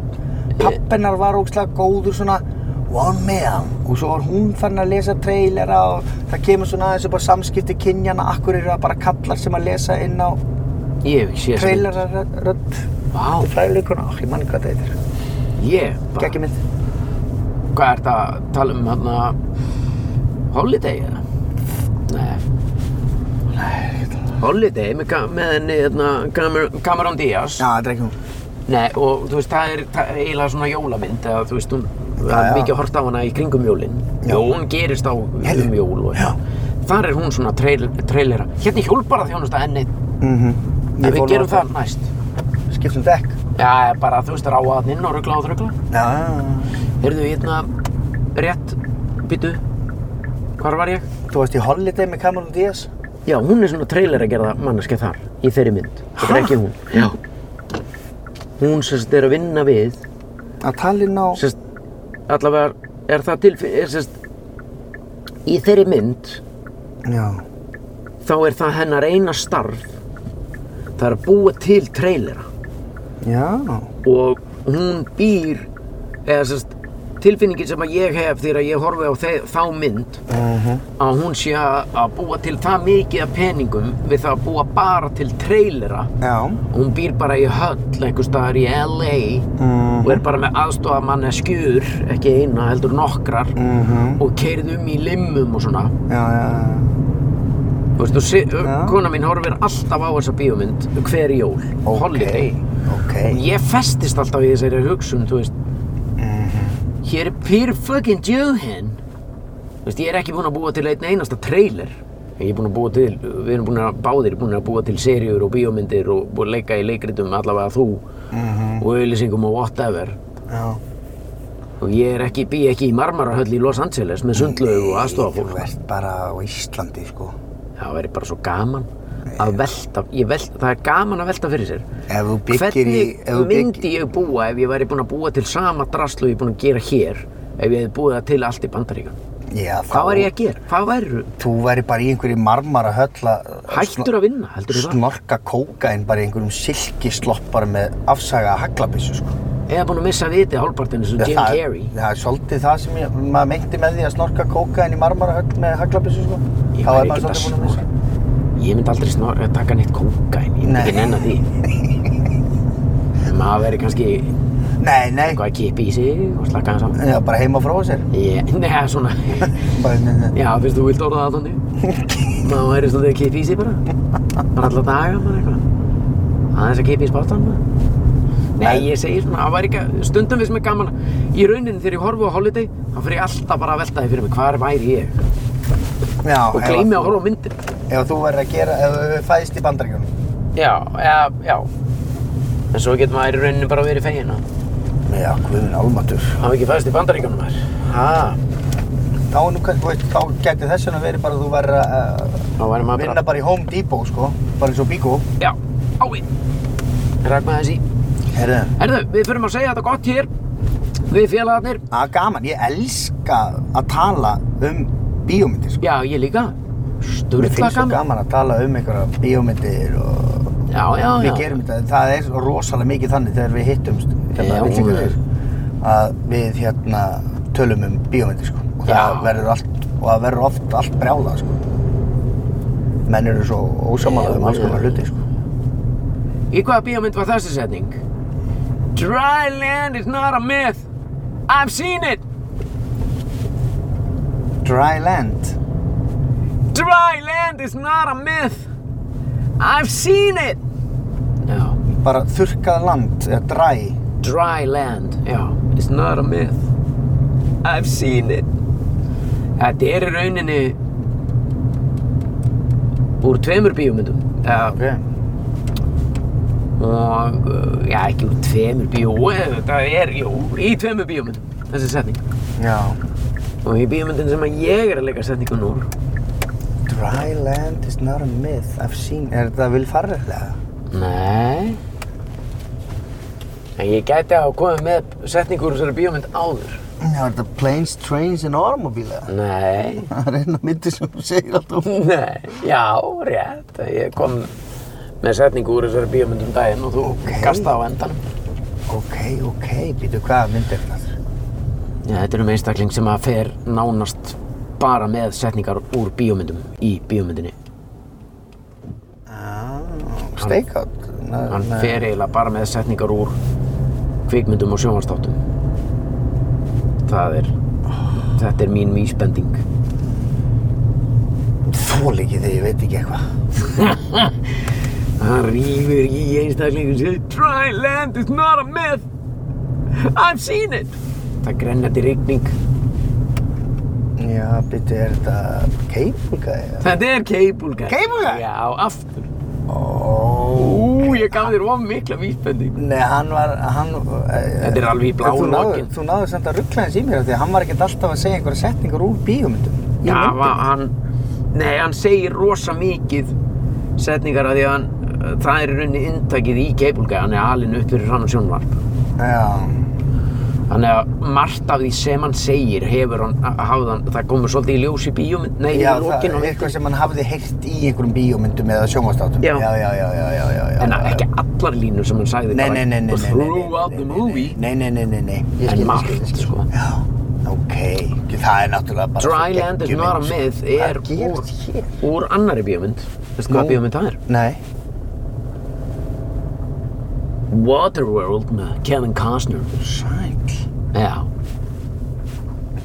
[SPEAKER 1] Pappinar var ógeðslega góður svona one man og svo var hún fann að lesa trailera og það kemur svona aðeins upp á samskipti kynjana, akkur eru það bara kallar sem að lesa inn á
[SPEAKER 2] Ég hef ekki séð þessa mynd.
[SPEAKER 1] trailerarödd.
[SPEAKER 2] Vá,
[SPEAKER 1] fræðileikuna, ég mann hvað það heitir
[SPEAKER 2] ég bara.
[SPEAKER 1] Gekki mynd
[SPEAKER 2] Hvað ert að tala um hérna Holiday eða? Nei Holiday með, Ga- með henni hérna Cameron, Cameron Diaz
[SPEAKER 1] Já, þetta er ekki hún
[SPEAKER 2] Nei og þú veist það er það er eiginlega svona jólamynd eða þú veist hún það
[SPEAKER 1] Já,
[SPEAKER 2] er
[SPEAKER 1] já.
[SPEAKER 2] mikið hort á hana í kringum jólin
[SPEAKER 1] Já.
[SPEAKER 2] Jó, hún gerist á
[SPEAKER 1] Heyrðu,
[SPEAKER 2] um jól og
[SPEAKER 1] já.
[SPEAKER 2] Þar er hún svona trail, trailera Hérna hjólp bara þjónust að enni
[SPEAKER 1] mm
[SPEAKER 2] En við gerum það næst
[SPEAKER 1] Skiptum dekk
[SPEAKER 2] Já, bara þú veist ráa hann inn og ruggla og þruggla
[SPEAKER 1] Já,
[SPEAKER 2] Heyrðu, hérna rétt, býtu Hvar var ég?
[SPEAKER 1] þú varst í Holiday með Cameron Diaz
[SPEAKER 2] Já, hún er svona trailer að gera manneska þar, í þeirri mynd. Þetta er ekki hún. Já. Hún sérst er að vinna við,
[SPEAKER 1] Að talin á
[SPEAKER 2] sérst, allavega er það til, er sérst, í þeirri mynd,
[SPEAKER 1] Já
[SPEAKER 2] þá er það hennar eina starf, það er að búa til trailera
[SPEAKER 1] Já
[SPEAKER 2] og hún býr, eða sérst, tilfinningin sem að ég hef þegar ég horfi á þe þá mynd, að hún sé að að búa til það mikið af peningum við það að búa bara til trailera
[SPEAKER 1] Já
[SPEAKER 2] hún býr bara í höll einhver staðar í LA og er bara með aðstofamann skjur ekki eina heldur nokkrar
[SPEAKER 1] Mhm.
[SPEAKER 2] og keirð um í limmum og svona
[SPEAKER 1] Já, já, já
[SPEAKER 2] Þú veist, og si-
[SPEAKER 1] Já.
[SPEAKER 2] kona mín horfir alltaf á þessa bíómynd hver jól,
[SPEAKER 1] Ok.
[SPEAKER 2] holiday
[SPEAKER 1] Ok
[SPEAKER 2] ég festist alltaf í þessari hugsun þú veist
[SPEAKER 1] Mhm.
[SPEAKER 2] hér er Peter fucking Johan þú veist, ég er ekki búinn að búa til einn einasta trailer Ég er búinn að búa til, við erum búin að báðir búin að búa til seríur og bíómyndir og, og leika í leikritum allavega þú og auðlýsingum og whatever.
[SPEAKER 1] Mhm. Já.
[SPEAKER 2] Og ég er ekki, bý ekki í Marmarahöll í Los Angeles með sundlaug og
[SPEAKER 1] Þú
[SPEAKER 2] aðstofafólk.
[SPEAKER 1] ert bara á Íslandi, sko.
[SPEAKER 2] Það væri bara svo gaman að velta, ég velta, það er gaman að velta fyrir sér.
[SPEAKER 1] Ef þú byggir í...
[SPEAKER 2] Hvernig
[SPEAKER 1] ef þú bygg-
[SPEAKER 2] myndi ég búa ef ég væri búinn að búa til sama draslu ég er búinn að gera hér ef ég hefði búið það til allt í Bandaríkan?
[SPEAKER 1] Já, þá...
[SPEAKER 2] Hvað var ég að gera? Hvað væru?
[SPEAKER 1] Þú væri bara í einhverju marmara höll að...
[SPEAKER 2] Hættur að vinna, heldur þú það?
[SPEAKER 1] Snorka kókain bara í einhverjum silkisloppar með afsaga haglabissu, sko.
[SPEAKER 2] Eða búinn að missa vitið hálfpartinu sem Jim
[SPEAKER 1] það,
[SPEAKER 2] Carrey?
[SPEAKER 1] Það er svolítið það sem ég, maður meinti með því að snorka kókain í marmara höll með haglabissu, sko.
[SPEAKER 2] Ég
[SPEAKER 1] Þá
[SPEAKER 2] væri
[SPEAKER 1] er
[SPEAKER 2] ekkert
[SPEAKER 1] maður
[SPEAKER 2] að
[SPEAKER 1] svolítið búin að missa.
[SPEAKER 2] Ég myndi aldrei snor, taka neitt kókain, ég myndi
[SPEAKER 1] Nei.
[SPEAKER 2] ekki nenn að því. En Maður veri kannski
[SPEAKER 1] Nei, nei.
[SPEAKER 2] eitthvað að kippa í sig og slaka hans á.
[SPEAKER 1] Já, bara heima frá sér.
[SPEAKER 2] Ég, neða, svona,
[SPEAKER 1] Bara, nei, nei.
[SPEAKER 2] já, finnst þú vilt orða það þannig? Maður væri svona að kippa í sig bara. Bara alla daga, maður eitthvað. Aðeins að kippa í spáttan, maður. Nei, ég segi svona, það væri ekki, stundum við sem er gaman, í rauninni þegar ég horfi á Holiday, þá fyrir ég alltaf bara að velta því fyrir mig, hvar væri ég?
[SPEAKER 1] Já,
[SPEAKER 2] Og
[SPEAKER 1] ef-
[SPEAKER 2] gleymi að horfa á myndir.
[SPEAKER 1] Ef þú verður að gera, ef þú fæðist í bandaríkjónum.
[SPEAKER 2] Já, já, já. En svo getur maður í rauninni bara verið fegin að
[SPEAKER 1] Já, guðin álmatur.
[SPEAKER 2] hafa ekki fæðst í bandaríkjónum þar. Ha,
[SPEAKER 1] Þá, er nú, kann- þú veist, þá gæti þess vegna verið bara að þú verður að uh,
[SPEAKER 2] þá væri maður
[SPEAKER 1] vinna
[SPEAKER 2] bara,
[SPEAKER 1] bara í Home Depot, sko. Bara eins og Bíkó.
[SPEAKER 2] já, ái, rakma þessi.
[SPEAKER 1] Herðu,
[SPEAKER 2] Herðu, við förum að segja þetta gott hér, við félagarnir.
[SPEAKER 1] það er gaman. Ég elska að tala um bíómyndir, sko.
[SPEAKER 2] Já, ég líka.
[SPEAKER 1] Mér
[SPEAKER 2] Sturla
[SPEAKER 1] finnst svo
[SPEAKER 2] gaman.
[SPEAKER 1] gaman að tala um einhverja bíómyndir og
[SPEAKER 2] Já, já, já.
[SPEAKER 1] við gerum þetta. Það er rosalega mikið þannig þegar við hittumst, hérna,
[SPEAKER 2] Já.
[SPEAKER 1] við þykir að við hérna tölum um bíómyndir, sko. Og það
[SPEAKER 2] Já.
[SPEAKER 1] verður allt, og það verður oft allt brjálað, sko. Menn eru svo ósamála
[SPEAKER 2] Já,
[SPEAKER 1] um alls
[SPEAKER 2] já.
[SPEAKER 1] konar hluti, sko.
[SPEAKER 2] Í hvaða bíómynd var þessi setning? Dry land is not a myth. I've seen it.
[SPEAKER 1] Dry land.
[SPEAKER 2] Dry land is not a myth. I've seen it. Já.
[SPEAKER 1] Bara þurrkað land, eða dry.
[SPEAKER 2] Dry land, já, it's not a myth. I've seen it. Þetta er í rauninni úr tveimur bíómyndum. Já, og, uh, já, ekki úr tveimur bíó, eh, þetta er, jú, í tveimur bíómyndum, þessi setning.
[SPEAKER 1] Já.
[SPEAKER 2] Og í bíómyndin sem að ég er að leika setningun úr,
[SPEAKER 1] Dry land is not a myth, I've seen. Er þetta vilfarrilega?
[SPEAKER 2] nei, en ég gæti að hafa komið með setningur úr þessari bíómynd áður.
[SPEAKER 1] Já, er þetta planes, trains and automobile? eða?
[SPEAKER 2] Nei,
[SPEAKER 1] Það er eina myndi sem þú segir um. alltaf.
[SPEAKER 2] Nei, já, rétt. Ég kom með setningu úr þessari bíómynd um daginn og þú
[SPEAKER 1] Ókei.
[SPEAKER 2] kasta á endanum.
[SPEAKER 1] Ok, ok, býtu hvaða mynd er þetta?
[SPEAKER 2] Já, þetta er um einstakling sem að fer nánast bara með setningar úr bíómyndum í bíómyndinni.
[SPEAKER 1] Ah, Stakeout? Nei,
[SPEAKER 2] Hann
[SPEAKER 1] nei.
[SPEAKER 2] fer eiginlega bara með setningar úr kvikmyndum og sjónvarsþáttum. Það er, þetta er mín vísbending.
[SPEAKER 1] Þoli ekki þegar ég veit ekki eitthvað.
[SPEAKER 2] Hann rýfur í einstaklingum sér Dry land is not a myth I've seen it Það grennandi rigning
[SPEAKER 1] Já, býtu, er þetta Cable Guy? eða?
[SPEAKER 2] Þetta er Cable Guy.
[SPEAKER 1] Cable Guy?
[SPEAKER 2] Já, aftur.
[SPEAKER 1] Ó.
[SPEAKER 2] Ú, ég gaf þér of mikla vísbending.
[SPEAKER 1] Nei, hann var, hann... eh,
[SPEAKER 2] Þetta er alveg í bláu lokin.
[SPEAKER 1] Þú náðu samt að ruggla hans í mér af því að hann var ekkert alltaf að segja einhverja setningar úr bíómyndum. í
[SPEAKER 2] Já,
[SPEAKER 1] myndinni.
[SPEAKER 2] va- hann, nei, hann segir rosa mikið setningar að því að hann, eh, það er í rauninni inntakið í Cable Guy. Hann er alinn upp fyrir hann sjónvarp.
[SPEAKER 1] Já,
[SPEAKER 2] Þannig að margt af því sem hann segir hefur hann, hafði hann, það komur svolítið í ljós í bíómynd, nei,
[SPEAKER 1] já
[SPEAKER 2] í
[SPEAKER 1] það
[SPEAKER 2] lokin
[SPEAKER 1] er
[SPEAKER 2] og
[SPEAKER 1] eitthvað sem hann hafði heyrt í einhverjum bíómyndum eða sjónvastátum.
[SPEAKER 2] Já.
[SPEAKER 1] já, já, já, já, já, já, já.
[SPEAKER 2] En ekki allar línur sem hann sagði
[SPEAKER 1] Nei, nei, nei, nei, nei, nei, nei,
[SPEAKER 2] throughout
[SPEAKER 1] nei,
[SPEAKER 2] the
[SPEAKER 1] nei,
[SPEAKER 2] movie.
[SPEAKER 1] Nei, nei, nei, nei, nei, ég
[SPEAKER 2] En
[SPEAKER 1] skil, ég
[SPEAKER 2] margt,
[SPEAKER 1] skil, ég skil
[SPEAKER 2] sko.
[SPEAKER 1] Já, ok, það er náttúrulega bara svo
[SPEAKER 2] Dry Land is
[SPEAKER 1] geggjum
[SPEAKER 2] not a
[SPEAKER 1] eins.
[SPEAKER 2] myth er
[SPEAKER 1] Hvað gerist
[SPEAKER 2] úr,
[SPEAKER 1] hér?
[SPEAKER 2] úr annari bíómynd. Veistu
[SPEAKER 1] Nú.
[SPEAKER 2] hvað bíómynd það er?
[SPEAKER 1] Nei,
[SPEAKER 2] Waterworld með Kevin Costner
[SPEAKER 1] sæl
[SPEAKER 2] Já,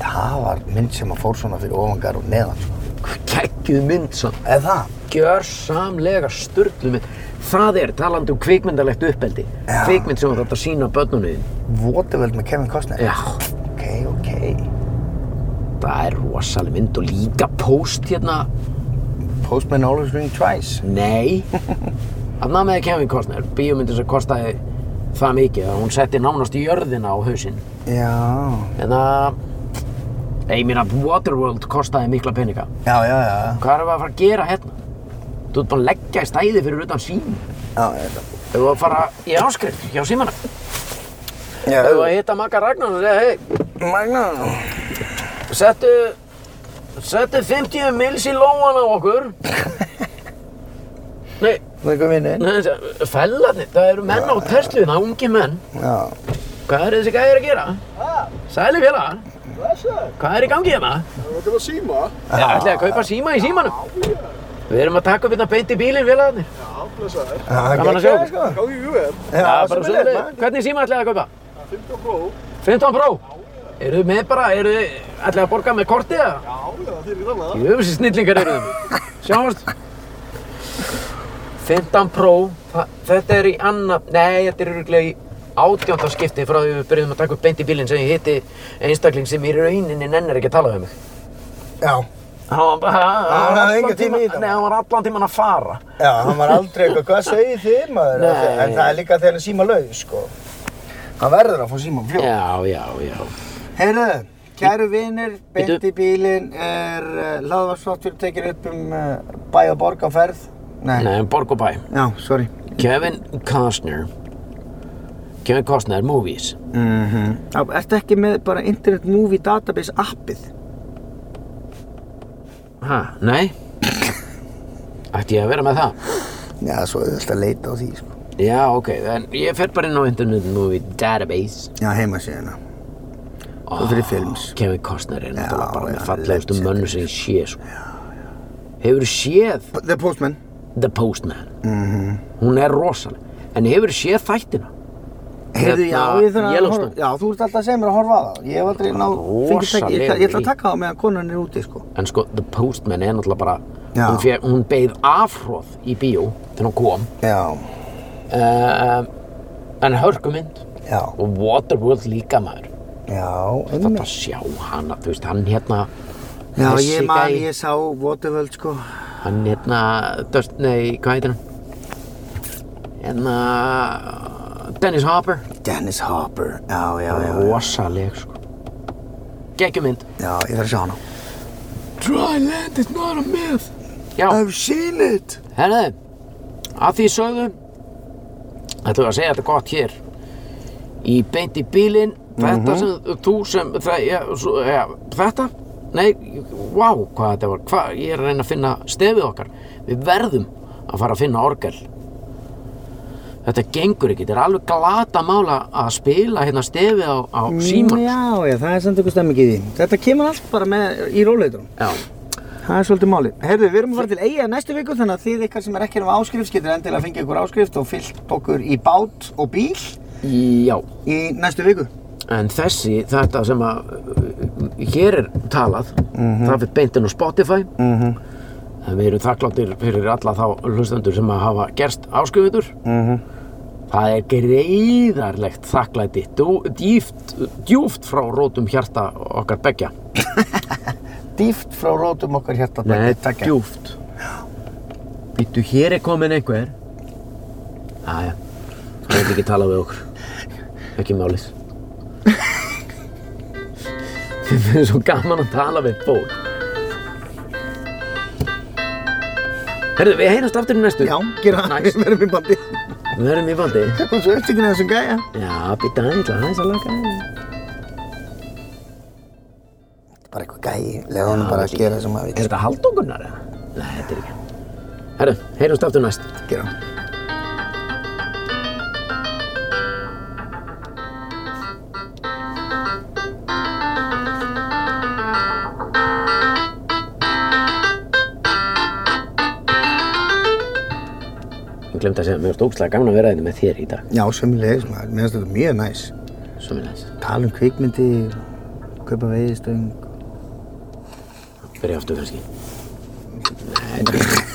[SPEAKER 1] Það var mynd sem að fór svona fyrir ofangar og neðan, sko
[SPEAKER 2] geggjuð mynd samt
[SPEAKER 1] Eða það?
[SPEAKER 2] gjörsamlega sturglu mynd Það er talandi um kvikmyndalegt uppeldi
[SPEAKER 1] Já.
[SPEAKER 2] Kvikmynd sem þú þarft að sína börnunni þín.
[SPEAKER 1] Votavöld með Kevin Costner?
[SPEAKER 2] Já,
[SPEAKER 1] Ok, ok
[SPEAKER 2] það er rosaleg mynd og líka post hérna
[SPEAKER 1] Postman always ring twice.
[SPEAKER 2] Nei Að namaði Kevin Costner Bíómyndin sem kostaði það mikið að hún setti nánast í jörðina á hausinn
[SPEAKER 1] Já.
[SPEAKER 2] En það Nei, ég meina Waterworld kostaði mikla peninga
[SPEAKER 1] Já, já, já.
[SPEAKER 2] Hvað erum við að fara að gera hérna? Þú ert bara að leggja í stæði fyrir utan sín
[SPEAKER 1] Já, ég
[SPEAKER 2] Ef þú að fara í áskrift hjá símana
[SPEAKER 1] Já,
[SPEAKER 2] Ef þú að hitta Magga Ragnar og segja hei,
[SPEAKER 1] Magna.
[SPEAKER 2] settu Settu 50 mils í lóan á okkur Nei,
[SPEAKER 1] Það er komið inn.
[SPEAKER 2] nei, fellarnir, það eru menn á Tesluðina, ungi menn
[SPEAKER 1] Já.
[SPEAKER 2] Hvað er þessi gæðir að gera? Sæli félagar. Hvað er í gangi hérna? Það er að kaupa síma. Það ætlaði að kaupa síma í símanum. Við erum að taka upp hérna beint í bílinn félagarnir.
[SPEAKER 1] Það er
[SPEAKER 2] Gaman að sjá ykkur.
[SPEAKER 1] sko. Gáði í UR.
[SPEAKER 2] Já,
[SPEAKER 1] Já,
[SPEAKER 2] bara
[SPEAKER 1] sem er
[SPEAKER 2] svolítið. Hvernig síma ætlaði að kaupa? 15 Pro. 15 Pro? Eru þið með bara, eru þið ætlaði að borga með kortið eða? Já, já, það er í þannig að það. Jú, þessi snillingar eru þið. Sjáumst. 15 Pro, það, þetta er í annað, nei, þetta er öruglega í átjónda skipti frá því við byrjuðum að taka upp beint í bílinn sem ég hitti einstakling sem í rauninni nennir ekki að tala um mig.
[SPEAKER 1] Já.
[SPEAKER 2] Hann var bara,
[SPEAKER 1] Hann hafði
[SPEAKER 2] allan
[SPEAKER 1] engan tíma í
[SPEAKER 2] tímann-
[SPEAKER 1] þetta.
[SPEAKER 2] Nei, hann var allan tíman að fara.
[SPEAKER 1] Já, hann var aldrei eitthvað, hvað segir þið maður?
[SPEAKER 2] Nei.
[SPEAKER 1] En það er líka þegar hann er síma laug, sko. Hann verður að fá síma fljóð.
[SPEAKER 2] Já, já, já.
[SPEAKER 1] Heyrðu, kæru vinnir, beint
[SPEAKER 2] Bíddu.
[SPEAKER 1] í bílinn er uh, laðvarsflottur tekir upp um uh, bæ og borg á ferð. Nei.
[SPEAKER 2] Nei, en borg og bæ.
[SPEAKER 1] Já, sorry.
[SPEAKER 2] Kevin Costner. Kevin Costner movies.
[SPEAKER 1] Mm -hmm. Ertu ekki með bara Internet Movie Database appið?
[SPEAKER 2] Ha, nei? Ætti ég að vera með það?
[SPEAKER 1] Já, svo er þetta að leita á því, sko.
[SPEAKER 2] Já, ok, en ég fer bara inn á internet movie database.
[SPEAKER 1] Já, hérna. heimasíðina.
[SPEAKER 2] Oh,
[SPEAKER 1] Og fyrir films.
[SPEAKER 2] Kevin Costner er náttúrulega bara
[SPEAKER 1] já,
[SPEAKER 2] með fallegustu
[SPEAKER 1] legend.
[SPEAKER 2] mönnu sem ég sé, sko. Hefur séð
[SPEAKER 1] The Postman.
[SPEAKER 2] The Postman?
[SPEAKER 1] Mhm.
[SPEAKER 2] Hún er rosaleg. En hefur séð þættina?
[SPEAKER 1] Heyrðu, já,
[SPEAKER 2] Hérna,
[SPEAKER 1] ég þarf að
[SPEAKER 2] Yellowstone.
[SPEAKER 1] horfa. Já, þú ert alltaf að segja mér að horfa á það. Ég hef aldrei náð, fengið tekið. Ég, ætla- ég ætla að
[SPEAKER 2] Rosalegur í.
[SPEAKER 1] taka það meðan konan er úti, sko.
[SPEAKER 2] En sko, The Postman er náttúrulega bara,
[SPEAKER 1] Já.
[SPEAKER 2] hún, fér, hún beigð afhróð í bíó þegar hún kom.
[SPEAKER 1] Já,
[SPEAKER 2] Uh, en hörkumynd
[SPEAKER 1] já,
[SPEAKER 2] og Waterworld líka maður.
[SPEAKER 1] já,
[SPEAKER 2] Þetta
[SPEAKER 1] einmitt.
[SPEAKER 2] að sjá hana, þú veist, hann hérna,
[SPEAKER 1] Já,
[SPEAKER 2] þessi
[SPEAKER 1] ég man,
[SPEAKER 2] gæi.
[SPEAKER 1] ég sá Waterworld, sko.
[SPEAKER 2] hann hérna, Dust, nei, hvað heitir hann? Hérna, Dennis Hopper.
[SPEAKER 1] Dennis Hopper. Já, já, já, já.
[SPEAKER 2] Rosaleg, sko. Geggjumynd.
[SPEAKER 1] Já, ég þarf að sjá hana.
[SPEAKER 2] Dry land is not a myth. Já,
[SPEAKER 1] I've seen it.
[SPEAKER 2] herðu, að því sögðu, ætlum við að segja þetta gott hér. Í beint í bílinn, þetta sem, þú sem, það, ja, svo, ja, þetta, nei, vá, hvað þetta var, hvað, ég er að reyna að finna stefið okkar. Við verðum að fara að finna orgel. Þetta gengur ekki, þetta er alveg glata mála að spila hérna stefið á, á síman.
[SPEAKER 1] Já, já, það er samt eitthvað stemming í því. Þetta kemur allt bara með í róleitunum.
[SPEAKER 2] Já,
[SPEAKER 1] Það er svolítið máli. Heyrðu, við erum að fara til eiga næstu viku þannig að þið ykkar sem er ekki um áskrift getur endilega að fengja ykkur áskrift og fyllt okkur í bát og bíl
[SPEAKER 2] já.
[SPEAKER 1] í næstu viku.
[SPEAKER 2] En þessi, þetta sem að uh, hér er talað, það fyrir beintin á Spotify. En við erum þakkláttir fyrir alla þá hlustendur sem að hafa gerst áskrifundur. Það er greiðarlegt þakklæti, dú- dýft, djúft frá rótum hjarta okkar begja.
[SPEAKER 1] Dýft frá rótum okkar hjarta.
[SPEAKER 2] Nei,
[SPEAKER 1] Takk.
[SPEAKER 2] djúft. Býttu, hér er komin einhver. Æja, þú veit ekki tala við okkur. Ekki málið. Þið finnst svo gaman að tala við fólk. Herðu, við heyrjast aftur í næstu.
[SPEAKER 1] Já, gera það.
[SPEAKER 2] Næst.
[SPEAKER 1] Við erum í bandi.
[SPEAKER 2] Við verðum í bandi.
[SPEAKER 1] Ég kom svo upptökin af þessum gæja.
[SPEAKER 2] Já, býttu, ég ætla aðeins að laga það.
[SPEAKER 1] Bara eitthvað gæi. Leða honum bara að gera það sem maður
[SPEAKER 2] Er
[SPEAKER 1] vil.
[SPEAKER 2] þetta haldungunar eða? Nei, þetta er ekki. hann. Herðu, heyrjast aftur næst.
[SPEAKER 1] Gera það.
[SPEAKER 2] Ég glemt að segja, mér finnst ógstlega gaman að vera þetta með þér í dag.
[SPEAKER 1] Já, sömulegis maður. Mér finnst þetta mjög næs.
[SPEAKER 2] Sömulegis.
[SPEAKER 1] Tala um kvikmyndir, kaupa veiðistöng.
[SPEAKER 2] Byrja aftur kannski. Nei,